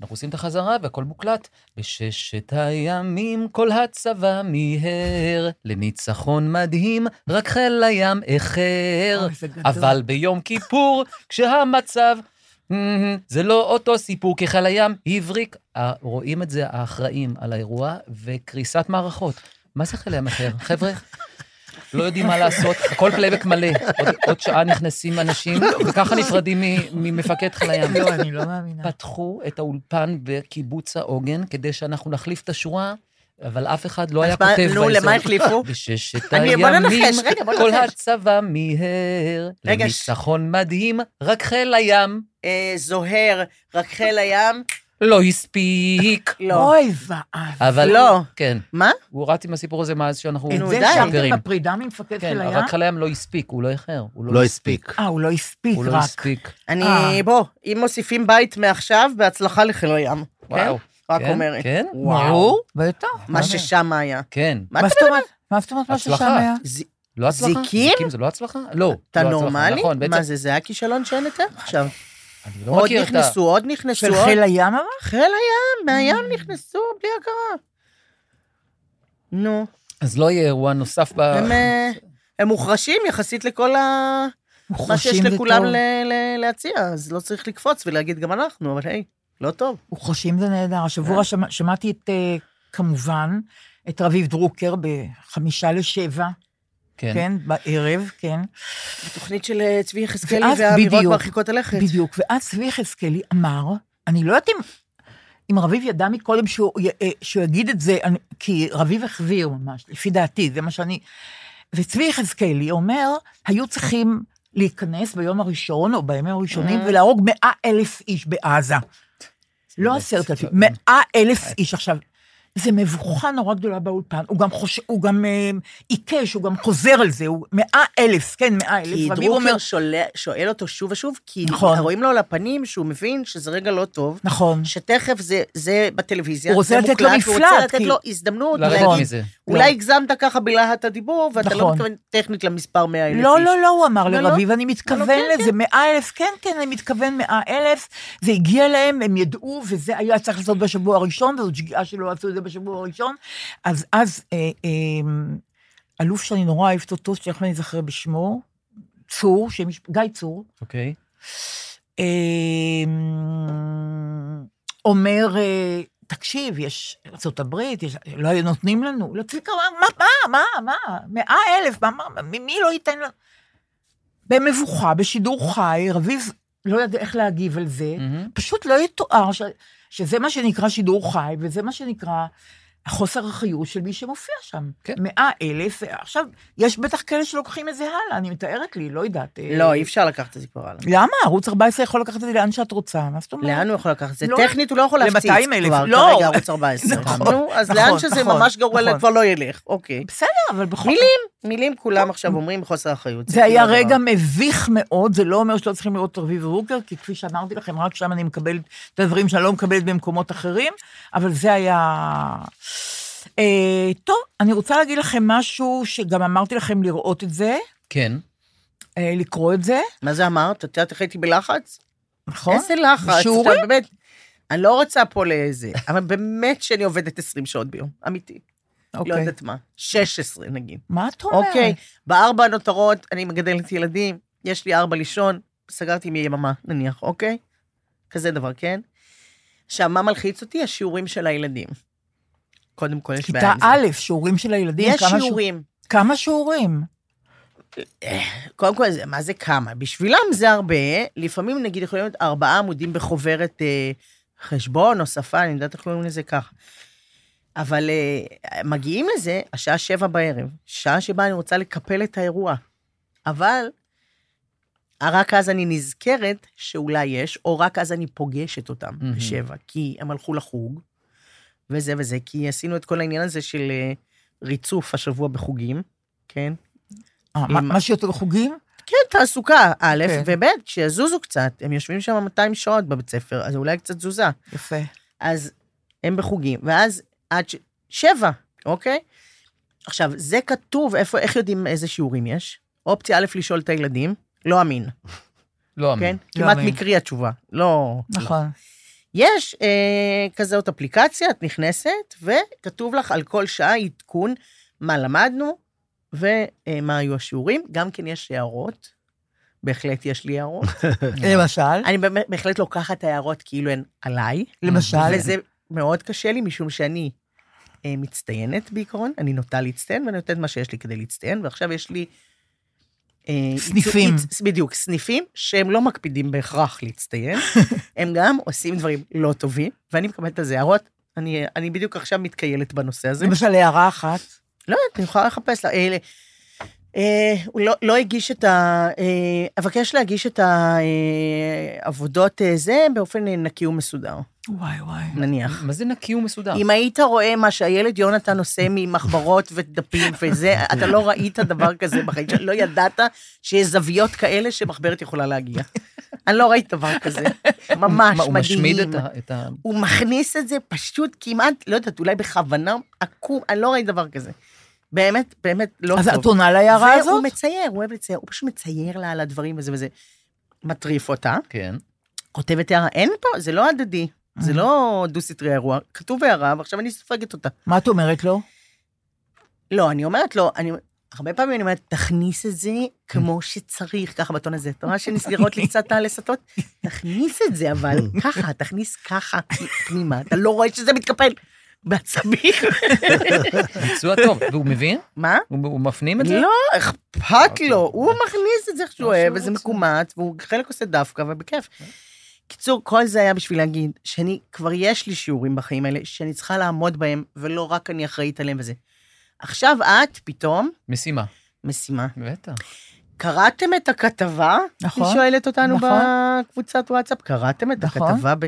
Speaker 4: אנחנו עושים את החזרה והכל מוקלט. בששת הימים כל הצבא מיהר, לניצחון מדהים רק חיל הים איחר.
Speaker 3: אוי, זה גדול.
Speaker 4: אבל ביום כיפור, כשהמצב... "מ-מ-מ", זה לא אותו סיפור, כי חיל הים הבריק. אה, רואים את זה האחראים על האירוע, וקריסת מערכות. מה זה חיל הים אחר? חבר'ה, לא יודעים מה לעשות, הכל פלייבק מלא. עוד, עוד שעה נכנסים אנשים,
Speaker 7: לא,
Speaker 4: וככה נפרדים מ- ממפקד חיל הים.
Speaker 3: לא, אני לא מאמינה.
Speaker 4: פתחו את האולפן בקיבוץ העוגן, כדי שאנחנו נחליף את השורה, אבל אף אחד לא היה
Speaker 7: מה-
Speaker 4: כותב
Speaker 7: נו, למה החליפו?
Speaker 4: בששת
Speaker 7: אני- בוא
Speaker 4: הימים,
Speaker 7: ננחש, רגע, בוא
Speaker 4: כל
Speaker 7: ננחש.
Speaker 4: הצבא מיהר,
Speaker 7: רגע, ש-
Speaker 4: לניצחון מדהים, רק חיל הים
Speaker 7: אה, זוהר, רק חיל הים?
Speaker 4: לא הספיק.
Speaker 7: לא.
Speaker 3: אוי ואב.
Speaker 4: אבל...
Speaker 7: לא.
Speaker 4: כן.
Speaker 7: מה?
Speaker 4: הוא רץ עם הסיפור הזה מאז שאנחנו...
Speaker 3: את
Speaker 7: נו,
Speaker 3: זה
Speaker 7: די.
Speaker 4: גרים.
Speaker 3: שרתם בפרידה ממפקד
Speaker 4: כן,
Speaker 3: חיל
Speaker 4: אבל
Speaker 3: הים?
Speaker 4: רק חיל הים לא הספיק, הוא לא איחר. הוא
Speaker 5: לא הספיק.
Speaker 3: אה, הוא לא הספיק
Speaker 4: הוא לא
Speaker 3: רק.
Speaker 4: הספיק.
Speaker 7: אני,
Speaker 3: אה.
Speaker 7: בוא, אם מוסיפים בית מעכשיו, בהצלחה לחיל הים.
Speaker 4: וואו.
Speaker 7: כן? רק
Speaker 4: כן,
Speaker 7: אומרת.
Speaker 4: כן?
Speaker 7: וואו.
Speaker 3: בטח.
Speaker 7: מה ששם היה.
Speaker 4: כן.
Speaker 7: מה
Speaker 3: מה
Speaker 7: אתה
Speaker 3: זאת אומרת? מה זאת אומרת מה
Speaker 4: הצלחה.
Speaker 3: ששם היה?
Speaker 7: זה-
Speaker 4: לא הצלחה?
Speaker 7: זיקים?
Speaker 4: זיקים זה לא הצלחה? לא.
Speaker 7: אתה
Speaker 4: לא הצלחה,
Speaker 7: נורמלי?
Speaker 4: נכון, בעצם...
Speaker 7: מה זה, זה היה כישלון שאין יותר עכשיו.
Speaker 4: אני לא
Speaker 7: עוד
Speaker 4: מכיר את ה...
Speaker 7: נכנסו, עוד נכנסו.
Speaker 3: של
Speaker 7: עוד-
Speaker 3: חיל הים אבל?
Speaker 7: חיל הים, מהים נכנסו בלי הכרה. נו,
Speaker 4: אז לא יהיה אירוע נוסף ב...
Speaker 7: אה, הם, אה, הם מוחרשים יחסית לכל ה... מה שיש
Speaker 3: חושים זה
Speaker 7: לכולם
Speaker 3: טוב.
Speaker 7: ל- ל- להציע, אז לא צריך לקפוץ ולהגיד גם אנחנו, אבל היי, לא טוב.
Speaker 3: וחושים זה נהדר.
Speaker 4: כן.
Speaker 3: השבוע שמע, שמעתי את, אה, כמובן, את רביב דרוקר בחמישה לשבע, כן,
Speaker 4: כן.
Speaker 3: כן בערב, כן.
Speaker 7: התוכנית של אה, צבי יחזקאלי
Speaker 3: ואז
Speaker 7: והאמירות
Speaker 3: בדיוק,
Speaker 7: מרחיקות הלכת.
Speaker 3: בדיוק, ואז צבי יחזקאלי אמר, אני לא יודעת אם, אם רביב ידע מקודם שהוא, י- אה, שהוא יגיד את זה, אני, כי רביב החוויר ממש, לפי דעתי, זה מה שאני... וצבי יחזקאלי אומר, היו צריכים להיכנס ביום הראשון, או בימים הראשונים,
Speaker 7: אה.
Speaker 3: ולהרוג מאה אלף איש בעזה. לא עשרת אלפים, מאה אלף איש. עכשיו, זה מבוכה נורא גדולה באולפן, הוא גם חוש... הוא גם אה, עיקש, הוא גם חוזר על זה, הוא מאה אלף, כן, מאה אלף.
Speaker 7: כי
Speaker 3: רביב אומר-
Speaker 7: דרוקר שואל- שואל אותו שוב ושוב, כי
Speaker 3: נכון.
Speaker 7: רואים לו על הפנים שהוא מבין שזה רגע לא טוב,
Speaker 3: נכון.
Speaker 7: שתכף זה, זה בטלוויזיה,
Speaker 3: הוא רוצה
Speaker 7: זה
Speaker 3: לתת
Speaker 7: מוקלט,
Speaker 3: לו
Speaker 7: הוא
Speaker 3: מפלט,
Speaker 7: רוצה לתת
Speaker 3: כי- לא.
Speaker 7: לו הזדמנות,
Speaker 4: לרדת
Speaker 7: להגיד,
Speaker 4: מזה.
Speaker 7: אולי הגזמת ככה בלהט הדיבור, ואתה לא
Speaker 3: נכון.
Speaker 7: מתכוון טכנית למספר 100 אלף
Speaker 3: לא,
Speaker 7: איש.
Speaker 3: לא, לא, הוא אמר
Speaker 7: לא,
Speaker 3: לרביב,
Speaker 7: לא.
Speaker 3: אני
Speaker 7: לא,
Speaker 3: מתכוון
Speaker 7: כן,
Speaker 3: לזה, מאה אלף, כן, כן, אני מתכוון מאה אלף, זה הגיע להם, הם ידעו, וזה היה צריך לעשות בשבוע הראשון, וזו שגיאה שלא עשו את זה בשבוע הראשון. אז אז, אה, אה, אלוף שאני נורא אוהבת אותו, שתכף אני אזכר בשמו, צור, שם משפ- גיא צור,
Speaker 4: אוקיי.
Speaker 3: אה, אומר, אה, תקשיב, יש ארה"ב, יש... לא היו נותנים לנו. לא צביקה, אמר, מה, מה, מה, מה, מאה אלף, מה, מה, מי, מי לא ייתן לנו? במבוכה, בשידור חי, רביב לא ידע איך להגיב על זה,
Speaker 4: מהמם.
Speaker 3: פשוט לא יתואר ש... שזה מה שנקרא שידור חי, וזה מה שנקרא חוסר החיות של מי שמופיע שם.
Speaker 4: כן.
Speaker 3: מאה אלף, עכשיו, יש בטח כאלה שלוקחים את זה הלאה, אני מתארת לי, לא יודעת. אה,
Speaker 7: לא, אי אפשר לקחת את זה כבר הלאה.
Speaker 3: למה? ערוץ 14 יכול לקחת את זה לאן שאת רוצה, מה זאת אומרת?
Speaker 7: לאן הוא יכול לקחת את זה?
Speaker 3: לא.
Speaker 7: טכנית הוא לא יכול להפציץ
Speaker 3: ל-200,000,
Speaker 7: כבר,
Speaker 3: לא.
Speaker 7: כרגע ערוץ 14.
Speaker 3: נכון,
Speaker 7: נו, אז
Speaker 3: נכון,
Speaker 7: לאן שזה
Speaker 3: נכון,
Speaker 7: ממש גרוע,
Speaker 3: נכון.
Speaker 7: כבר לא ילך, אוקיי.
Speaker 3: בסדר, אבל בכל...
Speaker 7: מילים, מילים כולם עכשיו אומרים בחוסר אחריות.
Speaker 3: זה היה
Speaker 7: כאילו
Speaker 3: רגע
Speaker 7: הדבר.
Speaker 3: מביך מאוד, זה לא אומר שלא צריכים לראות את רביב דרוקר, כי כפי שאמרתי לכם, רק שם אני מקבלת את הדברים שאני לא מקבלת במקומות אחרים, אבל זה היה... אה, טוב, אני רוצה להגיד לכם משהו שגם אמרתי לכם לראות את זה,
Speaker 4: כן.
Speaker 3: אה, לקרוא את זה,
Speaker 7: מה זה אמרת? את יודעת איך הייתי בלחץ?
Speaker 3: נכון?
Speaker 7: איזה לחץ.
Speaker 3: שיעורים?
Speaker 7: אתה באמת, אני לא רוצה פה לאיזה, אבל באמת שאני עובדת 20 שעות ביום, אמיתי. לא
Speaker 3: אוקיי.
Speaker 7: יודעת מה. 16 נגיד.
Speaker 3: מה את אומרת?
Speaker 7: אוקיי, בארבע הנותרות אני מגדלת ילדים, יש לי ארבע לישון, סגרתי מיממה, נניח, אוקיי? כזה דבר, כן? עכשיו, מה מלחיץ אותי? השיעורים של הילדים. קודם כל, יש בעיה
Speaker 3: כיתה
Speaker 7: עם זה.
Speaker 3: א', שיעורים של הילדים,
Speaker 7: יש
Speaker 3: כמה שיעור-
Speaker 7: שיעורים.
Speaker 3: כמה שיעורים?
Speaker 7: קודם כל, זה- מה זה כמה? בשבילם זה הרבה, לפעמים נגיד יכולים להיות ארבעה עמודים בחוברת אה, חשבון או שפה, אני יודעת איך קוראים לזה ככה. אבל אה, מגיעים לזה, השעה שבע בערב, שעה שבה אני רוצה לקפל את האירוע. אבל רק אז אני נזכרת שאולי יש, או רק אז אני פוגשת אותם
Speaker 4: מהמם.
Speaker 7: בשבע, כי הם הלכו לחוג, וזה וזה, כי עשינו את כל העניין הזה של אה, ריצוף השבוע בחוגים, כן?
Speaker 3: אה, מה-
Speaker 7: עם-
Speaker 3: מה שיותר חוגים?
Speaker 7: כן, תעסוקה, א',
Speaker 3: כן.
Speaker 7: וב', שיזוזו קצת. הם יושבים שם 200 שעות בבית ספר, אז אולי קצת תזוזה.
Speaker 3: יפה.
Speaker 7: אז הם בחוגים, ואז עד ש... שבע, אוקיי? עכשיו, זה כתוב, איפה, איך יודעים איזה שיעורים יש? אופציה א', לשאול את הילדים, לא אמין,
Speaker 4: לא
Speaker 7: כן?
Speaker 4: אמין.
Speaker 7: כמעט
Speaker 3: אמין.
Speaker 7: מקרי התשובה, לא...
Speaker 3: נכון.
Speaker 7: יש אה, כזאת אפליקציה, את נכנסת, וכתוב לך על כל שעה עדכון מה למדנו ומה היו השיעורים. גם כן יש הערות, בהחלט יש לי הערות.
Speaker 3: אה, למשל,
Speaker 7: אני באמת- בהחלט לוקחת את ההערות כאילו הן עליי,
Speaker 3: למשל,
Speaker 7: וזה מאוד קשה לי, משום שאני אה, מצטיינת בעיקרון, אני נוטה להצטיין, ואני נותנת מה שיש לי כדי להצטיין, ועכשיו יש לי... אה,
Speaker 3: סניפים.
Speaker 7: עיצו- עיצ- בדיוק, סניפים שהם לא מקפידים בהכרח להצטיין, הם גם עושים דברים לא טובים, ואני מקבלת על זה הערות. אני, אני בדיוק עכשיו מתקיילת בנושא הזה.
Speaker 3: למשל הערה אחת.
Speaker 7: לא יודעת, אני יכולה לחפש לה. אה, ל- אה, הוא לא, לא הגיש את ה... אה, אבקש להגיש את העבודות אה, זה באופן אה, נקי ומסודר,
Speaker 3: וואי וואי.
Speaker 7: נניח.
Speaker 4: מה זה נקי ומסודר?
Speaker 7: אם היית רואה מה שהילד יונתן עושה ממחברות ודפים וזה, אתה לא ראית דבר כזה בחיים שלך, לא ידעת שיש זוויות כאלה שמחברת יכולה להגיע. אני לא ראיתי דבר כזה, ממש מדהים.
Speaker 4: מה, הוא משמיד את ה- את ה...
Speaker 7: הוא מכניס את זה פשוט כמעט, לא יודעת, אולי בכוונה, עקום, אני לא ראיתי דבר כזה. באמת, באמת לא
Speaker 3: אז
Speaker 7: טוב.
Speaker 3: את עונה להערה
Speaker 7: והוא
Speaker 3: הזאת?
Speaker 7: מצייר, הוא אוהב לצייר, הוא פשוט מצייר לה על הדברים וזה וזה. מטריף אותה,
Speaker 4: כן.
Speaker 7: כותבת הערה, אין פה, זה לא הדדי, זה
Speaker 3: Mm.
Speaker 7: לא דו-סטרי האירוע, כתוב הערה, ועכשיו אני סופגת אותה.
Speaker 3: מה את אומרת לו?
Speaker 7: לא, אני אומרת לו, אני... הרבה פעמים אני אומרת, תכניס את זה כמו שצריך, ככה בטון הזה. אתה רואה שנסגרות לי קצת הלסתות? תכניס את זה, אבל ככה, תכניס ככה פנימה. אתה לא רואה שזה מתקפל. בעצבים.
Speaker 4: ביצוע טוב. והוא מבין?
Speaker 7: מה?
Speaker 4: הוא- הוא מפנים את זה?
Speaker 7: לא, אכפת לו, הוא מכניס את זה איך שהוא אוהב, וזה מקומט, והוא חלק עושה דווקא, ובכיף. קיצור, כל זה היה בשביל להגיד שאני, כבר יש לי שיעורים בחיים האלה, שאני צריכה לעמוד בהם, ולא רק אני אחראית עליהם וזה. עכשיו את, פתאום,
Speaker 4: משימה.
Speaker 7: משימה.
Speaker 4: בטח.
Speaker 7: קראתם את הכתבה?
Speaker 3: נכון.
Speaker 7: היא שואלת אותנו
Speaker 3: נכון.
Speaker 7: בקבוצת וואטסאפ, קראתם את
Speaker 3: נכון.
Speaker 7: הכתבה ב...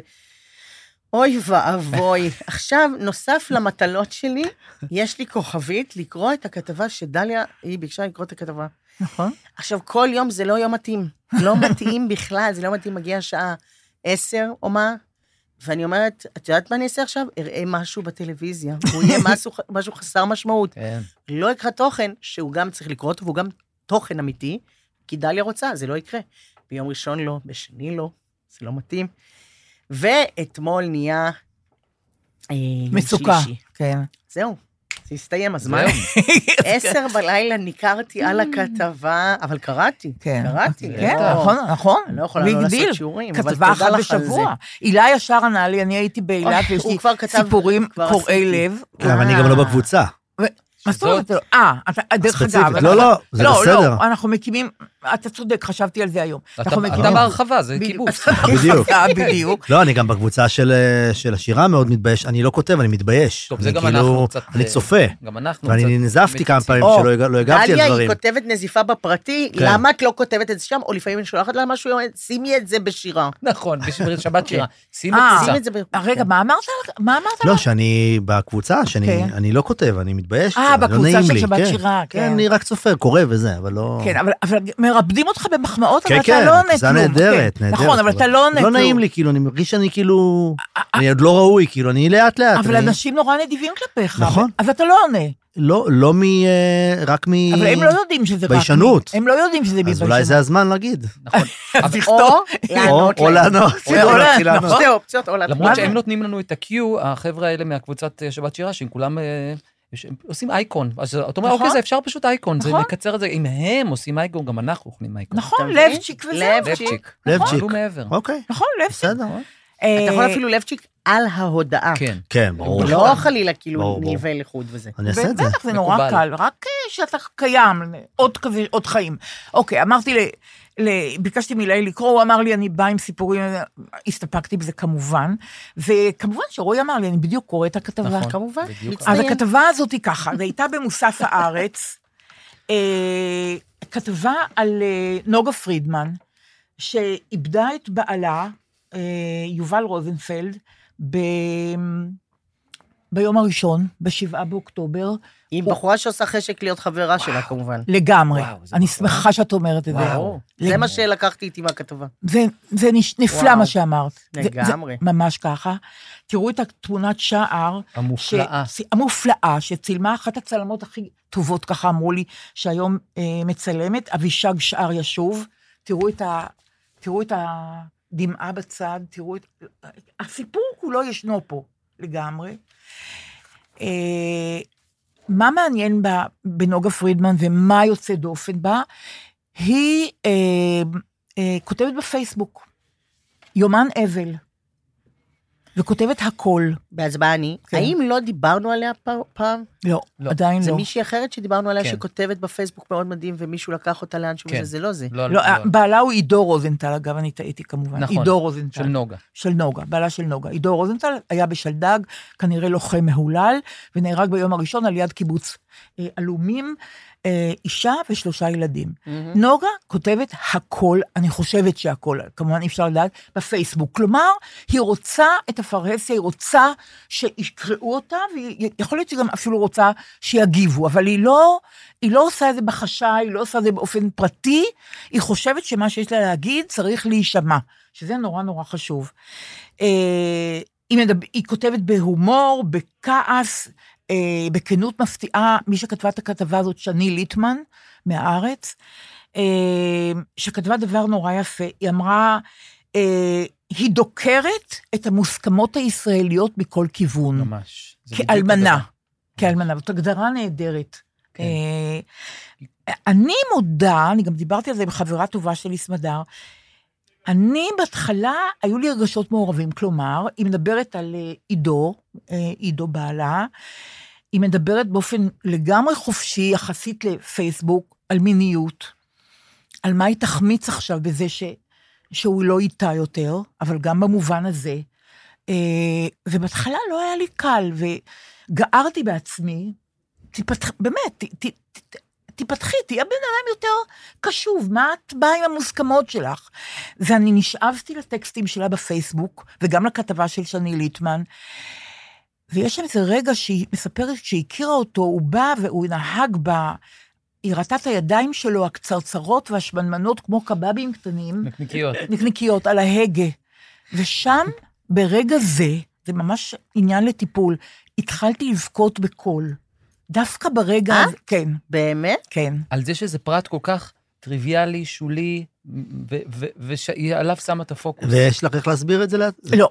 Speaker 7: אוי ואבוי. עכשיו, נוסף למטלות שלי, יש לי כוכבית לקרוא את הכתבה שדליה, היא ביקשה לקרוא את הכתבה.
Speaker 3: נכון.
Speaker 7: עכשיו, כל יום זה לא יום מתאים. לא מתאים בכלל, זה לא מתאים, מגיעה שעה עשר או מה, ואני אומרת, את יודעת מה אני אעשה עכשיו? אראה משהו בטלוויזיה. הוא יהיה משהו, משהו חסר משמעות.
Speaker 4: כן.
Speaker 7: לא אקרא תוכן שהוא גם צריך לקרוא אותו, והוא גם תוכן אמיתי, כי דליה רוצה, זה לא יקרה. ביום ראשון לא, בשני לא, זה לא מתאים. ואתמול נהיה... אה,
Speaker 3: מצוקה.
Speaker 7: שישי.
Speaker 3: כן.
Speaker 7: זהו, זה הסתיים הזמן.
Speaker 4: זהו.
Speaker 7: עשר בלילה ניכרתי על הכתבה, אבל קראתי,
Speaker 3: כן.
Speaker 7: קראתי.
Speaker 3: כן,
Speaker 7: לא-
Speaker 3: נכון, נכון.
Speaker 7: אני לא יכולה לא לעשות
Speaker 3: בגדיל.
Speaker 7: שיעורים, אבל
Speaker 3: כתבה
Speaker 7: תודה
Speaker 3: אחת
Speaker 7: לך על
Speaker 3: בשבוע. הילה ישר ענה לי, אני הייתי באילת
Speaker 7: אוי,
Speaker 3: ויש
Speaker 7: הוא
Speaker 3: לי
Speaker 7: כבר כתב-
Speaker 3: סיפורים
Speaker 7: כבר
Speaker 3: קורעי
Speaker 7: עשיתי.
Speaker 3: לב.
Speaker 5: גם אני גם לא בקבוצה.
Speaker 7: אה,
Speaker 3: מה זאת אומרת? אה, אתה- דרך
Speaker 5: ספציפית.
Speaker 3: אגב.
Speaker 5: לא,
Speaker 3: אנחנו-
Speaker 5: לא, זה בסדר.
Speaker 3: לא, לא, אנחנו מקימים, אתה צודק, חשבתי על זה היום.
Speaker 4: אתה
Speaker 3: אנחנו
Speaker 4: אתה בהרחבה, זה
Speaker 3: בדיוק.
Speaker 4: קיבוץ.
Speaker 5: בדיוק.
Speaker 3: אה, בדיוק.
Speaker 5: לא, אני גם בקבוצה של, אה, של השירה מאוד מתבייש, אני לא כותב, אני מתבייש.
Speaker 4: טוב, זה
Speaker 5: אני
Speaker 4: גם
Speaker 5: כאילו-
Speaker 4: אנחנו קצת,
Speaker 5: אני
Speaker 4: אה,
Speaker 5: צופה,
Speaker 4: גם אנחנו קצת...
Speaker 5: ואני ננזפתי כמה
Speaker 4: מציצים.
Speaker 5: פעמים
Speaker 7: או,
Speaker 5: שלא הגע- לא הגבתי על
Speaker 7: דליה, היא
Speaker 5: דברים.
Speaker 7: כותבת נזיפה בפרטי,
Speaker 5: כן.
Speaker 7: למה את לא כותבת את זה שם? או לפעמים אני שולחת לה משהו, היא אומרת, שימי את זה בשירה. כן.
Speaker 4: נכון, בשביל שבת שירה. שימו
Speaker 3: אה,
Speaker 4: קצת.
Speaker 7: שימי את זה כן. ב...
Speaker 3: רגע, מה אמרת? כן. מה אמרת?
Speaker 5: לא, שאני בקבוצה, שאני
Speaker 3: כן.
Speaker 5: אני לא כותב, אני מתבייש. קצת,
Speaker 3: אה,
Speaker 5: לא
Speaker 3: בקבוצה
Speaker 5: נעים
Speaker 3: של
Speaker 5: לי,
Speaker 3: שבת
Speaker 5: כן.
Speaker 3: שירה, כן.
Speaker 5: כן, אני רק צופה, קורא וזה, אבל לא...
Speaker 3: כן, אבל, אבל מרפדים אותך במחמאות,
Speaker 5: כן,
Speaker 3: אבל
Speaker 5: כן,
Speaker 3: אתה לא עונה
Speaker 5: זה
Speaker 3: כלום.
Speaker 5: נהדרת,
Speaker 3: כן.
Speaker 5: נהדרת.
Speaker 3: נכון, אבל אתה לא עונה
Speaker 5: לא
Speaker 3: כלום. אה,
Speaker 5: נעים לי, כאילו, אני מרגיש שאני כאילו... אני עוד לא ראוי, כאילו, אני לאט-לאט.
Speaker 3: אבל
Speaker 5: אני-
Speaker 3: אנשים נורא נדיבים כלפיך.
Speaker 5: נכון.
Speaker 3: אז אתה לא עונה.
Speaker 5: לא, לא מ... אה, רק מ...
Speaker 3: אבל הם לא יודעים שזה רק...
Speaker 5: ביישנות.
Speaker 3: הם לא יודעים שזה מביישנות.
Speaker 5: אז אולי זה הזמן להגיד.
Speaker 4: נכון. אבל-
Speaker 7: או
Speaker 5: או
Speaker 7: לענות
Speaker 5: או
Speaker 7: להם.
Speaker 5: לענות.
Speaker 3: או
Speaker 5: או להתחיל
Speaker 3: לענות.
Speaker 5: לענות. כן.
Speaker 7: שתי אופציות, או להתחיל.
Speaker 4: למרות שהם נותנים לנו את ה-Q, החבר'ה האלה מהקבוצת אה, שבת שירה, שהם כולם... אה, יש- עושים אייקון, אז אתה אומר,
Speaker 3: נכון.
Speaker 4: אוקיי, זה אפשר פשוט אייקון, זה
Speaker 3: נכון.
Speaker 4: מקצר את זה, אם הם עושים אייקון, גם אנחנו אוכלים אייקון.
Speaker 3: נכון,
Speaker 7: אתה מבין?
Speaker 3: לבצ'יק וזהו.
Speaker 7: לבצ'יק.
Speaker 5: לבצ'יק.
Speaker 4: לא מעבר.
Speaker 5: אוקיי,
Speaker 3: נכון, אה, לבצ'יק.
Speaker 5: בסדר.
Speaker 7: אתה יכול אפילו לבצ'יק על ההודעה.
Speaker 4: כן.
Speaker 5: כן, ברור.
Speaker 7: לא חלילה כאילו
Speaker 5: ברור, ברור.
Speaker 7: ניבל לחוד וזה.
Speaker 5: אני אעשה את זה.
Speaker 3: נכון. בטח, זה נורא
Speaker 4: מקובל.
Speaker 3: קל, רק אה, שאתה קיים, עוד כזה, עוד חיים. אוקיי, אמרתי, ל, ל, ביקשתי מילאי לקרוא, הוא אמר לי, אני בא עם סיפורים, הסתפקתי בזה כמובן, וכמובן שרועי אמר לי, אני בדיוק קורא את הכתבה.
Speaker 4: נכון,
Speaker 7: כמובן.
Speaker 4: בדיוק.
Speaker 3: אז
Speaker 7: מצטיין.
Speaker 3: הכתבה הזאת היא ככה, זו הייתה במוסף הארץ, אה, כתבה על אה, נוגה פרידמן, שאיבדה את בעלה, אה, יובל רוזנפלד, ב... ביום הראשון, בשבעה באוקטובר,
Speaker 7: עם בחורה שעושה חשק להיות חברה שלה כמובן.
Speaker 3: לגמרי.
Speaker 4: וואו, זה
Speaker 3: אני
Speaker 4: נכון.
Speaker 3: שמחה שאת אומרת את זה.
Speaker 4: וואו.
Speaker 7: זה מה שלקחתי איתי מהכתבה.
Speaker 3: זה, זה נש- נפלא
Speaker 7: וואו.
Speaker 3: מה שאמרת. זה- זה
Speaker 7: לגמרי.
Speaker 3: ממש ככה. תראו את התמונת שער.
Speaker 4: המופלאה.
Speaker 3: ש... המופלאה, שצילמה אחת הצלמות הכי טובות, ככה אמרו לי, שהיום אה, מצלמת, אבישג שער ישוב. תראו את, ה... תראו את הדמעה בצד, תראו את... הסיפור כולו ישנו פה לגמרי. אה, מה מעניין ב... בנוגה פרידמן ומה יוצא דופן בה? היא אה, אה, כותבת בפייסבוק, יומן אבל, וכותבת הכל.
Speaker 7: בהצבעה אני.
Speaker 3: כן.
Speaker 7: האם לא דיברנו עליה פ- פעם?
Speaker 3: לא,
Speaker 4: לא.
Speaker 3: עדיין
Speaker 7: זה
Speaker 3: לא.
Speaker 7: מישהי אחרת שדיברנו עליה
Speaker 4: כן.
Speaker 7: שכותבת בפייסבוק מאוד מדהים ומישהו לקח אותה לאן שהוא
Speaker 4: כן.
Speaker 7: זה, זה לא זה.
Speaker 4: לא,
Speaker 3: לא, בעלה הוא עידו רוזנטל, אגב, אני טעיתי כמובן.
Speaker 4: נכון.
Speaker 3: עידו רוזנטל.
Speaker 4: של נוגה.
Speaker 3: של נוגה, בעלה של נוגה. עידו רוזנטל היה בשלדג, כנראה לוחם מהולל, ונהרג ביום הראשון על יד קיבוץ אה, עלומים, אה, אישה ושלושה ילדים. נוגה כותבת הכל, אני חושבת שהכל, כמובן אי אפשר לדעת, בפייסבוק. כלומר, היא רוצה את הפרהסיה, היא רוצה שיקראו אותה, ויכול להיות שגם אפילו רוצה שיגיבו, אבל היא לא, היא לא עושה את זה בחשאי, היא לא עושה את זה באופן פרטי, היא חושבת שמה שיש לה להגיד צריך להישמע, שזה נורא נורא חשוב. אה, היא, מדבר, היא כותבת בהומור, בכעס, אה, בכנות מפתיעה, מי שכתבה את הכתבה הזאת, שני ליטמן, מהארץ, אה, שכתבה דבר נורא יפה. היא אמרה, אה, היא דוקרת את המוסכמות הישראליות מכל כיוון.
Speaker 4: ממש. זה בדיוק
Speaker 3: כאלמנה.
Speaker 4: הדבר.
Speaker 3: כאלמנה, זאת הגדרה נהדרת.
Speaker 4: כן.
Speaker 3: אה, אני מודה, אני גם דיברתי על זה עם חברה טובה שלי, סמדר, אני בהתחלה, היו לי רגשות מעורבים, כלומר, היא מדברת על אה, עידו, אה, עידו בעלה, היא מדברת באופן לגמרי חופשי, יחסית לפייסבוק, על מיניות, על מה היא תחמיץ עכשיו בזה ש, שהוא לא איתה יותר, אבל גם במובן הזה. אה, ובהתחלה לא היה לי קל, וגערתי בעצמי, תיפתח, באמת, ת, ת, ת, תיפתחי, תהיה בן אדם יותר קשוב, מה את באה עם המוסכמות שלך? ואני נשאבתי לטקסטים שלה בפייסבוק, וגם לכתבה של שני ליטמן, ויש שם איזה רגע שהיא מספרת שהיא הכירה אותו, הוא בא והוא נהג בה, היא ראתה את הידיים שלו הקצרצרות והשמנמנות כמו קבבים קטנים,
Speaker 4: נקניקיות.
Speaker 3: נקניקיות על ההגה. ושם, ברגע זה, זה ממש עניין לטיפול, התחלתי לבכות בקול. דווקא ברגע
Speaker 7: אה?
Speaker 3: הזה, כן,
Speaker 7: באמת?
Speaker 3: כן.
Speaker 4: על זה שזה פרט כל כך טריוויאלי, שולי, ושעליו שמה את הפוקוס.
Speaker 5: ויש לך איך להסביר את זה? לה-
Speaker 3: לא,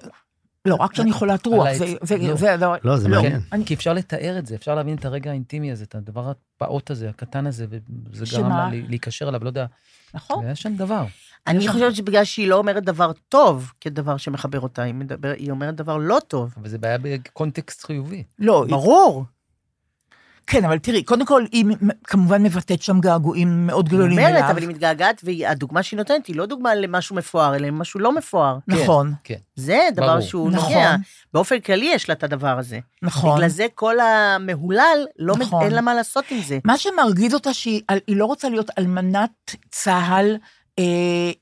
Speaker 3: לא, רק שאני חולת רוח,
Speaker 4: על
Speaker 3: זה,
Speaker 4: העצ-
Speaker 3: זה,
Speaker 4: לא.
Speaker 3: זה, לא.
Speaker 5: לא, זה מעניין.
Speaker 3: אני-
Speaker 4: כי אפשר לתאר את זה, אפשר להבין את הרגע האינטימי הזה, את הדבר הפעוט הזה, הקטן הזה, וזה גרם
Speaker 3: שמה?
Speaker 4: לה לי- להיקשר אליו, לא יודע.
Speaker 3: נכון?
Speaker 4: היה שם דבר.
Speaker 7: אני חושבת שבגלל שהיא לא אומרת דבר טוב כדבר שמחבר אותה, היא מדבר- היא אומרת דבר לא טוב.
Speaker 4: אבל זה בעיה בקונטקסט חיובי.
Speaker 3: לא,
Speaker 7: ברור.
Speaker 3: כן, אבל תראי, קודם כל, היא מ- כמובן מבטאת שם געגועים מאוד
Speaker 7: היא
Speaker 3: גדולים
Speaker 7: אומרת,
Speaker 3: אליו.
Speaker 7: אבל היא מתגעגעת, והדוגמה שהיא נותנת היא לא דוגמה למשהו מפואר, אלא משהו לא מפואר.
Speaker 3: נכון,
Speaker 4: כן.
Speaker 7: זה דבר
Speaker 4: ברור.
Speaker 7: שהוא
Speaker 3: נכון.
Speaker 7: נוגע. באופן כללי יש לה את הדבר הזה.
Speaker 3: נכון.
Speaker 7: בגלל זה כל המהולל, לא מד-
Speaker 3: נכון.
Speaker 7: אין לה מה לעשות עם זה.
Speaker 3: מה שמרגיז אותה שהיא על- היא לא רוצה להיות אלמנת צה"ל אה,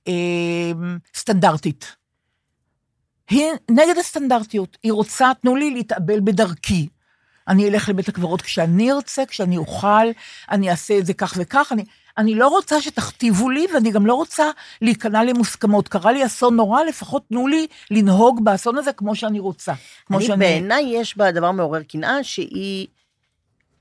Speaker 3: אה, סטנדרטית. היא נגד הסטנדרטיות, היא רוצה, תנו לי להתאבל בדרכי. אני אלך לבית הקברות כשאני ארצה, כשאני אוכל, אני אעשה את זה כך וכך, אני, אני לא רוצה שתכתיבו לי, ואני גם לא רוצה להיכנע למוסכמות. קרה לי אסון נורא, לפחות תנו לי לנהוג באסון הזה כמו שאני רוצה. כמו
Speaker 7: אני,
Speaker 3: שאני...
Speaker 7: בעיניי יש בה דבר מעורר קנאה, שהיא...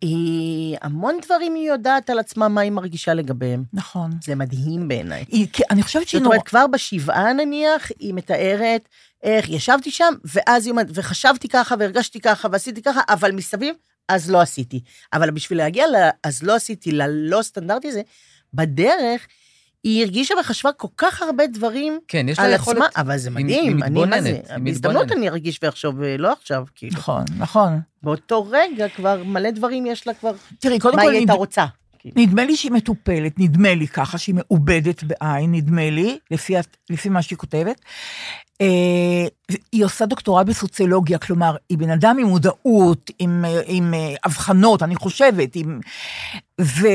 Speaker 7: היא המון דברים היא יודעת על עצמה מה היא מרגישה לגביהם.
Speaker 3: נכון.
Speaker 7: זה מדהים בעיניי.
Speaker 3: היא, כי אני חושבת שהיא
Speaker 7: זאת
Speaker 3: נורא...
Speaker 7: אומרת, כבר בשבעה נניח, היא מתארת איך ישבתי שם, ואז היא אומרת, וחשבתי ככה, והרגשתי ככה, ועשיתי ככה, אבל מסביב, אז לא עשיתי. אבל בשביל להגיע ל... אז לא עשיתי, ללא סטנדרטי הזה, בדרך, היא הרגישה וחשבה כל כך הרבה דברים
Speaker 4: כן, יש לה
Speaker 7: על
Speaker 4: יכולת...
Speaker 7: עצמה, אבל זה
Speaker 4: היא-
Speaker 7: מדהים,
Speaker 4: היא
Speaker 7: אני מה זה,
Speaker 4: מתבוננת, היא
Speaker 7: בהזדמנות
Speaker 4: מתבוננת.
Speaker 7: אני ארגיש ואחשוב, ולא עכשיו, כאילו.
Speaker 3: נכון, נכון.
Speaker 7: באותו רגע כבר מלא דברים יש לה כבר,
Speaker 3: תראי, קודם
Speaker 7: מה
Speaker 3: כל,
Speaker 7: היא הייתה
Speaker 3: נד-
Speaker 7: רוצה.
Speaker 3: נדמה לי שהיא מטופלת, נדמה לי ככה, שהיא מעובדת בעין, נדמה לי, לפי, הת- לפי מה שהיא כותבת. אה, היא עושה דוקטורט בסוציולוגיה, כלומר, היא בן אדם עם מודעות, עם, אה, עם אה, אבחנות, אני חושבת, עם... ו,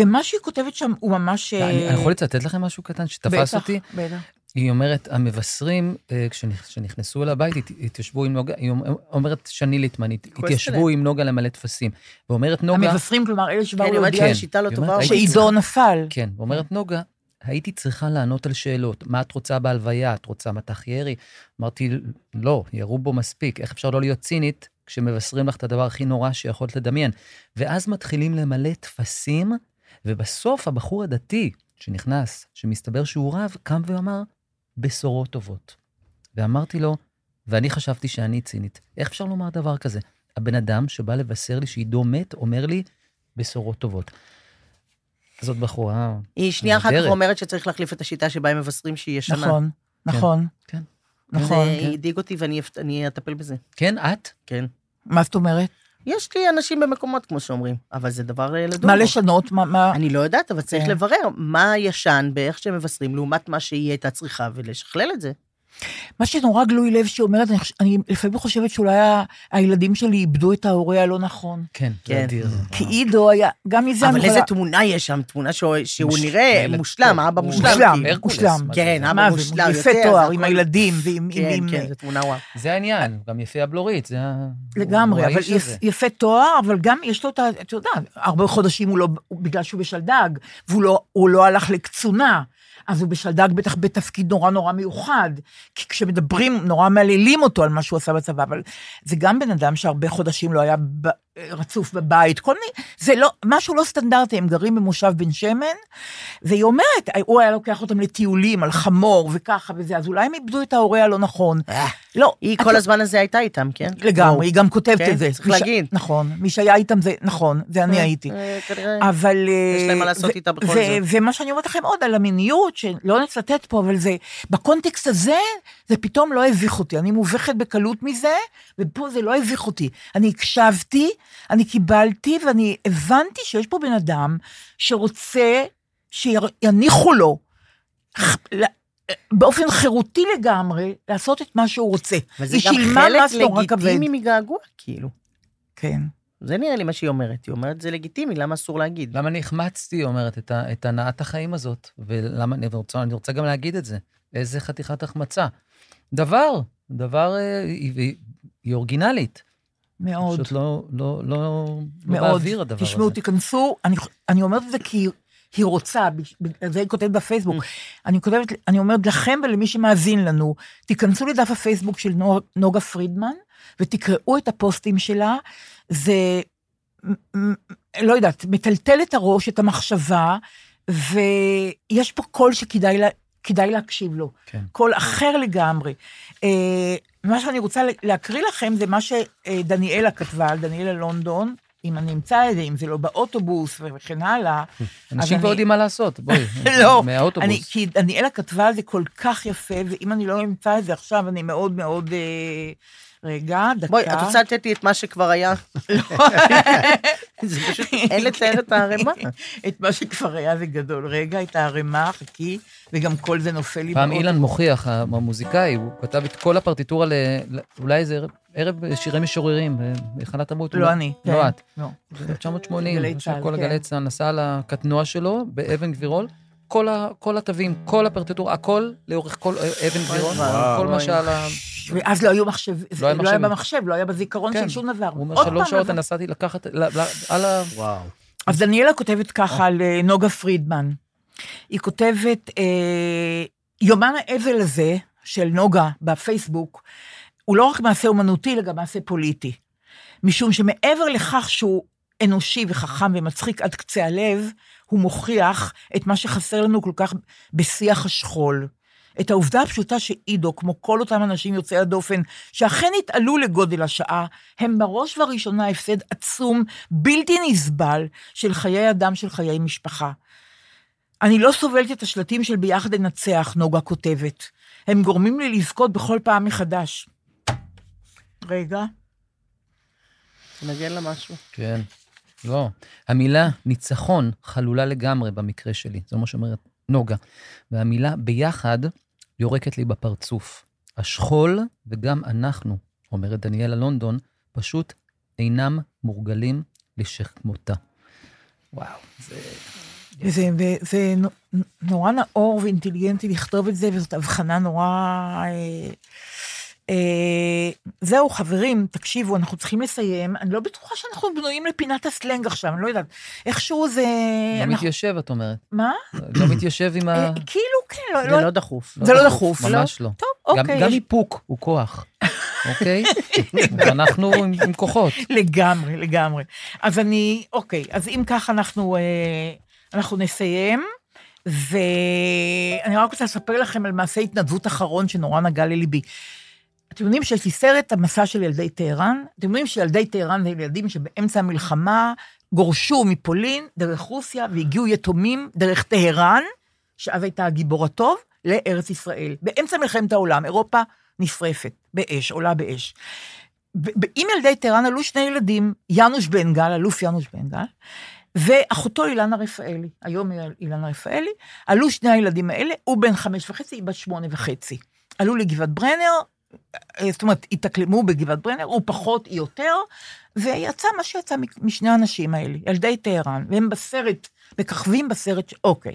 Speaker 3: ומה שהיא כותבת שם הוא ממש...
Speaker 4: אני
Speaker 3: אה,
Speaker 4: אני יכול לצטט לכם משהו קטן שתפס
Speaker 3: בטח,
Speaker 4: אותי?
Speaker 3: בטח.
Speaker 4: היא אומרת, המבשרים, אה, כשנכ- כשנכנסו אל הבית, הת- התיישבו עם נוגה, היא אומ- אומרת, שני ליטמן, הת-
Speaker 7: כועסת
Speaker 4: התיישבו
Speaker 7: עליהם.
Speaker 4: עם נוגה למלא טפסים. ואומרת נוגה,
Speaker 3: המבשרים, כלומר, אלה שבאו
Speaker 7: אני אומרת
Speaker 3: להודיע
Speaker 7: לה,
Speaker 4: כן.
Speaker 7: שיטה לא
Speaker 4: היא
Speaker 7: טובה.
Speaker 4: אומרת,
Speaker 7: אבל-
Speaker 4: הייתי
Speaker 3: שעידו נפל.
Speaker 4: כן, ואומרת נוגה, הייתי צריכה לענות על שאלות. מה את רוצה בהלוויה? את רוצה מטח ירי? אמרתי, לא, ירו בו מספיק. איך אפשר לא להיות צינית כשמבשרים לך את הדבר הכי נורא שיכולת לדמיין? ואז מתחילים למלא טפסים, ובסוף הבחור הדתי שנכנס, שמסתבר שהוא רב, קם ואמר, בשורות טובות. ואמרתי לו, ואני חשבתי שאני צינית. איך אפשר לומר דבר כזה? הבן אדם שבא לבשר לי שעידו מת, אומר לי, בשורות טובות. זאת בחורה
Speaker 7: היא שנייה אחר כך
Speaker 4: נהדרת.
Speaker 7: אומרת שצריך להחליף את השיטה שבה הם מבשרים שהיא ישנה.
Speaker 3: נכון, נכון.
Speaker 4: כן.
Speaker 3: נכון.
Speaker 7: זה הדאיג אותי ואני אפ- אני אטפל בזה,
Speaker 4: כן, את?
Speaker 7: כן.
Speaker 3: מה זאת אומרת?
Speaker 7: יש לי אנשים במקומות, כמו שאומרים, אבל זה דבר אה, לדון
Speaker 3: מה
Speaker 7: בו.
Speaker 3: לשנות? מה... מה-
Speaker 7: אני לא יודעת, אבל צריך
Speaker 3: כן.
Speaker 7: לברר מה ישן באיך שהם מבשרים, לעומת מה שהיא הייתה צריכה, ולשכלל את זה.
Speaker 3: מה שנורא גלוי לב שהיא אומרת, אני, חוש- אני לפעמים חושבת שאולי ה- הילדים שלי איבדו את ההורה הלא נכון.
Speaker 4: כן,
Speaker 7: כן.
Speaker 4: זה אדיר.
Speaker 3: כי עידו היה, גם מזה
Speaker 7: אבל
Speaker 3: אני
Speaker 7: איזה
Speaker 3: יכולה...
Speaker 7: תמונה יש שם, תמונה שהוא- שהוא
Speaker 4: מוש-
Speaker 7: נראה
Speaker 4: מלך.
Speaker 7: מושלם,
Speaker 4: הוא-
Speaker 7: האבא
Speaker 4: הוא
Speaker 7: מושלם.
Speaker 3: מושלם,
Speaker 7: כאילו.
Speaker 4: הרקולס,
Speaker 3: מושלם.
Speaker 4: מה זה?
Speaker 7: כן,
Speaker 3: מה
Speaker 7: אבא
Speaker 3: זה,
Speaker 7: מושלם יותר.
Speaker 3: יפה
Speaker 7: זה
Speaker 3: תואר
Speaker 7: הכל-
Speaker 3: עם הילדים ועם...
Speaker 7: כן,
Speaker 3: עם-
Speaker 7: כן, זו תמונה וואו.
Speaker 4: זה העניין, גם יפי הבלורית, זה ה...
Speaker 3: לגמרי,
Speaker 4: הוא
Speaker 3: אבל
Speaker 4: האיש
Speaker 3: יפ,
Speaker 4: הזה.
Speaker 3: יפה תואר, אבל גם יש לו את ה... את יודעת, הרבה חודשים הוא לא... הוא, בגלל שהוא בשלדג, והוא לא, הוא לא הלך לקצונה, אז הוא בשלדג בטח בתפקיד נורא נורא מיוחד. כי כשמדברים, נורא מהללים אותו על מה שהוא עשה בצבא, אבל זה גם בן אדם שהרבה חודשים לא היה ב, אה, רצוף בבית, כל מיני, זה לא, משהו לא סטנדרטי, הם גרים במושב בן שמן, והיא אומרת, הוא היה לוקח אותם לטיולים על חמור וככה וזה, אז אולי הם איבדו את ההורה הלא נכון.
Speaker 4: אה.
Speaker 3: לא,
Speaker 7: היא
Speaker 3: את
Speaker 7: כל
Speaker 3: לא-
Speaker 7: הזמן הזה הייתה איתם, כן? ברור.
Speaker 3: לגמרי, היא גם כותבת
Speaker 7: כן,
Speaker 3: את זה.
Speaker 7: צריך
Speaker 3: מי ש-
Speaker 7: להגיד.
Speaker 3: נכון, מי שהיה איתם זה, נכון, זה אני
Speaker 7: אה,
Speaker 3: הייתי.
Speaker 7: אה, כנראה.
Speaker 3: אבל...
Speaker 7: יש
Speaker 3: אה,
Speaker 7: להם מה לעשות
Speaker 3: ו-
Speaker 7: איתה בכל
Speaker 3: ו-
Speaker 7: זאת.
Speaker 3: ומה שאני אומרת לכם עוד על המיניות, שלא נצטט פה, אבל זה, בקונטקסט הזה, זה פתאום לא הביך אותי. אני מובכת בקלות מזה, ופה זה לא הביך אותי. אני הקשבתי, אני קיבלתי, ואני הבנתי שיש פה בן אדם שרוצה שיניחו לו, ח- ל- באופן חירותי לגמרי, לעשות את מה שהוא רוצה.
Speaker 7: אבל זה
Speaker 3: היא
Speaker 7: גם
Speaker 3: שילמה
Speaker 7: חלק
Speaker 3: מס נורא כבד.
Speaker 7: לגיטימי מגעגוע, כאילו.
Speaker 3: כן.
Speaker 7: זה נראה לי מה שהיא אומרת. היא אומרת, זה לגיטימי, למה אסור להגיד?
Speaker 4: למה אני החמצתי, היא אומרת, את, ה- את הנעת החיים הזאת? ולמה, אני רוצה, אני רוצה גם להגיד את זה. איזה חתיכת החמצה. דבר, דבר, אה, היא, היא, היא אורגינלית.
Speaker 3: מאוד.
Speaker 4: פשוט לא, לא, לא, לא
Speaker 3: מאוד.
Speaker 4: באוויר הדבר הזה.
Speaker 3: תשמעו, תיכנסו, אני, אני אומרת את זה כי היא- היא רוצה, בגלל זה היא כותבת בפייסבוק.
Speaker 4: Mm.
Speaker 3: אני כותבת, אני אומרת לכם ולמי שמאזין לנו, תיכנסו לדף הפייסבוק של נו- נוגה פרידמן, ותקראו את הפוסטים שלה. זה, מ- מ- לא יודעת, מטלטל את הראש, את המחשבה, ויש פה קול שכדאי לה, כדאי להקשיב לו.
Speaker 4: כן.
Speaker 3: קול אחר לגמרי. אה, מה שאני רוצה להקריא לכם זה מה שדניאלה כתבה על דניאלה לונדון, אם אני אמצא את זה, אם זה לא באוטובוס וכן הלאה. אז
Speaker 4: אנשים כבר
Speaker 3: אני-
Speaker 4: יודעים מה לעשות, בואי.
Speaker 3: לא,
Speaker 4: מהאוטובוס.
Speaker 3: אני, כי דניאלה כתבה על זה כל כך יפה, ואם אני לא אמצא את זה עכשיו, אני מאוד מאוד... אה, רגע, דקה. לא.
Speaker 7: בואי, את רוצה לתת לי את מה שכבר היה?
Speaker 3: זה פשוט...
Speaker 7: אין לתאר את הערימה.
Speaker 3: את מה שכבר היה זה גדול. רגע, את הערימה, חכי, וגם כל זה נופל לי
Speaker 4: פעם
Speaker 3: מאוד.
Speaker 4: אילן מוכיח, המוזיקאי, הוא כתב את כל הפרטיטורה ל... ל- אולי איזה ערב- ערב שירי משוררים, אה, היכן את אמות?
Speaker 3: לא אני. כן,
Speaker 4: לא את.
Speaker 3: לא.
Speaker 4: 1980,
Speaker 3: גלי
Speaker 4: עכשיו
Speaker 3: צה"ל,
Speaker 4: כל
Speaker 3: כן.
Speaker 4: הגלי צה"ל נסע על הקטנוע שלו באבן גבירול, כל ה- כל התווים, כל הפרטיטורה, הכל לאורך כל אה, אבן גבירול,
Speaker 7: וואו.
Speaker 4: כל מה שעל ה...
Speaker 3: ואז לא היו מחשב, זה
Speaker 4: היה
Speaker 3: לא היה
Speaker 4: מחשבים.
Speaker 3: במחשב, לא היה בזיכרון
Speaker 4: כן.
Speaker 3: של שום דבר.
Speaker 4: הוא אומר,
Speaker 3: עוד
Speaker 4: שלוש
Speaker 3: פעם
Speaker 4: שעות
Speaker 3: לא-
Speaker 4: אני נסעתי לקחת, ל- ל- על ה...
Speaker 5: וואו.
Speaker 3: אז דניאלה כותבת ככה על אה, נוגה פרידמן. היא כותבת, אה, יומן האבל הזה של נוגה בפייסבוק, הוא לא רק מעשה אומנותי, אלא גם מעשה פוליטי. משום שמעבר לכך שהוא אנושי וחכם ומצחיק עד קצה הלב, הוא מוכיח את מה שחסר לנו כל כך בשיח השכול. את העובדה הפשוטה שעידו, כמו כל אותם אנשים יוצאי הדופן, שאכן התעלו לגודל השעה, הם בראש ובראשונה הפסד עצום, בלתי נסבל, של חיי אדם, של חיי משפחה. אני לא סובלת את השלטים של ביחד ננצח, נוגה כותבת. הם גורמים לי לזכות בכל פעם מחדש. רגע.
Speaker 7: נגן לה משהו.
Speaker 4: כן. לא. המילה ניצחון חלולה לגמרי במקרה שלי, זה מה שאומרת נוגה. והמילה ביחד יורקת לי בפרצוף. השכול וגם אנחנו, אומרת דניאלה לונדון, פשוט אינם מורגלים לשכמותה. וואו, זה...
Speaker 3: זה, ו- זה נו- נורא נאור ואינטליגנטי לכתוב את זה, וזאת הבחנה נורא... אה, אה, זהו, חברים, תקשיבו, אנחנו צריכים לסיים. אני לא בטוחה שאנחנו בנויים לפינת הסלנג עכשיו, אני לא יודעת. איכשהו זה...
Speaker 4: לא
Speaker 3: אה, אנחנו-
Speaker 4: מתיישב, את אומרת.
Speaker 3: מה?
Speaker 4: לא מתיישב עם
Speaker 3: אה,
Speaker 4: ה...
Speaker 3: כאילו, כן, לא...
Speaker 7: זה לא דחוף.
Speaker 3: זה לא דחוף, לא?
Speaker 4: ממש לא.
Speaker 3: טוב,
Speaker 4: גם-
Speaker 3: אוקיי.
Speaker 4: גם
Speaker 3: יש-
Speaker 4: איפוק הוא כוח, אוקיי? ואנחנו עם עם כוחות.
Speaker 3: לגמרי, לגמרי. אז אני, אוקיי, אז אם כך אנחנו, אה, אנחנו נסיים, ואני רק רוצה לספר לכם על מעשה התנדבות אחרון שנורא נגע לליבי. אתם יודעים שיש לי סרט, המסע של ילדי טהרן, אתם יודעים שילדי טהרן זה ילדים שבאמצע המלחמה גורשו מפולין דרך רוסיה והגיעו יתומים דרך טהרן, שאז הייתה הגיבור הטוב, לארץ ישראל. באמצע מלחמת העולם, אירופה נשרפת באש, עולה באש. ב- ב- עם ילדי טהרן עלו שני ילדים, יאנוש בן גל, אלוף יאנוש בן גל, ואחותו אילנה רפאלי, היום היא אילנה רפאלי, עלו שני הילדים האלה, הוא בן חמש וחצי, היא בת שמונה וחצי. עלו לגבעת ברנר, אה, זאת אומרת, התאקלמו בגבעת ברנר, הוא פחות, היא יותר, ויצא מה שיצא מ- משני האנשים האלה, ילדי טהרן, והם בסרט, מככבים בסרט, ש- אוקיי.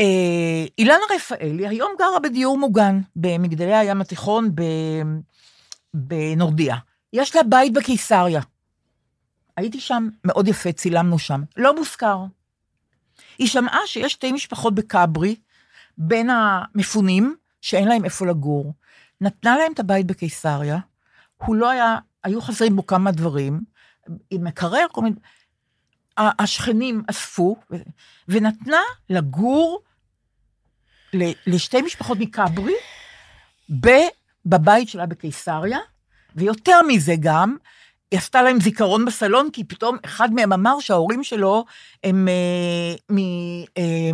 Speaker 3: אה, אילנה רפאלי היום גרה בדיור מוגן, במגדלי הים התיכון, ב... בנורדיה. יש לה בית בקיסריה. הייתי שם, מאוד יפה, צילמנו שם. לא מוזכר. היא שמעה שיש שתי משפחות בכברי, בין המפונים, שאין להם איפה לגור. נתנה להם את הבית בקיסריה, הוא לא היה, היו חסרים בו כמה דברים, עם מקרר, כל מיני... ה- השכנים אספו, ו- ונתנה לגור ל- לשתי משפחות מכברי ב- בבית שלה בקיסריה, ויותר מזה גם, היא עשתה להם זיכרון בסלון, כי פתאום אחד מהם אמר שההורים שלו הם אה,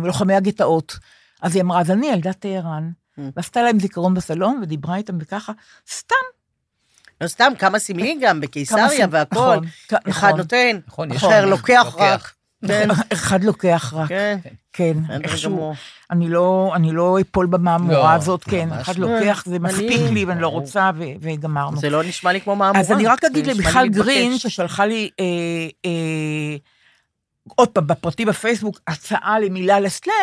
Speaker 3: מלוחמי אה, הגטאות. אז היא אמרה, אז אני ילדת טהרן.
Speaker 7: Mm.
Speaker 3: ועשתה להם זיכרון בסלון, ודיברה איתם וככה, סתם.
Speaker 7: לא סתם, כמה סמלי גם,
Speaker 3: כמה
Speaker 7: בקיסריה
Speaker 3: סיב-
Speaker 7: והכול.
Speaker 3: נכון, כ-
Speaker 7: אחד
Speaker 3: נכון.
Speaker 7: נותן,
Speaker 6: נכון, יש
Speaker 7: אחר
Speaker 6: לו-
Speaker 7: לוקח
Speaker 6: לוקח.
Speaker 7: רק. כן,
Speaker 3: אחד לוקח רק,
Speaker 7: כן,
Speaker 3: כן,
Speaker 7: בסדר
Speaker 3: איכשהו.
Speaker 7: גמור.
Speaker 3: אני לא, אני לא אפול במהמורה
Speaker 6: לא,
Speaker 3: הזאת, כן,
Speaker 6: ממש
Speaker 3: אחד
Speaker 6: לא.
Speaker 3: לוקח, זה
Speaker 7: אני-
Speaker 3: מספיק לי ואני לא
Speaker 6: ברור.
Speaker 3: רוצה, ו- וגמרנו.
Speaker 7: זה לא נשמע לי כמו מהמורה.
Speaker 3: אז אני רק אגיד
Speaker 7: זה נשמע לי
Speaker 3: למיכל
Speaker 7: מתבקש.
Speaker 3: גרין, ששלחה לי, אה, אה, עוד פעם, בפרטי בפייסבוק, הצעה למילה לסלנג,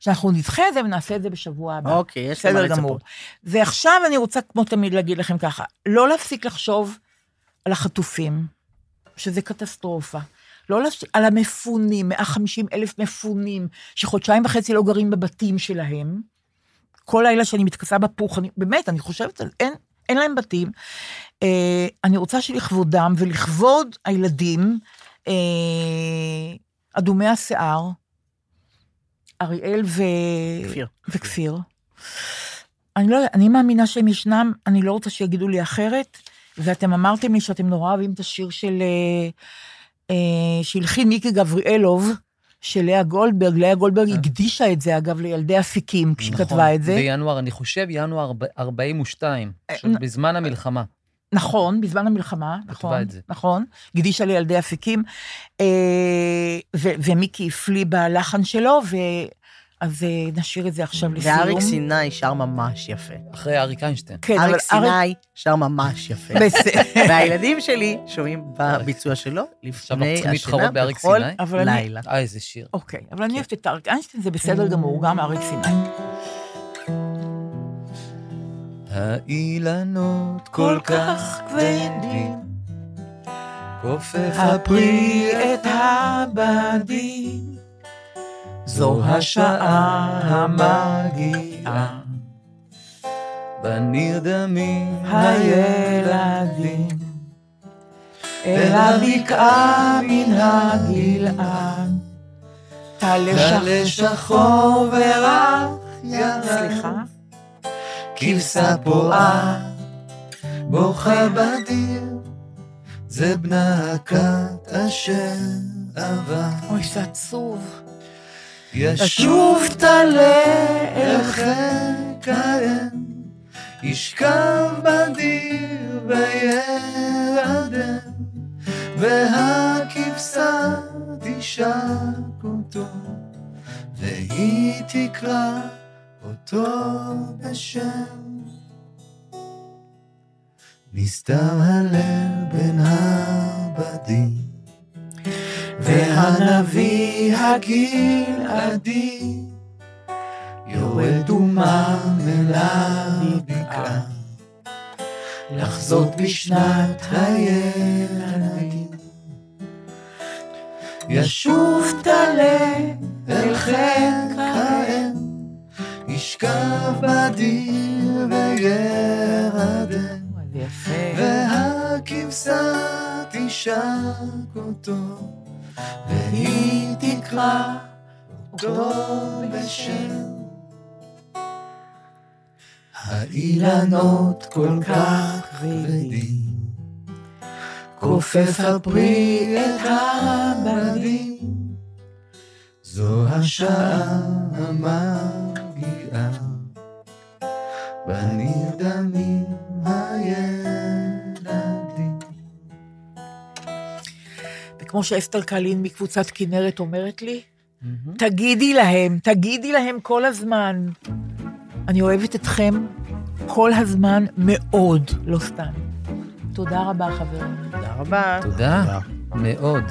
Speaker 3: שאנחנו נדחה את זה ונעשה את זה בשבוע הבא.
Speaker 7: אוקיי, יש למה
Speaker 3: בסדר גמור.
Speaker 7: לצפות.
Speaker 3: ועכשיו אני רוצה, כמו תמיד, להגיד לכם ככה, לא להפסיק לחשוב על החטופים, שזה קטסטרופה. לא להפסיק, על המפונים, 150 אלף מפונים, שחודשיים וחצי לא גרים בבתים שלהם. כל לילה שאני מתכסה בפוך, אני, באמת, אני חושבת על, אין, אין להם בתים. אה, אני רוצה שלכבודם ולכבוד הילדים, אה, אדומי השיער, אריאל ו...
Speaker 7: כפיר.
Speaker 3: וכפיר. אני לא, אני מאמינה שהם ישנם, אני לא רוצה שיגידו לי אחרת, ואתם אמרתם לי שאתם נורא אוהבים את השיר של... אה, אה, שהלחין מיקי גבריאלוב, של לאה גולדברג. לאה גולדברג הקדישה את זה, אגב, לילדי אפיקים, כשהיא
Speaker 6: נכון,
Speaker 3: כתבה את זה. אה,
Speaker 6: בינואר, אני חושב, ינואר ארבע- 42, פשוט
Speaker 3: נ-
Speaker 6: בזמן המלחמה.
Speaker 3: נכון, בזמן המלחמה, נכון,
Speaker 6: את זה.
Speaker 3: נכון, הקדישה לילדי אפיקים, אה, ו- ומיקי הפליא בלחן שלו, ו... אז אה, נשאיר את זה עכשיו לסיום.
Speaker 7: ואריק סיני שר ממש יפה.
Speaker 6: אחרי אריק איינשטיין.
Speaker 3: כן, אבל
Speaker 7: אריק סיני שר ממש יפה.
Speaker 3: בסדר.
Speaker 7: והילדים שלי שומעים בביצוע שלו
Speaker 6: עכשיו אנחנו
Speaker 7: לפני
Speaker 6: צריכים
Speaker 7: השינה
Speaker 6: להתחרות באריק
Speaker 7: בכל
Speaker 6: סיני?
Speaker 3: אבל אני-
Speaker 7: לילה.
Speaker 6: אה, איזה שיר. כן.
Speaker 3: אוקיי, אבל אני אוהבת את אריק איינשטיין, זה בסדר גמור, גם אריק סיני.
Speaker 6: האילנות
Speaker 3: כל כך כבדים,
Speaker 6: כופף
Speaker 3: הפרי את הבדים, זו השעה המגיעה,
Speaker 6: בנרדמים
Speaker 3: הילדים, אל הבקעה מן הגלעד, טלה שחור ורח ירד. סליחה?
Speaker 6: כבשה פועה, בוכה בדיר, זה בנה הכת אשר עבר.
Speaker 3: אוי, זה עצוב.
Speaker 6: ישוב
Speaker 3: שוב טלה אל
Speaker 6: אל חיק האם, ישכב בדיר וירדם, והכבשה תשק אותו, והיא תקרא אותו בשם. נסתר הלב בין הבדים, והנביא הגלעדי יורד אומם אל הבקעה, לחזות בשנת הילדים. ישוב תלה אל חלק האם, ישכב בדיר וירדם.
Speaker 3: זה יפה.
Speaker 6: והכבשה תשק אותו, והיא תקרא אותו בשם. האילנות כל כך כבדים, כופף הפרי את
Speaker 3: אוקיי.
Speaker 6: הבדים, זו השעה המגיעה, בנרדמים הילדים.
Speaker 3: וכמו שאסתר קלין מקבוצת כנרת אומרת לי, תגידי להם, תגידי להם כל הזמן. אני אוהבת אתכם כל הזמן מאוד, לא סתם. תודה רבה, חברים.
Speaker 7: תודה רבה.
Speaker 6: תודה, מאוד.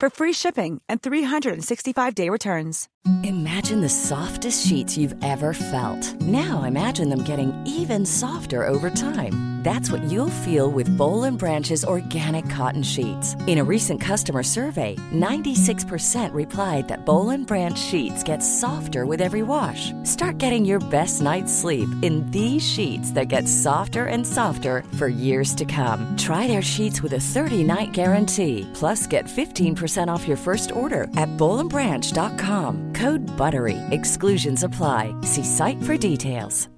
Speaker 1: for free shipping and 365-day returns.
Speaker 9: Imagine the softest sheets you've ever felt. Now imagine them getting even softer over time. That's what you'll feel with Bowl and Branch's organic cotton sheets. In a recent customer survey, 96% replied that Bowl and Branch sheets get softer with every wash. Start getting your best night's sleep in these sheets that get softer and softer for years to come. Try their sheets with a 30-night guarantee. Plus, get 15% off your first order at bowlandbranch.com. Code BUTTERY. Exclusions apply. See site for details.